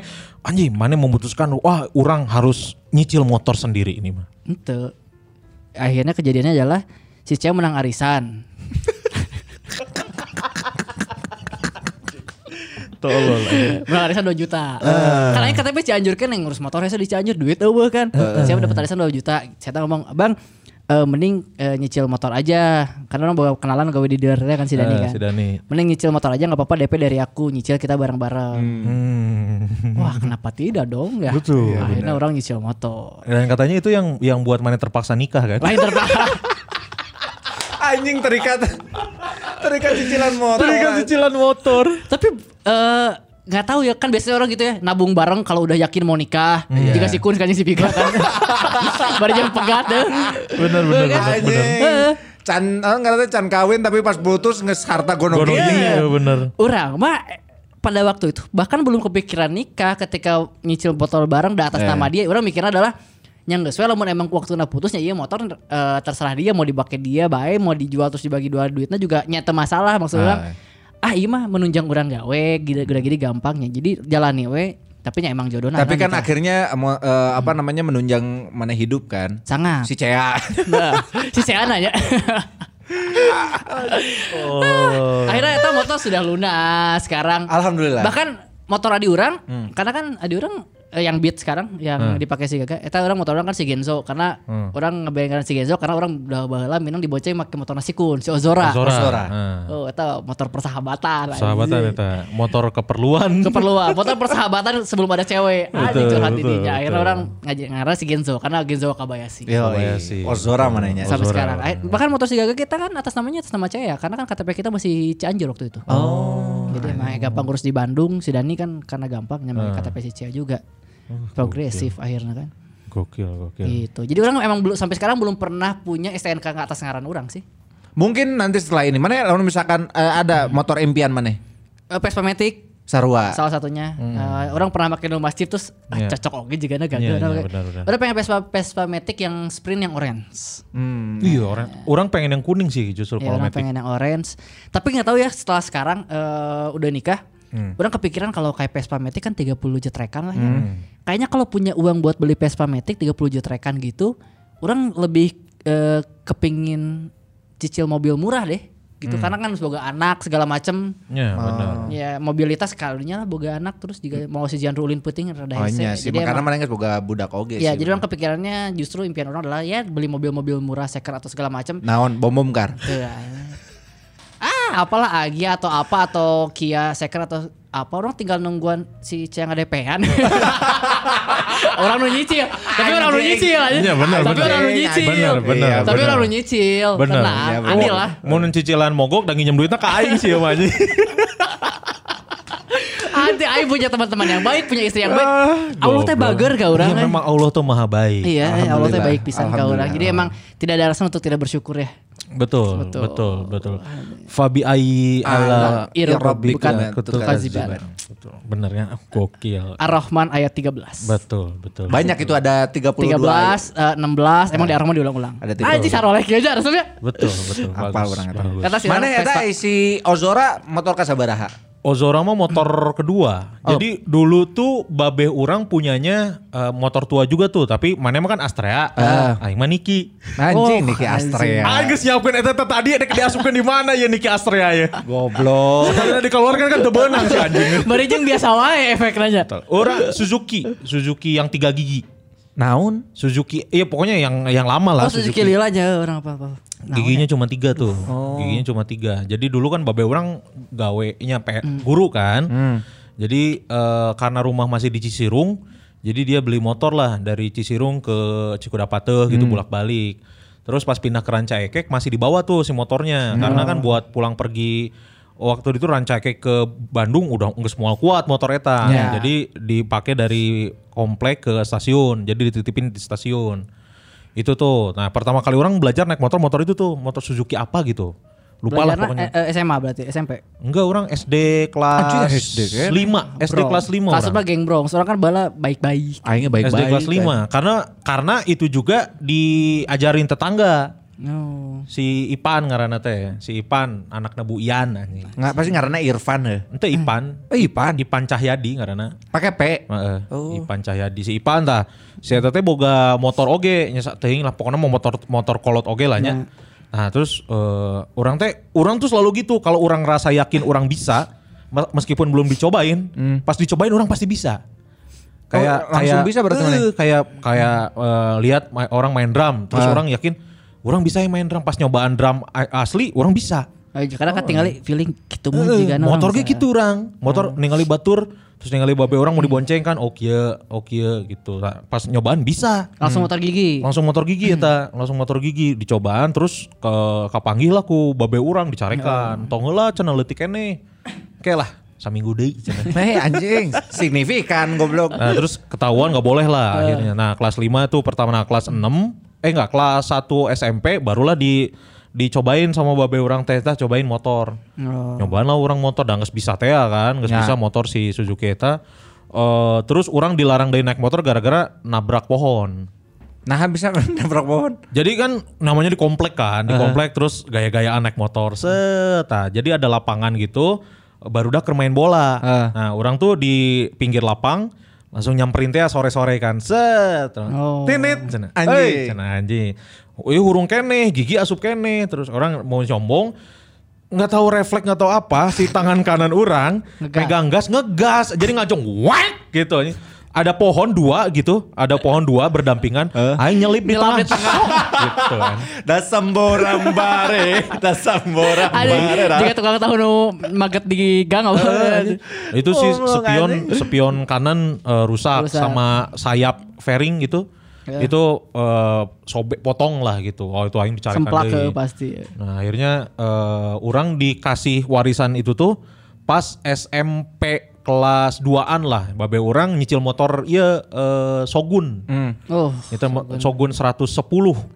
Speaker 2: anjing mana memutuskan wah orang harus nyicil motor sendiri ini mah.
Speaker 4: ente akhirnya kejadiannya adalah si cewek menang arisan
Speaker 6: Tolol.
Speaker 2: Eh,
Speaker 4: menang arisan 2 juta. Karena ini KTP Cianjur kan yang ngurus motornya saya di Cianjur duit eueuh kan. Saya dapat arisan 2 juta. Saya tahu ngomong, "Bang, eh, mending eh, nyicil motor aja." Karena orang bawa kenalan gawe di dealernya kan si Dani
Speaker 2: Eh,
Speaker 4: kan.
Speaker 2: si Dani.
Speaker 4: Mending nyicil motor aja nggak apa-apa DP dari aku, nyicil kita bareng-bareng.
Speaker 2: Hmm.
Speaker 4: Wah, kenapa tidak dong ya?
Speaker 2: Betul.
Speaker 4: Akhirnya orang nyicil motor.
Speaker 2: Dan katanya itu yang yang buat mana terpaksa nikah kan?
Speaker 4: Lain terpaksa.
Speaker 3: Anjing terikat terikat cicilan motor.
Speaker 2: cicilan motor.
Speaker 4: Tapi eh, nggak tahu ya kan biasanya orang gitu ya nabung bareng kalau udah yakin mau nikah jika si kun kan si Pika kan baru jam pegat deh
Speaker 2: Benar benar
Speaker 4: iya,
Speaker 2: benar. benar.
Speaker 3: Anjing. Can, eh, orang katanya can kawin tapi pas putus nges harta gono iya,
Speaker 2: Gono
Speaker 3: gini.
Speaker 2: gini ya benar.
Speaker 4: Orang mah eh, pada waktu itu bahkan belum kepikiran nikah ketika nyicil botol bareng di
Speaker 3: Eh.
Speaker 4: atas nama dia. Orang mikirnya adalah yang gak sesuai lamun emang waktu putusnya iya motor eh, terserah dia mau dipakai dia baik mau dijual terus dibagi dua duitnya juga nyata masalah maksudnya. Ah, iya mah menunjang orang gawe gila-gila gampangnya. Jadi jalani we tapi nya emang gitu. jodoh
Speaker 3: Tapi kan akhirnya emo- eh, apa namanya menunjang mana hidup kan?
Speaker 4: sangat
Speaker 3: Si Cea.
Speaker 4: Nah, si Sean aja. Akhirnya eta motor sudah lunas sekarang.
Speaker 3: Alhamdulillah.
Speaker 4: Bahkan motor adi urang,
Speaker 2: Hmm.
Speaker 4: karena kan adi urang eh, yang beat sekarang yang dipakai si Gaga. Eta orang motor orang kan si Genzo karena
Speaker 2: Hmm.
Speaker 4: orang ngebayangkan si Genzo karena orang udah baheula minang diboceng make motor nasi kun si Ozora.
Speaker 2: Sora. Ah,
Speaker 4: Oh, eta motor persahabatan. anjing.
Speaker 2: Sahabatan eta motor keperluan.
Speaker 4: keperluan motor persahabatan sebelum ada cewek anjing
Speaker 2: Betul,
Speaker 4: curhat di
Speaker 2: betul,
Speaker 4: dinya akhirnya
Speaker 2: betul.
Speaker 4: orang ngajak ngarah si Genzo karena Genzo Kabayashi
Speaker 3: Yo,
Speaker 2: Iya sih.
Speaker 3: Ozora mananya.
Speaker 4: sampai
Speaker 2: Ozora.
Speaker 4: sekarang. Eh, Bahkan motor Sigaga kita kan atas namanya atas nama Cea karena kan KTP kita masih Cianjur waktu itu. Oh. Jadi emang gampang ngurus di Bandung, si Dani kan karena gampang
Speaker 2: Ah.
Speaker 4: nyamain KTP si Cea juga.
Speaker 2: Oh, gitu.
Speaker 4: Progresif akhirnya kan.
Speaker 2: Gokil gokil.
Speaker 4: Gitu. Jadi orang emang belum sampai sekarang belum pernah punya STNK nggak atas ngaran orang sih.
Speaker 3: Mungkin nanti setelah ini mana ya, kalau misalkan eh, ada motor impian mana?
Speaker 4: Eh, Vespa Matic
Speaker 3: Sarua.
Speaker 4: salah satunya Eh, orang pernah pakai nomor chip terus
Speaker 2: Ah.
Speaker 4: ah,
Speaker 2: Hmm. Iya.
Speaker 4: cocok oke juga nah
Speaker 2: Iya,
Speaker 4: gagal
Speaker 2: iya,
Speaker 4: Nah,
Speaker 2: benar, benar.
Speaker 4: orang pengen Vespa Vespa Matic yang sprint yang orange
Speaker 3: Hmm.
Speaker 2: Iya orang orang pengen yang kuning sih justru
Speaker 4: ya,
Speaker 2: kalau
Speaker 4: orang
Speaker 2: Matic.
Speaker 4: pengen yang orange tapi nggak tahu ya setelah sekarang eh, udah nikah
Speaker 3: Hmm.
Speaker 4: orang kepikiran kalau kayak Vespa Matic kan 30 jetrekan lah ya
Speaker 3: Hmm.
Speaker 4: kayaknya kalau punya uang buat beli Vespa Matic 30 jetrekan gitu orang lebih eh, kepingin cicil mobil murah deh gitu
Speaker 3: Hmm.
Speaker 4: karena kan sebagai anak segala macem
Speaker 2: Iya benar.
Speaker 4: ya mobilitas kalinya lah boga anak terus juga mau si Jan Rulin Puting rada
Speaker 3: Hmm. Oh
Speaker 4: hese.
Speaker 3: iya sih,
Speaker 4: Jadi
Speaker 3: karena
Speaker 4: emang-
Speaker 3: mana nggak boga budak oge
Speaker 4: ya
Speaker 3: sih.
Speaker 4: jadi orang kepikirannya justru impian orang adalah ya beli mobil-mobil murah second atau segala macam
Speaker 3: Naon bom bom kar.
Speaker 4: Ya. ah, apalah Agi atau apa atau Kia Second atau apa orang tinggal nungguan si Ceyang ada pean. orang nu nyicil, tapi orang nu nyicil aja.
Speaker 2: Iya, benar,
Speaker 4: tapi
Speaker 2: benar.
Speaker 4: orang nu nyicil.
Speaker 2: Benar benar.
Speaker 3: Iya,
Speaker 4: Tapi
Speaker 2: benar.
Speaker 4: orang nu nyicil.
Speaker 2: Benar.
Speaker 4: Tenang,
Speaker 3: Iya, benar.
Speaker 4: adil Oh, lah.
Speaker 2: Mau cicilan mogok dan nginjem duitnya ke aing sih sama aja.
Speaker 4: Ada aing punya teman-teman yang baik, punya istri yang baik. Allah teh
Speaker 2: Ah, Goblok.
Speaker 4: bager ka urang.
Speaker 2: Iya,
Speaker 4: kan?
Speaker 2: memang Allah tuh maha baik.
Speaker 4: Iya, Allah teh
Speaker 3: Alhamdulillah.
Speaker 4: baik pisan ka urang.
Speaker 3: Alhamdulillah.
Speaker 4: Jadi emang tidak ada alasan untuk tidak bersyukur ya.
Speaker 2: Betul,
Speaker 4: Betul.
Speaker 2: betul, betul, Fabi ayi ala
Speaker 4: iya,
Speaker 3: ya
Speaker 4: Irobika
Speaker 2: kutu
Speaker 4: kaziban.
Speaker 2: Betul. Bener ya, gokil.
Speaker 4: Ar-Rahman ayat 13.
Speaker 2: Betul, betul.
Speaker 3: Banyak itu ada 32 ayat.
Speaker 4: 13, eh, 16, emang di Arma diulang-ulang.
Speaker 3: Ada tiga.
Speaker 4: Anjing saroleh kieu aja resepnya.
Speaker 2: Betul, betul.
Speaker 3: Apal
Speaker 2: bagus,
Speaker 3: orang eta.
Speaker 2: bagus.
Speaker 4: Kata si
Speaker 3: Mana
Speaker 4: orang
Speaker 3: ya
Speaker 4: Vespa.
Speaker 3: isi Ozora motor kasabaraha.
Speaker 2: Ozora mah motor kedua. Jadi dulu tuh babeh orang punyanya eh, motor tua juga tuh, tapi mana emang kan Astrea, aing mah Niki.
Speaker 3: Anjing
Speaker 4: Oh,
Speaker 3: nih ya. Ki Astrea.
Speaker 2: Aing geus nyiapkeun eta teh E tadi ada diasupkeun di mana ya Niki Astrea ya.
Speaker 3: Goblok.
Speaker 2: Sekalinya dikeluarkan kan tebenang si anjing.
Speaker 4: Bari jeung biasa wae efeknya aja.
Speaker 2: Orang Suzuki, Suzuki yang tiga gigi.
Speaker 3: Naon?
Speaker 2: Suzuki, iya pokoknya yang yang lama lah
Speaker 4: Oh Suzuki Lila aja orang apa-apa. Nah,
Speaker 2: Giginya cuma tiga tuh, giginya cuma tiga. Jadi dulu kan babe orang gawenya pe guru kan. Jadi eh, karena rumah masih di Cisirung, jadi dia beli motor lah dari Cisirung ke Cikudapate gitu bolak balik. Terus pas pindah ke Rancaekek masih dibawa tuh si motornya, karena kan buat pulang pergi waktu itu Rancaekek ke Bandung udah nggak semua kuat motor eta. Jadi dipakai dari komplek ke stasiun, jadi dititipin di stasiun. Itu tuh. Nah, pertama kali orang belajar naik motor motor itu tuh, motor Suzuki apa gitu. Lupa lah pokoknya.
Speaker 4: belajarnya, eh, eh, SMA berarti SMP.
Speaker 2: Enggak, orang SD kelas
Speaker 3: Anjing, SD kan?
Speaker 2: 5, SD
Speaker 4: Bro.
Speaker 2: kelas 5
Speaker 4: Kelas
Speaker 2: orang.
Speaker 4: mah geng bro, seorang kan bala baik-baik.
Speaker 3: Aingnya
Speaker 2: SD
Speaker 3: baik-baik.
Speaker 2: kelas 5. Karena karena itu juga diajarin tetangga.
Speaker 4: No.
Speaker 2: Si Ipan ngaranna teh, si Ipan anaknya Bu Ian anjing.
Speaker 3: Nggak pasti ngaranna Irfan heh.
Speaker 2: Ente Ipan.
Speaker 3: Eh Ipan.
Speaker 2: Ipan Cahyadi ngaranna.
Speaker 3: Pakai P.
Speaker 2: Heeh. Ipan Cahyadi si Ipan tah. Si eta teh boga motor oge nya sa- teuing lah pokoknya mau motor motor kolot oge lah nya. Nah, terus eh, orang teh orang tuh selalu gitu kalau orang rasa yakin orang bisa me- meskipun belum dicobain, pas dicobain orang pasti bisa. Hmm. Kayak
Speaker 3: Oh, langsung
Speaker 2: kayak-
Speaker 3: bisa berarti
Speaker 2: eh,
Speaker 3: mana?
Speaker 2: kayak kayak eh, lihat ma- orang main drum, terus orang yakin orang bisa yang main drum pas nyobaan drum a- asli orang bisa.
Speaker 4: Ayo, karena ketinggalan feeling gitu mah
Speaker 2: Heeh,
Speaker 4: jigana orang
Speaker 2: Oh. motor ge
Speaker 4: bisa.
Speaker 2: gitu orang motor ningali batur terus ningali babe orang mau dibonceng kan oke oke gitu Nah, pas nyobaan bisa
Speaker 4: Langsung motor gigi.
Speaker 2: gitu. Hmm. langsung motor gigi eta langsung motor gigi dicobaan terus ke kapanggil lah ku babe orang dicarekan tong heula cenah leutik keneh oke lah saminggu deui cenah
Speaker 3: Eh anjing, signifikan goblok.
Speaker 2: Nah, terus ketahuan nggak boleh lah akhirnya. Nah, kelas 5 tuh pertama nah, kelas 6 eh nggak kelas 1 SMP barulah di dicobain sama babe orang teh tah cobain motor. Nyobain lah orang motor dan nggak bisa teh ya kan, nggak bisa motor si Suzuki eta. Eh, terus orang dilarang dari naik motor gara-gara nabrak pohon.
Speaker 3: Nah bisa nabrak pohon.
Speaker 2: Jadi kan namanya di komplek kan, di komplek terus gaya-gayaan naik motor set. ah. Jadi ada lapangan gitu, baru udah main bola. Nah, orang tuh di pinggir lapang langsung nyamperin teh sore-sore kan. Set.
Speaker 4: Oh.
Speaker 2: Tinit cenah.
Speaker 3: Anjing.
Speaker 2: "Ei," cenah, anjing. Wih hurung kene, gigi asup kene. Terus orang mau sombong nggak tahu refleks nggak tahu apa si tangan kanan orang
Speaker 4: Ngegas.
Speaker 2: pegang gas ngegas jadi ngacung wek gitu ada pohon dua gitu ada pohon dua berdampingan aing nyelip di tanah
Speaker 4: Nyelam di tengah.
Speaker 2: gitu kan.
Speaker 3: Dasamboram bare, dasamboram
Speaker 4: Ada
Speaker 3: bare. dah.
Speaker 4: jika tukang tahu nu maget di gang apa.
Speaker 2: Eh, Itu sih
Speaker 3: Goblok,
Speaker 2: spion
Speaker 3: anjing.
Speaker 2: spion kanan eh, rusak,
Speaker 4: Oh, Rusak. Ya.
Speaker 2: sama sayap fairing gitu. Itu eh, sobek potong lah gitu. Oh itu aing dicarikan
Speaker 4: Semplak
Speaker 2: deui.
Speaker 4: ke pasti.
Speaker 2: Nah, akhirnya eh, orang dikasih warisan itu tuh pas SMP kelas 2-an lah. Babe orang nyicil motor ya Shogun.
Speaker 4: Oh,
Speaker 2: Itu mo- Shogun 110.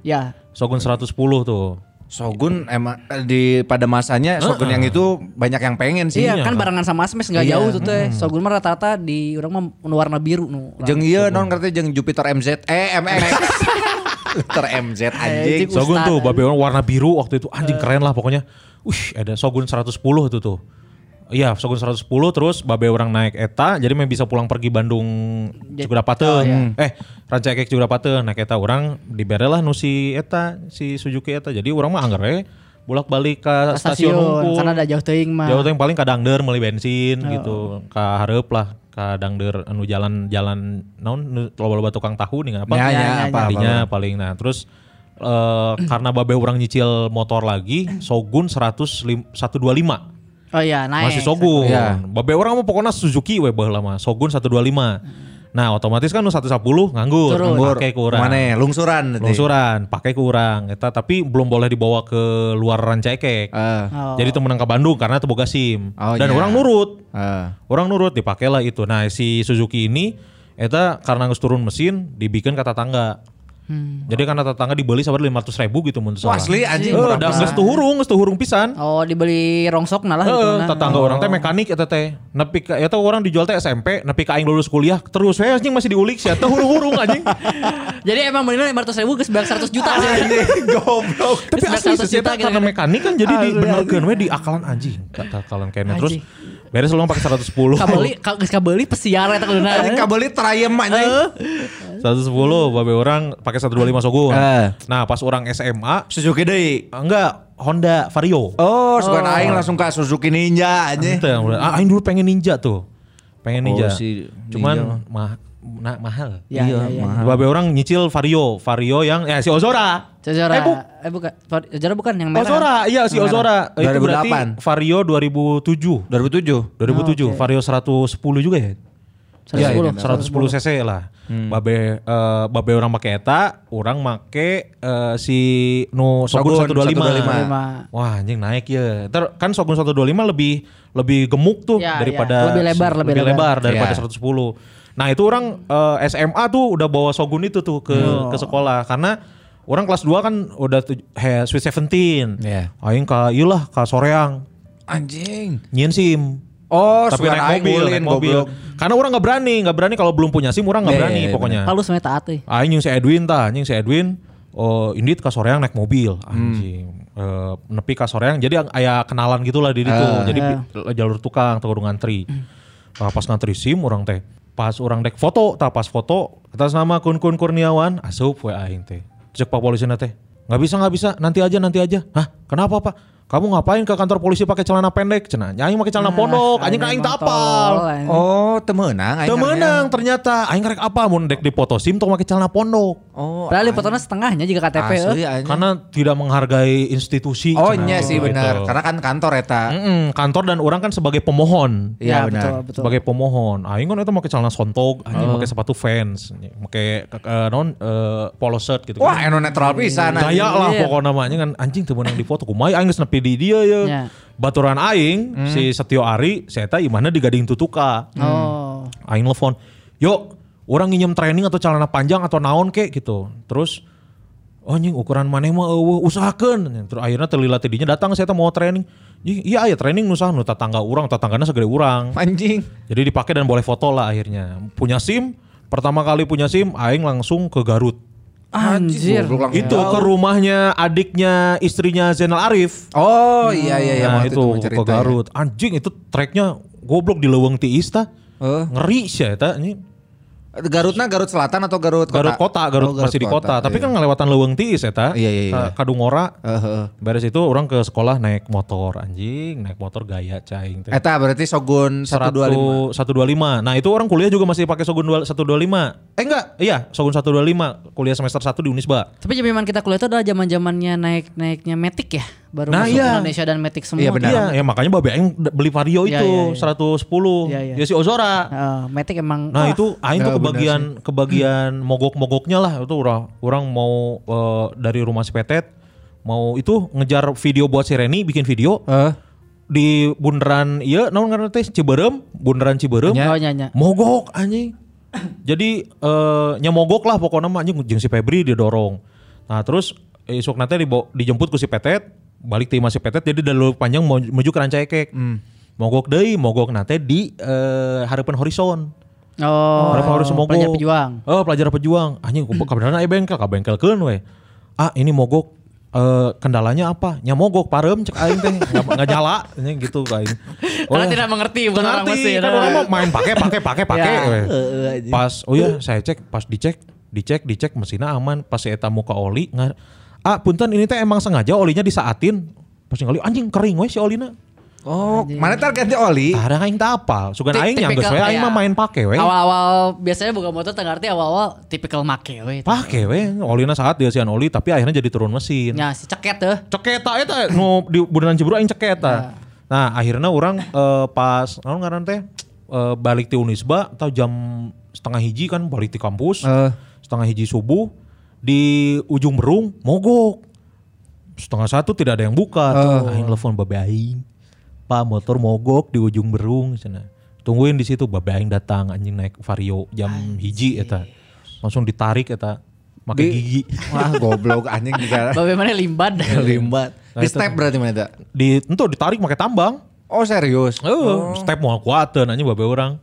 Speaker 4: ya.
Speaker 2: Shogun 110 tuh.
Speaker 3: Shogun emang eh, di pada masanya Shogun yang itu banyak yang pengen sih.
Speaker 4: Iya kan barengan sama Smash nggak
Speaker 3: Iya.
Speaker 4: jauh tuh
Speaker 2: Hmm.
Speaker 4: teh. Shogun mah rata-rata di orang mah nu warna biru nu.
Speaker 3: Jeung ieu iya non ngerti jeung Jupiter MZ eh MX. Jupiter MZ anjing.
Speaker 4: Anjing.
Speaker 2: Shogun
Speaker 4: Ustaz.
Speaker 2: tuh babe orang warna biru waktu itu anjing keren lah pokoknya. Wih, ada Shogun 110 itu tuh. Iya, Shogun 110 terus babe orang naik eta jadi memang bisa pulang pergi Bandung
Speaker 4: Ja-
Speaker 2: Cikuda
Speaker 4: Oh, iya.
Speaker 2: Pateung. Eh, Rancaikek Cikuda Pateung naik eta orang dibere lah nu si eta si Suzuki eta. Jadi orang mah anggar we bolak-balik ke
Speaker 4: Ke
Speaker 2: stasiun,
Speaker 4: stasiun,
Speaker 2: hungkul.
Speaker 4: sana ada jauh teuing mah.
Speaker 2: Jauh yang paling ke Dangder meuli bensin
Speaker 4: Oh.
Speaker 2: gitu. Ka hareup lah ka Dangder anu jalan-jalan naon nu loba-loba tukang tahu nih apa?
Speaker 3: Ya, ya,
Speaker 4: Ya, ya,
Speaker 3: apa, apa,
Speaker 2: Tadinya paling nah terus eh, karena babe orang nyicil motor lagi Shogun 100 lim- 125
Speaker 4: Oh iya naik.
Speaker 2: masih Shogun.
Speaker 3: Ya.
Speaker 2: Babe orang mau pokoknya Suzuki we baheula mah Shogun 125. Nah, otomatis kan nu 110 nganggur,
Speaker 4: Turun.
Speaker 2: nganggur
Speaker 3: Bur,
Speaker 2: pakai kurang.
Speaker 3: Mana lungsuran ya, tadi.
Speaker 2: Lungsuran, pakai kurang eta tapi belum boleh dibawa ke luar Rancaikek.
Speaker 3: Eh,
Speaker 4: Oh.
Speaker 2: Jadi temenan ke Bandung karena teboga SIM.
Speaker 3: Oh,
Speaker 2: Dan
Speaker 3: iya.
Speaker 2: orang nurut.
Speaker 3: eh.
Speaker 2: Orang nurut dipakailah itu. Nah, si Suzuki ini eta karena nges turun mesin dibikin kata tangga.
Speaker 4: Hmm.
Speaker 2: Jadi karena tetangga dibeli sabar 500 ribu gitu mun
Speaker 3: Wah,
Speaker 2: salah.
Speaker 3: asli anjing.
Speaker 2: Eh,
Speaker 3: murah
Speaker 2: dan
Speaker 3: pisan.
Speaker 2: geus tuhurung, geus tuhurung pisan.
Speaker 4: Oh dibeli rongsok nah lah
Speaker 2: Heeh,
Speaker 4: gitu nah.
Speaker 2: tetangga
Speaker 4: Oh.
Speaker 2: orang teh mekanik eta teh. Nepi ka eta orang dijual teh SMP, nepi ka aing lulus kuliah terus we anjing masih diulik sia teh hurung-hurung anjing.
Speaker 4: Jadi emang bener 500 ribu ke 900 juta sih.
Speaker 3: Anjing, goblok.
Speaker 2: Tapi
Speaker 4: Terus
Speaker 2: asli
Speaker 4: 900
Speaker 2: sih
Speaker 4: juta
Speaker 2: eta karena
Speaker 4: gitu.
Speaker 2: mekanik kan jadi dibenerkeun we di akalan anjing. Kata akalan kayaknya terus
Speaker 4: Anjing.
Speaker 2: beres lu pakai 110.
Speaker 4: Kabeli, ka- geus kabeli pesiar eta kudu
Speaker 3: Anjing kabeli terayem anjing.
Speaker 2: 110 babe orang pakai 125 Shogun.
Speaker 3: Eh.
Speaker 2: Nah, pas orang SMA
Speaker 3: Suzuki deui.
Speaker 2: enggak Honda Vario.
Speaker 3: Oh, suka aing langsung ke Suzuki Ninja anjing.
Speaker 2: Ente, udah. Ah, aing dulu pengen ninja tuh. Pengen
Speaker 3: Oh,
Speaker 2: ninja.
Speaker 3: si ninja.
Speaker 2: Cuman mah nah, mahal.
Speaker 4: Ya, Iya, ya, ya.
Speaker 2: mahal. Babe orang nyicil Vario, Vario yang ya si Ozora.
Speaker 4: Cezora,
Speaker 2: Eh, bu,
Speaker 4: eh bukan, Cezora bukan yang merah.
Speaker 2: Ozora, iya si Ozora. Itu berarti
Speaker 3: 2008.
Speaker 2: Vario 2007.
Speaker 3: 2007.
Speaker 2: 2007,
Speaker 4: Oh,
Speaker 2: Vario 110 juga ya?
Speaker 4: Iya, 110.
Speaker 2: iya, 110 cc lah.
Speaker 4: Hmm.
Speaker 2: Babe eh, babe orang make eta, orang make eh, si nu Shogun
Speaker 3: Shogun 125.
Speaker 2: 125. Wah, anjing naik ya. Ntar kan Shogun 125 lebih lebih gemuk tuh
Speaker 4: Ya,
Speaker 2: daripada
Speaker 4: ya. Lebih lebar, lebih
Speaker 2: lebar,
Speaker 4: lebar.
Speaker 2: daripada
Speaker 3: Ya.
Speaker 2: 110. Nah, itu orang eh, SMA tuh udah bawa Shogun itu tuh ke
Speaker 4: Hmm.
Speaker 2: ke sekolah karena orang kelas 2 kan udah tuj- he, Sweet 17.
Speaker 4: Ya.
Speaker 3: Iya.
Speaker 2: Aing ka ieu lah ka Soreang
Speaker 3: Anjing.
Speaker 2: nyiin SIM.
Speaker 3: Oh,
Speaker 2: tapi
Speaker 3: sugan aing
Speaker 2: naik mobil,
Speaker 3: ulin,
Speaker 2: naik mobil.
Speaker 3: goblok.
Speaker 2: Karena orang nggak berani, nggak berani kalau belum punya SIM orang nggak
Speaker 3: Iya,
Speaker 2: berani
Speaker 3: iya, iya,
Speaker 2: pokoknya.
Speaker 4: Halus meh taat euy.
Speaker 2: Aing jeung si Edwin tah, Ah, anjing si Edwin oh indit ka soreang naik mobil anjing. Eh, nepi ka soreang jadi ang- aya kenalan gitulah di ditu. jadi pi- jalur tukang atau kudu ngantri. Nah, pas ngantri SIM orang teh. Pas orang dek foto, tah pas foto atas nama Kun Kun Kurniawan, asup we aing teh. Cek pak polisina teh. Nggak bisa, nggak bisa. Nanti aja, nanti aja. Hah, kenapa pak? Kamu ngapain ke kantor polisi pakai celana pendek? Cenah, aing pakai celana pondok.
Speaker 4: Ah,
Speaker 2: Anjing aing tak apal.
Speaker 3: Oh, temenang aing.
Speaker 2: Teu
Speaker 3: ngaranya.
Speaker 2: menang ternyata. Aing rek apa mun dek di foto SIM tong make celana pondok.
Speaker 3: Oh,
Speaker 4: Padahal fotonya setengahnya juga KTP. eh.
Speaker 3: asli iya, anjing.
Speaker 2: Karena tidak menghargai institusi.
Speaker 3: Oh,
Speaker 2: cenah,
Speaker 3: iya sih
Speaker 2: gitu.
Speaker 3: benar. Karena kan kantor eta.
Speaker 2: Mm-mm, kantor dan orang kan sebagai pemohon.
Speaker 3: Iya benar.
Speaker 4: Ya, betul, betul.
Speaker 2: Sebagai pemohon. Aing kan itu pakai celana sontog, anjing
Speaker 3: Oh.
Speaker 2: pakai sepatu fans, pakai eh, non eh, polo shirt gitu.
Speaker 3: Wah, eno netral pisan anjing.
Speaker 2: Gaya lah
Speaker 4: Iya.
Speaker 2: pokoknya namanya kan anjing teu meunang di foto kumai aing geus nepi di dia ya.
Speaker 4: Iya.
Speaker 2: Baturan aing
Speaker 3: Hmm.
Speaker 2: si Setio Ari, si eta imahna di Gading Tutuka.
Speaker 4: Oh.
Speaker 2: Aing nelfon, yuk orang nginjem training atau celana panjang atau naon kek gitu. Terus, oh nying ukuran mana mah eueuh, usahakan. Terus akhirnya terlila tidinya datang saya mau training. "Ih, Iya ya training nusah nu tetangga urang, tetanggana segede urang.
Speaker 3: Anjing.
Speaker 2: Jadi dipakai dan boleh foto lah akhirnya. Punya SIM, pertama kali punya SIM aing langsung ke Garut.
Speaker 4: Anjir.
Speaker 3: Goblok langsung.
Speaker 2: Itu ke rumahnya adiknya istrinya Zainal Arif.
Speaker 3: Oh, iya iya iya
Speaker 2: nah
Speaker 3: waktu
Speaker 2: itu,
Speaker 3: itu mau
Speaker 2: ke
Speaker 3: cerita.
Speaker 2: Garut. Anjing itu treknya goblok di Leuweung Tiis tah.
Speaker 3: Heeh.
Speaker 2: Ngeri sih ya tah. ini.
Speaker 3: Garutna Oh, Garut Selatan atau Garut Kota?
Speaker 2: Garut kota, Garut,
Speaker 3: Oh, Garut
Speaker 2: masih di kota. Tapi
Speaker 3: iya. Eh,
Speaker 2: kan ngelewatan Leuweung Tiis eta.
Speaker 3: Iya, iya, iya.
Speaker 2: ka- Kadungora.
Speaker 3: Heeh.
Speaker 2: Beres itu orang ke sekolah naik motor anjing, naik motor gaya caing teh.
Speaker 3: Eta berarti Shogun 125.
Speaker 2: 125. 125. Nah, itu orang kuliah juga masih pakai Shogun dual- 125. Eh enggak, iya, Shogun 125 kuliah semester 1 di Unisba.
Speaker 4: Tapi zaman kita kuliah itu adalah zaman zamannya naik naiknya Matic ya, baru
Speaker 2: Nah,
Speaker 4: masuk
Speaker 2: iya.
Speaker 4: Indonesia dan Matic semua.
Speaker 3: Iya, benar.
Speaker 2: Iya, ya makanya Babe Aing d- beli Vario
Speaker 4: Iya,
Speaker 2: itu
Speaker 4: iya, iya.
Speaker 2: 110.
Speaker 4: Iya, iya.
Speaker 2: Ya si Ozora.
Speaker 4: Eh, Matic emang.
Speaker 2: Nah
Speaker 4: wah,
Speaker 2: itu Aing tuh
Speaker 3: Ya, benar
Speaker 2: kebagian kebagian mogok-mogoknya lah itu orang orang mau eh, dari rumah si Petet mau itu ngejar video buat si Reni bikin video
Speaker 3: Heeh.
Speaker 2: di bundaran iya naon ngaranna teh Ciberem bundaran Ciberem
Speaker 4: Oh, nyanya.
Speaker 2: mogok anjing jadi eh, nyamogok lah pokoknya mah anjing jeung si Febri didorong nah terus esok nanti dibawa- dijemput ku si Petet, balik timah si Petet jadi dalu panjang mau menuju ke Ranca Ekek. Mogok deui, mogok nanti di eh, harapan horizon.
Speaker 4: Oh,
Speaker 2: Harapan horizon mogok.
Speaker 4: Pelajar pejuang.
Speaker 2: Oh, pelajar pejuang. Anjing ku kabenerna aya bengkel, ka bengkelkeun we. Ah, ini mogok eh, kendalanya apa? Nya mogok parem cek aing teh nggak nggak nyala anjing gitu ka aing.
Speaker 4: Karena
Speaker 2: Wah.
Speaker 4: tidak mengerti bukan
Speaker 2: Tengah
Speaker 4: orang
Speaker 2: ngerti,
Speaker 4: Mesir.
Speaker 2: kan orang mau main pakai pakai pakai pakai.
Speaker 4: Ya.
Speaker 2: weh.
Speaker 3: Heeh, anjing.
Speaker 2: Pas oh iya saya cek pas dicek dicek dicek mesinnya aman pas saya tamu ke oli nga- ah punten ini teh emang sengaja olinya disaatin pas ngali anjing kering weh si olina
Speaker 3: Oh, mana tar ganti oli?
Speaker 2: Tarang aing tak apal sugan
Speaker 4: Iya. Ti-
Speaker 2: aing nyanggeus
Speaker 4: tipikal
Speaker 2: we aing
Speaker 4: iya.
Speaker 2: mah
Speaker 4: kayak
Speaker 2: main pake we
Speaker 4: Awal-awal biasanya buka motor tengah ngerti awal-awal tipikal make we.
Speaker 2: pake we olina saat dia sian oli tapi akhirnya jadi turun mesin
Speaker 4: Ya si ceket tuh.
Speaker 2: ceketa eta eh, nu di beneran ciburu aing ceketa. Nah, akhirnya orang eh, pas naon ngaran teh eh, balik ti Unisba atau jam setengah hiji kan balik ti kampus.
Speaker 3: Eh.
Speaker 2: Setengah hiji subuh di ujung berung mogok. Setengah satu tidak ada yang buka tuh. Nah, Aing telepon babe aing. Pak motor mogok di ujung berung cenah. Tungguin di situ babe aing datang anjing naik Vario jam hiji eta. Langsung ditarik eta pakai
Speaker 3: Di-
Speaker 2: gigi.
Speaker 3: Wah, goblok anjing juga.
Speaker 4: Bagaimana limban.
Speaker 3: Limbat.
Speaker 2: Nah,
Speaker 3: Di
Speaker 2: itu
Speaker 3: step
Speaker 2: tuh.
Speaker 3: berarti mana tak?
Speaker 2: Di entu ditarik pakai tambang.
Speaker 3: Oh, serius.
Speaker 2: Oh, step mau kuatan aja babe orang.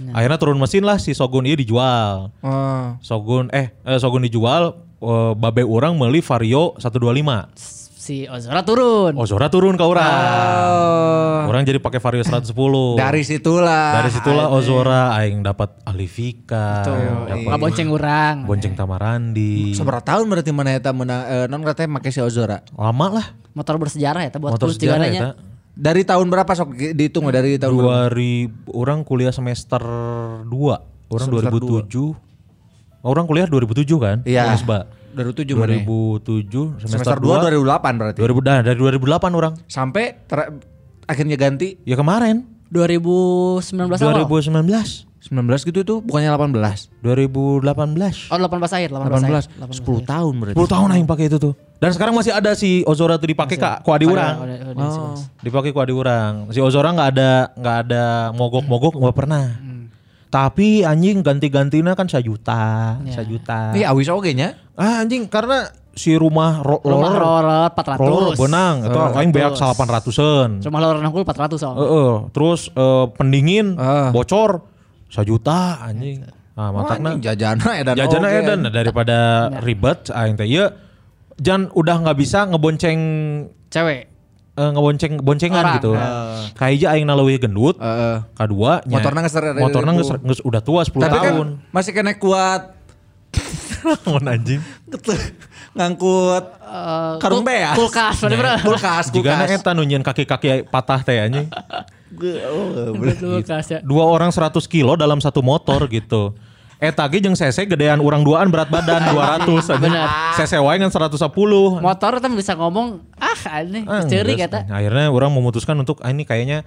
Speaker 3: Nah.
Speaker 2: Akhirnya turun mesin lah si Sogun iya dijual.
Speaker 3: Oh.
Speaker 2: Sogun eh, eh, Sogun dijual eh, babe orang beli Vario 125.
Speaker 4: Si Ozora turun.
Speaker 2: Ozora turun ke orang. Orang jadi pakai Vario 110.
Speaker 3: Dari situlah.
Speaker 2: dari situlah Ozora aing dapat Alivika,
Speaker 3: Iya.
Speaker 4: Nggak
Speaker 2: dapat
Speaker 4: bonceng orang.
Speaker 2: iya. Bonceng Tamarandi.
Speaker 3: Seberapa tahun berarti mana eta menang eh, non katanya make si Ozora.
Speaker 2: Lama lah
Speaker 4: Motor bersejarah ya, teh, buat
Speaker 2: motor
Speaker 4: kurus
Speaker 2: sejarah
Speaker 4: tigaranya.
Speaker 2: ya.
Speaker 3: Dari tahun berapa sok dihitung nggak dari tahun berapa?
Speaker 2: 2000 orang kuliah semester 2. Orang
Speaker 3: Semester
Speaker 2: 2007. Orang kuliah 2007 kan?
Speaker 3: Iya.
Speaker 2: Unisba.
Speaker 3: Dari 7 mana?
Speaker 2: 2007
Speaker 3: Semester
Speaker 2: semester
Speaker 3: 2
Speaker 2: 2
Speaker 3: 2008 berarti.
Speaker 2: 2000 nah, dari 2008 orang.
Speaker 3: Sampai ter- akhirnya ganti
Speaker 2: Ya kemarin
Speaker 4: 2019 awal.
Speaker 2: 2019,
Speaker 3: 19 gitu tuh, bukannya 18.
Speaker 2: 2018.
Speaker 4: Oh 18 akhir, 18,
Speaker 3: 18. 10
Speaker 4: akhir.
Speaker 3: ya. tahun berarti.
Speaker 2: 10 tahun aing pakai itu tuh. Dan sekarang masih ada si Ozora tuh dipakai kak ku adi urang.
Speaker 4: Oh.
Speaker 2: Dipakai ku adi urang. Si Ozora nggak ada nggak ada mogok-mogok nggak pernah. Tapi anjing ganti-gantinya kan sejuta, sejuta.
Speaker 3: Iya, awis oge nya.
Speaker 2: Ah anjing karena si rumah ro-
Speaker 4: Rumah
Speaker 2: roller,
Speaker 4: Rorot 400.
Speaker 2: roller benang atau aing beak 800-an.
Speaker 4: Rumah Rorot Nangkul 400 soalnya.
Speaker 2: Heeh, terus eh, pendingin
Speaker 3: Ah.
Speaker 2: bocor sejuta anjing. Nah, makanya
Speaker 3: jajana edan.
Speaker 2: jajana
Speaker 3: oge,
Speaker 2: edan daripada ribet aing teh ieu jan udah nggak bisa ngebonceng
Speaker 4: Cewek.
Speaker 2: eh, ngebonceng boncengan
Speaker 4: Orang,
Speaker 2: gitu. Kayak Kahiji aing na leuwih gendut.
Speaker 3: Heeh.
Speaker 2: Kedua nya-
Speaker 3: Motorna geus rada-
Speaker 2: motorna geus- geus udah tua 10
Speaker 3: Tapi kan
Speaker 2: tahun.
Speaker 3: masih kena kuat
Speaker 2: Mon anjing.
Speaker 3: ngangkut karung
Speaker 4: eh, kul-
Speaker 3: beas.
Speaker 4: kulkas, bener bener.
Speaker 3: Kulkas,
Speaker 2: Jigana
Speaker 3: kulkas.
Speaker 2: Nah, eta nu nyieun kaki-kaki patah teh anjing.
Speaker 4: Kulkas ya.
Speaker 2: Dua orang 100 kilo dalam satu motor gitu. Eta ge jeung sese gedean urang duaan berat badan 200 anjing.
Speaker 4: Bener.
Speaker 2: Sese wae ngan 110.
Speaker 4: Motor tuh bisa ngomong, ah aneh,
Speaker 2: Ah,
Speaker 4: ceri
Speaker 2: enggak
Speaker 4: kata.
Speaker 2: sih. Akhirnya orang memutuskan untuk ah, ini kayaknya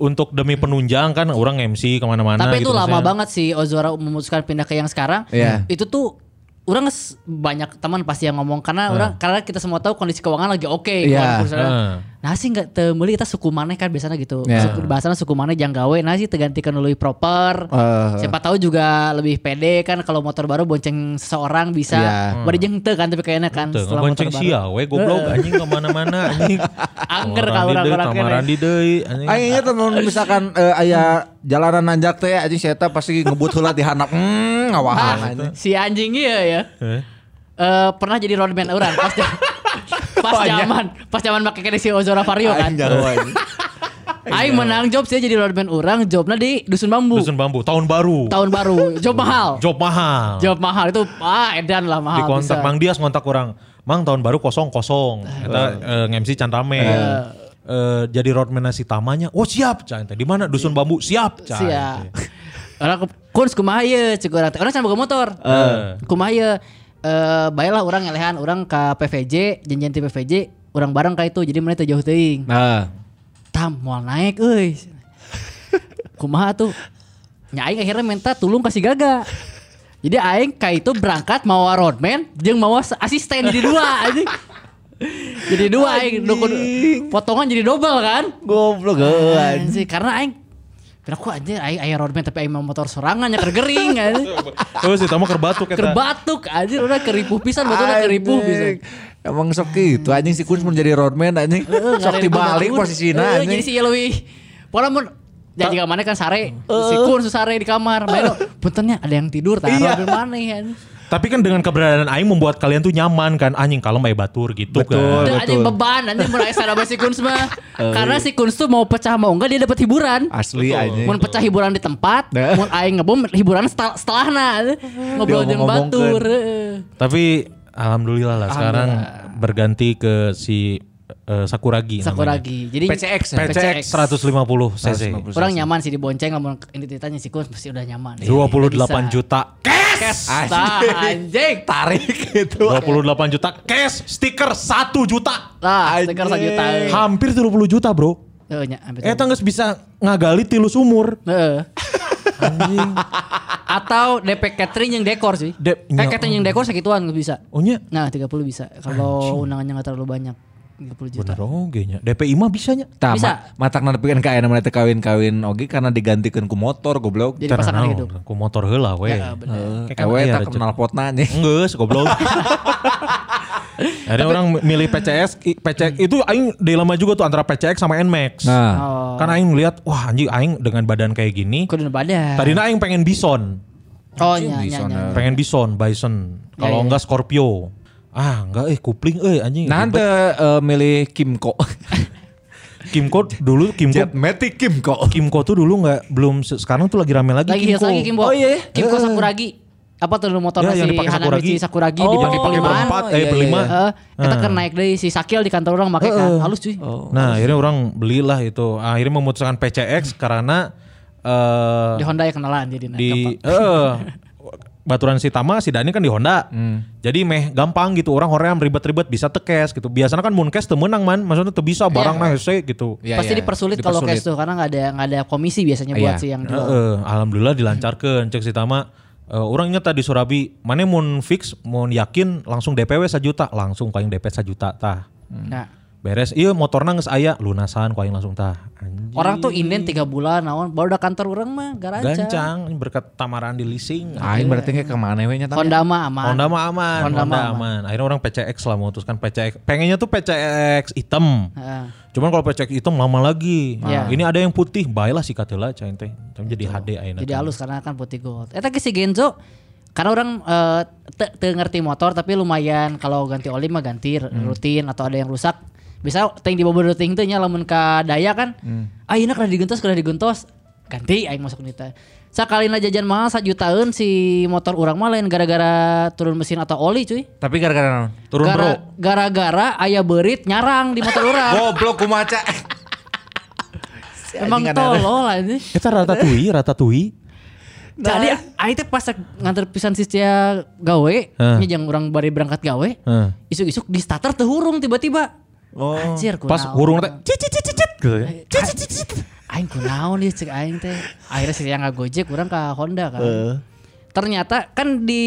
Speaker 2: untuk demi penunjang kan orang MC kemana-mana.
Speaker 4: Tapi itu
Speaker 2: gitu
Speaker 4: lama
Speaker 2: maksudnya.
Speaker 4: banget sih Ozora memutuskan pindah ke yang sekarang.
Speaker 3: Iya.
Speaker 4: Itu tuh orang nges- banyak teman pasti yang ngomong karena orang karena kita semua tahu kondisi keuangan lagi oke.
Speaker 3: Iya.
Speaker 4: keuangan perusahaan.
Speaker 2: Heeh.
Speaker 4: Nah sih nggak temuli kita suku mana kan biasanya gitu.
Speaker 3: Iya.
Speaker 4: Suku, bahasanya suku mana janggawe. Nah sih tergantikan dulu proper.
Speaker 3: Heeh.
Speaker 4: Siapa tahu juga lebih pede kan kalau motor baru bonceng seseorang bisa.
Speaker 3: Iya.
Speaker 4: Bari jeung teu kan tapi kayaknya kan
Speaker 2: Tuh,
Speaker 4: setelah motor
Speaker 2: ngebonceng sia
Speaker 4: baru.
Speaker 2: we goblok anjing kemana-mana anjing.
Speaker 4: Angker ka
Speaker 2: Tamarandi deui,
Speaker 4: urang-urang kene.
Speaker 2: Tamarandi deui
Speaker 4: Ah,
Speaker 2: anjing.
Speaker 3: Aing inget temen misalkan eh, aya jalanan nanjak teh anjing si eta pasti ngebut heula di handap. Hmm, ngawahan
Speaker 4: Ah,
Speaker 3: anjing.
Speaker 4: si anjing iya ya.
Speaker 2: Eh,
Speaker 4: Eh, pernah jadi roadman orang pas ja- pas zaman pas zaman pakai kene si Ozora Vario kan.
Speaker 3: Aing jauh anjing.
Speaker 4: Aing menang job sih jadi roadman orang, jobnya di Dusun Bambu.
Speaker 2: Dusun bambu tahun baru.
Speaker 4: Tahun baru, job mahal.
Speaker 2: Job mahal.
Speaker 4: Job mahal itu ah edan lah mahal.
Speaker 2: Dikontak
Speaker 4: bisa. Ah.
Speaker 2: Mang Dias ngontak orang. Mang tahun baru kosong kosong. Kita MC can rame.
Speaker 4: Iya.
Speaker 2: Eh, jadi roadman si tamanya. Oh siap can. Di mana dusun bambu siap can.
Speaker 4: Sia. Orang ke- kuns kumaha ye cek orang teh. Orang can boga motor.
Speaker 2: Eh.
Speaker 4: Kumaha ye? Eh baiklah orang ngelehan orang ke PVJ, janjian ti PVJ, orang bareng ka itu jadi mana teu jauh teuing.
Speaker 3: Nah,
Speaker 4: Tam moal naik euy. Kumaha tuh? Nya aing akhirnya minta tulung kasih gaga. Jadi aing ka itu berangkat mawa roadman jeung mawa se- asisten jadi dua anjing. Jadi dua aing nu kudu- potongan jadi double kan?
Speaker 3: goblok euy.
Speaker 4: Anjing karena aing Kenapa kok anjir aing aya roadman tapi aing mau motor sorangan ya kergering anjir.
Speaker 2: Terus itu mah kerbatuk kita.
Speaker 4: Kerbatuk anjir Kan udah keripuh pisan betulnya keripuh pisan.
Speaker 3: Anjing. Emang sok gitu anjing si Kun pun jadi roadman anjing. Sok dibalik posisinya
Speaker 4: Eh, Jadi
Speaker 3: anjing.
Speaker 4: si Yelwi. Pokoknya mun jadi ke mana kan sare si kun su sare di kamar. Main puntennya ada yang tidur taruh
Speaker 3: Iya.
Speaker 4: di mana ya.
Speaker 2: Tapi kan dengan keberadaan Aing membuat kalian tuh nyaman kan. Anjing kalau mah batur gitu
Speaker 3: Oh, Betul.
Speaker 2: kan.
Speaker 4: Ada anjing beban anjing mulai sama si Kun mah. Karena si Kun tuh mau pecah mau enggak dia dapat hiburan.
Speaker 3: Asli anjing.
Speaker 4: Mun pecah hiburan di tempat,
Speaker 3: Nah.
Speaker 4: mun aing ngebom hiburan setel, setelahna ngobrol jeung
Speaker 3: Diomong-omongkeun.
Speaker 4: batur. heeh.
Speaker 2: Tapi alhamdulillah lah sekarang berganti ke si eh, Sakuragi. namanya.
Speaker 4: Sakuragi. Jadi
Speaker 3: PCX ya?
Speaker 4: PCX.
Speaker 2: 150 cc.
Speaker 4: Kurang nyaman sih dibonceng lamun ini ditanya si Kun pasti udah nyaman.
Speaker 2: 28 juta
Speaker 4: Kes. Tah, anjing.
Speaker 3: tarik gitu.
Speaker 2: 28 juta cash, stiker 1 juta.
Speaker 4: Lah, Nah, stiker sejuta.
Speaker 2: Hampir 30 juta, Bro.
Speaker 4: Heeh, nya, ambil
Speaker 3: Eh,
Speaker 2: Eta geus bisa ngagali tilu sumur.
Speaker 4: Heeh. Atau DP catering yang dekor sih.
Speaker 2: Dep-
Speaker 4: Eh, catering yang dekor sekituan bisa.
Speaker 2: Oh nya,
Speaker 4: Nah, 30 bisa. Kalau undangannya nggak terlalu banyak. 30 juta.
Speaker 2: bener oge nya. DPI mah bisanya.
Speaker 3: Tah,
Speaker 4: Bisa.
Speaker 3: ma- matak nanepikeun ka aya teh kawin-kawin oge karena digantikeun ku motor goblok. Eh,
Speaker 4: Jadi pasangan
Speaker 2: Naon,
Speaker 4: hidup.
Speaker 2: Nah, Ku motor heula we.
Speaker 4: Ya, bener.
Speaker 2: Kayak kan
Speaker 3: Ewe
Speaker 2: aya
Speaker 3: tak
Speaker 2: recep.
Speaker 3: kenal potna anjing.
Speaker 2: Enggeus goblok. Ada orang milih PCS, i- PCX
Speaker 4: Hmm.
Speaker 2: itu aing dilema juga tuh antara PCX sama Nmax.
Speaker 3: Nah,
Speaker 4: Oh.
Speaker 2: Kan aing lihat wah anjing aing dengan badan kayak gini.
Speaker 4: Kudu badan.
Speaker 2: Tadinya aing pengen bison.
Speaker 4: Oh, nya nya nya.
Speaker 2: pengen bison bison kalau
Speaker 4: Ya, ya,
Speaker 2: enggak Scorpio ah enggak eh kupling eh anjing
Speaker 3: nah
Speaker 2: ribet.
Speaker 3: teh eh, milih Kimco.
Speaker 2: Kimco dulu Kimco
Speaker 3: Matic Kimco.
Speaker 2: Kimco tuh dulu enggak belum se- sekarang tuh lagi rame lagi
Speaker 4: Lagi hits lagi Kimbo.
Speaker 3: Oh, iya, iya.
Speaker 4: Kimbo
Speaker 3: Heeh.
Speaker 4: Sakuragi. Apa tuh dulu motornya
Speaker 2: Ya, yang
Speaker 4: si
Speaker 2: dipakai
Speaker 4: Hanamichi
Speaker 2: Sakuragi.
Speaker 4: Sakuragi
Speaker 2: Oh,
Speaker 4: di
Speaker 2: yang dipakai
Speaker 4: perlimaan.
Speaker 2: berempat, eh,
Speaker 4: Iya, iya,
Speaker 2: berlima.
Speaker 4: iya. Heeh. Eta kan naik deui si Sakil di kantor orang make kan. Halus cuy.
Speaker 2: nah akhirnya orang belilah itu akhirnya memutuskan PCX karena eh
Speaker 4: Di Honda ya kenalan jadi nah, gampang.
Speaker 2: di eh baturan si Tama si Dani kan di Honda
Speaker 4: Hmm.
Speaker 2: jadi meh gampang gitu orang orang ribet-ribet bisa tekes gitu biasanya kan mun cash teu menang man maksudnya teu
Speaker 4: Iya.
Speaker 2: bisa barang nah hese gitu
Speaker 3: Iya,
Speaker 4: Pasti
Speaker 3: iya,
Speaker 4: dipersulit kalau
Speaker 3: dipersulit.
Speaker 4: cash tuh karena nggak ada nggak ada komisi biasanya buat
Speaker 3: Iya.
Speaker 4: si yang jual.
Speaker 2: Heeh, alhamdulillah dilancarkan cek si Tama. Eh, orang ingat tadi Surabi, mana mau fix, mau yakin langsung DPW sejuta, langsung paling DP sejuta tah.
Speaker 4: Nah,
Speaker 2: Beres, iya motorna geus aya lunasan paling langsung tah. Anjing.
Speaker 4: orang tuh inden 3 bulan naon baru udah kantor orang mah garanca.
Speaker 2: Gancang berkat tamaran di leasing.
Speaker 3: Aing berarti ke kemana we nya
Speaker 4: Honda mah aman.
Speaker 2: Honda mah aman,
Speaker 4: Honda
Speaker 2: Honda,
Speaker 4: mah
Speaker 2: aman. Akhirnya orang PCX lah memutuskan PCX. Pengennya tuh PCX hitam.
Speaker 4: Heeh.
Speaker 2: Cuman kalau PCX hitam lama lagi. Ah,
Speaker 4: Iya.
Speaker 2: Ini ada yang putih, baiklah si katela cain teh. Tapi jadi HD ayeuna.
Speaker 4: Jadi
Speaker 2: teh.
Speaker 4: halus karena kan putih gold. Eta ke si Genzo karena orang eh, te- teu ngerti motor tapi lumayan kalau ganti oli mah ganti r-
Speaker 2: Hmm.
Speaker 4: rutin atau ada yang rusak. Bisa ting di bobot ting teh nya lamun ka daya kan.
Speaker 2: Hmm.
Speaker 4: Ah ieu kada digentos kada digentos. Ganti aing masuk nita. Sakalina jajan mahal sajutaan si motor urang mah lain gara-gara turun mesin atau oli cuy.
Speaker 3: Tapi gara-gara naon?
Speaker 2: Turun bro.
Speaker 4: Gara- Gara-gara ayah berit nyarang di motor urang.
Speaker 3: Goblok kumaca.
Speaker 4: Emang
Speaker 3: anjing ada-
Speaker 4: tolol anjing.
Speaker 2: Kita ratatui, ratatui.
Speaker 4: Jadi aing teh pas nganter pisan sisnya gawe,
Speaker 2: Heeh.
Speaker 4: nya jeung urang bari berangkat gawe.
Speaker 2: Heeh.
Speaker 4: Isuk-isuk di starter teh hurung tiba-tiba.
Speaker 3: Oh.
Speaker 4: Anjir
Speaker 2: Pas
Speaker 4: kunaon.
Speaker 2: hurung teh cicit cicit cicit gitu ya.
Speaker 4: Aing kunaon ieu cek aing teh. Akhirnya sih yang Gojek urang ka Honda kan. Ternyata kan di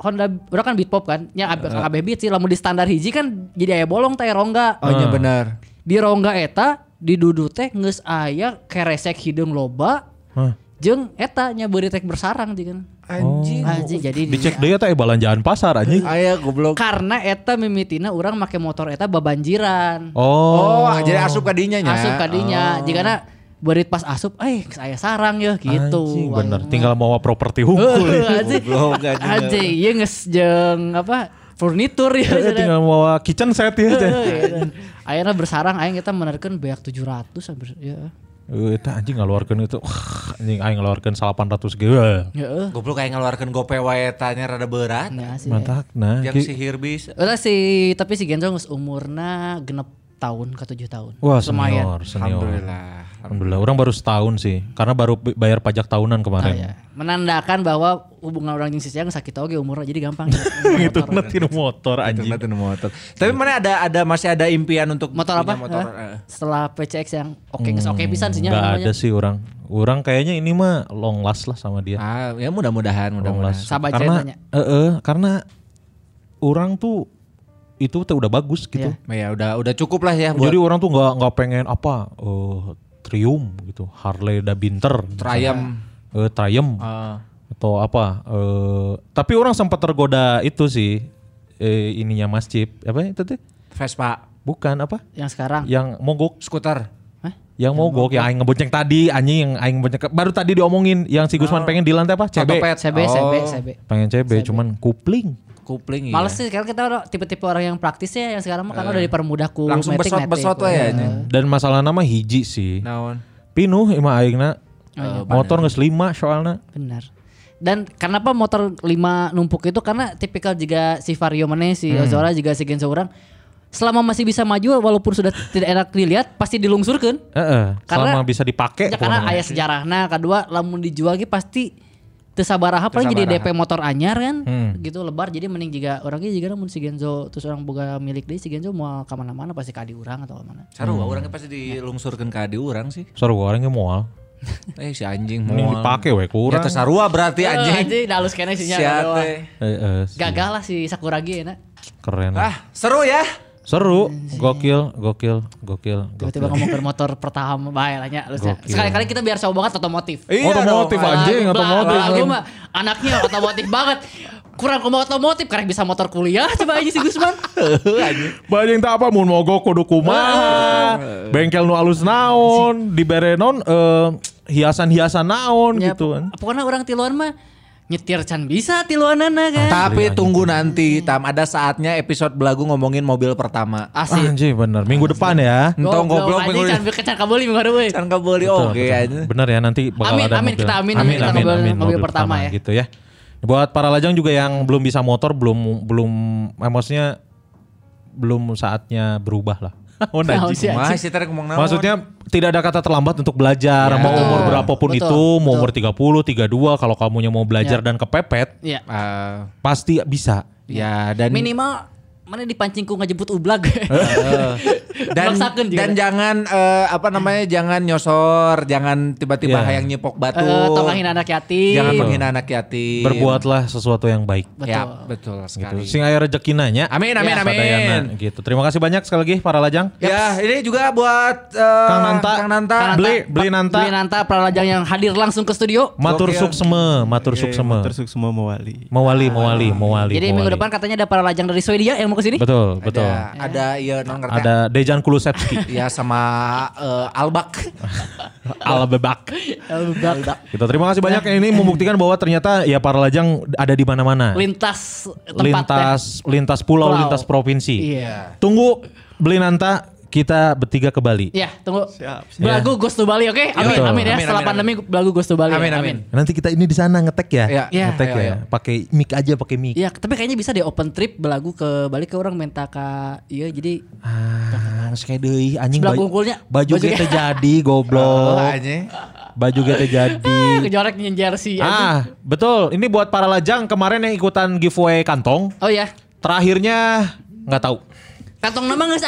Speaker 4: Honda urang kan beat pop kan. Nya ab- kabeh beat sih lamun di standar hiji kan jadi aya bolong teh rongga.
Speaker 3: Oh nya bener.
Speaker 4: Di rongga eta di dudu teh geus aya keresek hidung loba.
Speaker 2: Hah.
Speaker 4: Jeung eta nya beuri teh bersarang jeung.
Speaker 3: Anjing.
Speaker 4: Anjing jadi di-
Speaker 2: Dicek deui teh belanjaan pasar anjing.
Speaker 3: Aya goblok.
Speaker 4: karena eta mimitina orang make motor eta babanjiran
Speaker 2: Oh.
Speaker 3: Oh, jadi asup ka dinya nya.
Speaker 4: asup kadinya jika na berit pas asup eh saya sarang ya gitu
Speaker 2: Anjing,
Speaker 4: Eh,
Speaker 2: bener tinggal mau properti hukum.
Speaker 4: anjing
Speaker 3: Goblok, anjing.
Speaker 4: anjing ieu geus jeung apa furnitur ya
Speaker 2: Iya, Eh, tinggal mau kitchen set
Speaker 4: Eh,
Speaker 2: ya.
Speaker 4: Akhirnya bersarang aing kita menerkeun beak 700 hampir ya.
Speaker 2: Eh, tah anjing ngaluarkeun itu. Wah, anjing aing ngaluarkeun 800 ge.
Speaker 4: Heeh.
Speaker 3: Goblok kayak ngeluarkan gope wae tanya rada berat.
Speaker 4: Nah, sih.
Speaker 2: Mantak nah.
Speaker 3: Yang
Speaker 2: ki-
Speaker 3: sihir bis.
Speaker 4: Ulah si tapi si Genzo geus umurna genep tahun ke 7 tahun.
Speaker 2: Wah, senior,
Speaker 4: Lumayan.
Speaker 2: senior.
Speaker 3: Alhamdulillah.
Speaker 2: Alhamdulillah, orang baru setahun sih, karena baru bi- bayar pajak tahunan
Speaker 4: Ah,
Speaker 2: kemarin.
Speaker 4: ya. Menandakan bahwa hubungan orang jeung sisinya sakit oge umurnya jadi gampang.
Speaker 2: Gitu netin motor anjing.
Speaker 3: Ternyata nu motor. Tapi mana ada ada masih ada impian untuk
Speaker 4: motor
Speaker 3: punya
Speaker 4: apa?
Speaker 3: Motor.
Speaker 4: Hah?
Speaker 3: eh.
Speaker 4: Setelah PCX yang oke nges oke pisan sih nya
Speaker 2: Hmm, Nggak
Speaker 4: namanya.
Speaker 2: ada sih orang. Orang kayaknya ini mah long last lah sama dia.
Speaker 3: Ah, ya mudah-mudahan,
Speaker 2: Long
Speaker 3: mudah-mudahan.
Speaker 2: last.
Speaker 4: Sabar aja
Speaker 2: karena,
Speaker 4: nanya.
Speaker 2: eh, eh, karena orang tuh itu tuh udah bagus gitu.
Speaker 4: Iya.
Speaker 3: Ya udah udah cukup lah ya buat
Speaker 2: Jadi orang tuh nggak nggak pengen apa eh, Triumph gitu, Harley Dabinter,
Speaker 3: Triumph.
Speaker 2: eh, Triumph
Speaker 3: Ah.
Speaker 2: atau apa? eh, tapi orang sempat tergoda itu sih eh, ininya Mas Cip, apa ya itu tuh?
Speaker 3: Vespa,
Speaker 2: Bukan apa?
Speaker 4: yang sekarang.
Speaker 2: Yang mogok,
Speaker 3: skuter.
Speaker 2: yang mogok, yang aing ngebonceng tadi, anjing yang aing ngebonceng. Baru tadi diomongin yang si Gusman pengen di lantai apa? CB.
Speaker 3: Otopet.
Speaker 4: CB,
Speaker 3: Oh,
Speaker 4: CB, CB.
Speaker 2: Pengen CB, cuman kupling.
Speaker 3: Kupling iya.
Speaker 4: Males sih sekarang kita udah tipe-tipe orang yang praktis ya yang sekarang mah karena udah
Speaker 2: Eh.
Speaker 4: dipermudah ku
Speaker 3: Langsung
Speaker 4: metik,
Speaker 3: besot-besot
Speaker 4: metik.
Speaker 3: lah ya,
Speaker 4: Iya.
Speaker 3: anjing.
Speaker 2: Dan masalah nama hiji sih.
Speaker 3: Naon.
Speaker 4: Nah.
Speaker 3: Eh,
Speaker 2: Pinuh ima aingna.
Speaker 4: Oh, iya.
Speaker 2: motor geus lima soalnya.
Speaker 4: Benar. Dan kenapa motor 5 numpuk itu karena tipikal juga si Vario mana si
Speaker 2: Hmm.
Speaker 4: Ozora juga si Genso orang selama masih bisa maju walaupun sudah tidak enak dilihat pasti dilungsurkan.
Speaker 2: Heeh,
Speaker 4: Karena-
Speaker 2: selama bisa dipakai.
Speaker 4: Ya, karena
Speaker 2: pokoknya.
Speaker 4: ayah sejarah. Nah kedua lamun dijual ge pasti tesabaraha paling jadi
Speaker 3: Tesabaraha.
Speaker 4: DP motor anyar kan
Speaker 2: Hmm.
Speaker 4: gitu lebar jadi mending juga orangnya juga namun si Genzo terus orang boga milik dia si Genzo mau ke mana-mana pasti ke adi urang atau kemana
Speaker 3: Sarua orangnya pasti dilungsurkan ke adi orang sih.
Speaker 2: Seru orangnya mual.
Speaker 3: Eh si anjing
Speaker 2: Mending
Speaker 3: moal.
Speaker 2: dipakai we kurang.
Speaker 3: Nyata sarua berarti
Speaker 4: Eh,
Speaker 3: anjing.
Speaker 4: jadi halus kena isinya
Speaker 3: Siate.
Speaker 4: doang.
Speaker 2: Eh, eh,
Speaker 4: gagal lah si Sakuragi ya nak
Speaker 2: Keren.
Speaker 3: Ah, seru ya.
Speaker 2: Seru, gokil, gokil, gokil. gokil.
Speaker 4: tiba-tiba ngomong ke motor pertama bae lah nya halusnya.
Speaker 2: Gokil.
Speaker 4: sekali-kali kita biar soal banget otomotif
Speaker 3: Iya
Speaker 2: Otomotif
Speaker 3: dong,
Speaker 2: anjing,
Speaker 4: Lah,
Speaker 2: otomotif.
Speaker 4: lah, gua mah anaknya otomotif banget kurang ke otomotif karena bisa motor kuliah coba aja si Gusman
Speaker 2: Eh, Bajing tak apa mun mogok kudu kumaha. Bengkel nu alus naon, dibere non eh, hiasan-hiasan naon
Speaker 4: Ya,
Speaker 2: gitu kan.
Speaker 4: pokoknya orang tiluan mah nyetir can bisa tiluanana kan
Speaker 2: Iya,
Speaker 3: Tapi tunggu
Speaker 2: gitu.
Speaker 3: nanti, Tam. Ada saatnya episode belagu ngomongin mobil pertama.
Speaker 4: asli
Speaker 2: Anjing bener, minggu depan ya.
Speaker 3: Entong goblok
Speaker 4: anjing
Speaker 3: minggu
Speaker 4: can kecan kabeli minggu depan.
Speaker 3: Kan kebeli
Speaker 2: Betul,
Speaker 3: oke
Speaker 2: betul.
Speaker 3: anjing.
Speaker 2: Bener ya nanti bakal
Speaker 4: Amin,
Speaker 2: ada
Speaker 4: amin,
Speaker 2: mobil.
Speaker 4: kita amin, amin, kita mobil- mobil pertama ya.
Speaker 2: gitu ya. Buat para lajang juga yang belum bisa motor belum belum emosinya belum saatnya berubah lah. Oh,
Speaker 4: Nah,
Speaker 2: najis.
Speaker 4: si anjing.
Speaker 3: Masih tarik ngomong naon.
Speaker 2: Maksudnya tidak ada kata terlambat untuk belajar mau
Speaker 4: Ya, Betul,
Speaker 2: umur berapapun
Speaker 4: betul,
Speaker 2: itu, mau
Speaker 4: betul.
Speaker 2: umur 30, 32 kalau kamunya mau belajar dan kepepet
Speaker 4: Iya.
Speaker 3: Ah,
Speaker 2: pasti bisa.
Speaker 3: ya dan Eh,
Speaker 4: minimal mana dipancingku ngajebut ublag
Speaker 3: dan
Speaker 4: Maksakan juga.
Speaker 3: dan jangan eh, apa namanya jangan nyosor jangan tiba-tiba
Speaker 2: Ya.
Speaker 3: yang nyepok batu
Speaker 4: Eh, tolong hina anak yatim
Speaker 3: jangan menghina anak yatim
Speaker 2: Berbuatlah sesuatu yang baik.
Speaker 4: betul
Speaker 3: ya Iya. betul sekali
Speaker 2: Gitu. Sing aya rezeki nanya.
Speaker 3: amin amin
Speaker 4: Ya.
Speaker 3: amin
Speaker 2: Sadayana, gitu. Terima kasih banyak sekali lagi para lajang.
Speaker 3: ya ini juga buat eh,
Speaker 2: Kang Nanta.
Speaker 3: Kang Nanta.
Speaker 4: Kang Nanta.
Speaker 2: Beli beli nanta.
Speaker 4: Beli Nanta Pralajang yang hadir langsung ke studio.
Speaker 2: Matur
Speaker 3: Gokil.
Speaker 2: sukseme, matur sukseme.
Speaker 5: Tersuk semua mewali.
Speaker 2: Mewali, mewali, mewali.
Speaker 4: Jadi
Speaker 2: mewali.
Speaker 4: minggu depan katanya ada Pralajang dari Swedia yang mau kesini.
Speaker 3: ada
Speaker 2: Betul, betul.
Speaker 3: ada iya non ngerti
Speaker 2: Ada Dejan Kulusevski,
Speaker 3: ya sama eh, Albak
Speaker 2: ala bebak.
Speaker 4: Eh, Betul.
Speaker 2: Gitu. Terima kasih banyak ini membuktikan bahwa ternyata ya para lajang ada di mana-mana.
Speaker 4: Lintas tempat eh.
Speaker 2: Lintas lintas pulau,
Speaker 4: Pulau.
Speaker 2: lintas
Speaker 4: ya.
Speaker 2: provinsi.
Speaker 4: Iya.
Speaker 2: Tunggu beli nanta kita bertiga ke Bali.
Speaker 4: Iya, tunggu.
Speaker 5: Siap, siap.
Speaker 4: Belagu
Speaker 3: Iya.
Speaker 4: Ghost to Bali, oke? Amin,
Speaker 2: Betul.
Speaker 4: amin ya.
Speaker 3: Amin,
Speaker 4: Setelah
Speaker 3: amin,
Speaker 4: pandemi Belagu Ghost to Bali.
Speaker 3: Amin, ya, amin.
Speaker 2: Nanti kita ini di sana ngetek ya.
Speaker 3: Iya.
Speaker 4: Iya.
Speaker 2: Ngetek
Speaker 3: Iya,
Speaker 2: ya. Pakai mic aja, pakai mic.
Speaker 4: Iya, tapi kayaknya bisa deh open trip Belagu ke Bali ke orang minta ke iya jadi
Speaker 2: Ah, sekali deui anjing
Speaker 4: Sebelah
Speaker 2: baju-
Speaker 4: bungkulnya.
Speaker 2: Baju
Speaker 4: Baju Oh.
Speaker 2: kita
Speaker 4: ge-
Speaker 2: jadi
Speaker 3: Oh.
Speaker 2: goblok.
Speaker 3: anjing
Speaker 2: Baju kita jadi.
Speaker 4: eh, kejorek nyin jersey. anjing.
Speaker 2: Ah, betul. Ini buat para lajang kemarin yang ikutan giveaway kantong.
Speaker 4: Oh ya.
Speaker 2: Terakhirnya nggak tahu.
Speaker 4: Kantong nama geus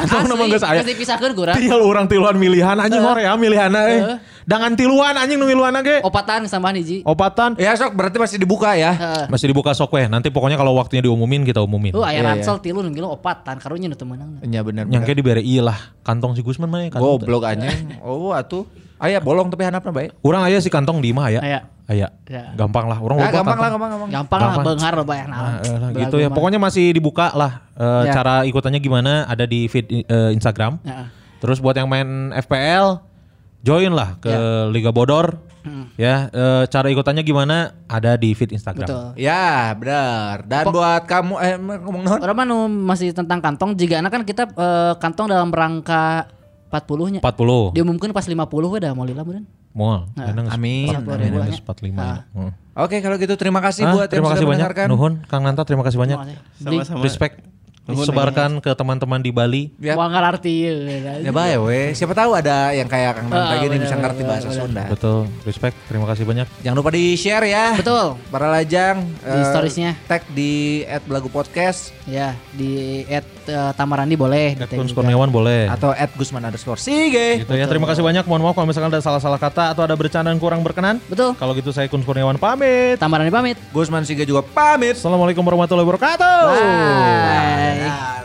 Speaker 2: Kantong
Speaker 4: asli.
Speaker 2: nama Iya. geus aya.
Speaker 4: Geus dipisahkeun kurang.
Speaker 2: Tinggal orang tiluan milihan anjing hore ya milihanna eh.
Speaker 4: Eh.
Speaker 2: Dengan tiluan anjing nu miluhanna ge.
Speaker 4: Opatan sama hiji.
Speaker 2: Opatan
Speaker 4: Eh.
Speaker 3: ya sok berarti masih dibuka ya
Speaker 4: Heeh.
Speaker 2: masih dibuka sok weh. Nanti pokoknya kalau waktunya diumumin kita umumin.
Speaker 4: Oh,
Speaker 3: Iya,
Speaker 4: aya
Speaker 3: iya.
Speaker 4: ransel tilu nu gila opatan karunya nu teu meunang.
Speaker 3: ya benar
Speaker 2: Yang kayak dibere ieu lah kantong si Gusman mah ya,
Speaker 4: kan
Speaker 2: kantong.
Speaker 3: goblok anjing oh atuh ayah bolong tapi hanapna baik
Speaker 2: Urang aya si kantong di imah aya.
Speaker 4: Aya.
Speaker 2: Aya.
Speaker 4: Ya.
Speaker 2: Gampang lah. Orang
Speaker 3: Ah,
Speaker 2: lupa
Speaker 3: gampang
Speaker 2: kantong.
Speaker 3: lah gampang gampang
Speaker 4: Gampang lah
Speaker 2: Gampang.
Speaker 4: benghar bayar
Speaker 2: Ah,
Speaker 4: naon.
Speaker 2: eh, lah,
Speaker 4: Belagu
Speaker 2: gitu ya.
Speaker 4: mah.
Speaker 2: Pokoknya masih dibuka lah eh,
Speaker 4: Ya.
Speaker 2: cara ikutannya gimana ada di feed eh, Instagram.
Speaker 4: Ya.
Speaker 2: Terus buat yang main FPL join lah ke Liga Bodor.
Speaker 3: Hmm.
Speaker 2: Ya, eh, cara ikutannya gimana ada di feed Instagram.
Speaker 4: Betul.
Speaker 3: Ya, benar. Dan buat kamu eh ngomong non.
Speaker 4: Orang mah nu masih tentang kantong jika anak kan kita eh, kantong dalam rangka 40-nya.
Speaker 2: 40.
Speaker 4: Diumumkan pas 50 udah mau lila beneran.
Speaker 2: Mual.
Speaker 3: Nah.
Speaker 2: Enak geus
Speaker 3: Amin.
Speaker 4: Satu hari
Speaker 2: Amin,
Speaker 4: buahnya.
Speaker 2: enak geus 45 ya.
Speaker 4: Ah.
Speaker 2: Heeh.
Speaker 3: Oke, kalau gitu terima kasih
Speaker 2: Ah,
Speaker 3: buat
Speaker 2: terima
Speaker 3: yang
Speaker 2: kasih
Speaker 3: sudah
Speaker 2: banyak.
Speaker 3: mendengarkan.
Speaker 2: Nuhun, Kang Nanta terima kasih banyak.
Speaker 4: Beli-
Speaker 5: Sama-sama.
Speaker 2: Respect.
Speaker 5: Nuhun,
Speaker 2: Sebarkan ke teman-teman di Bali.
Speaker 3: Ya.
Speaker 4: Wah ngarti ya.
Speaker 3: Ya bae we. Siapa tahu ada yang kayak Kang Nanta
Speaker 4: Ah,
Speaker 3: gini
Speaker 4: benar,
Speaker 3: bisa ngerti
Speaker 4: benar,
Speaker 3: bahasa
Speaker 4: benar.
Speaker 3: Sunda.
Speaker 2: Betul. Respect. Terima kasih banyak.
Speaker 3: Jangan lupa di-share ya.
Speaker 4: Betul.
Speaker 3: Para lajang
Speaker 4: Di
Speaker 3: eh,
Speaker 4: storiesnya.
Speaker 3: Tag di @belagupodcast
Speaker 4: Ya di at eh, Tamarandi boleh. di tag
Speaker 2: Kun
Speaker 4: juga.
Speaker 2: Kurniawan
Speaker 4: Iya.
Speaker 2: boleh.
Speaker 3: atau @gusman_sige.
Speaker 2: Gitu ya. Terima kasih banyak. Mohon maaf kalau misalkan ada salah-salah kata atau ada bercandaan kurang berkenan.
Speaker 4: Betul.
Speaker 2: Kalau gitu saya Kun Kurniawan pamit.
Speaker 4: Tamarandi pamit.
Speaker 3: Gusman Sige juga pamit.
Speaker 2: Assalamualaikum warahmatullahi wabarakatuh.
Speaker 4: Bye.
Speaker 3: Nah,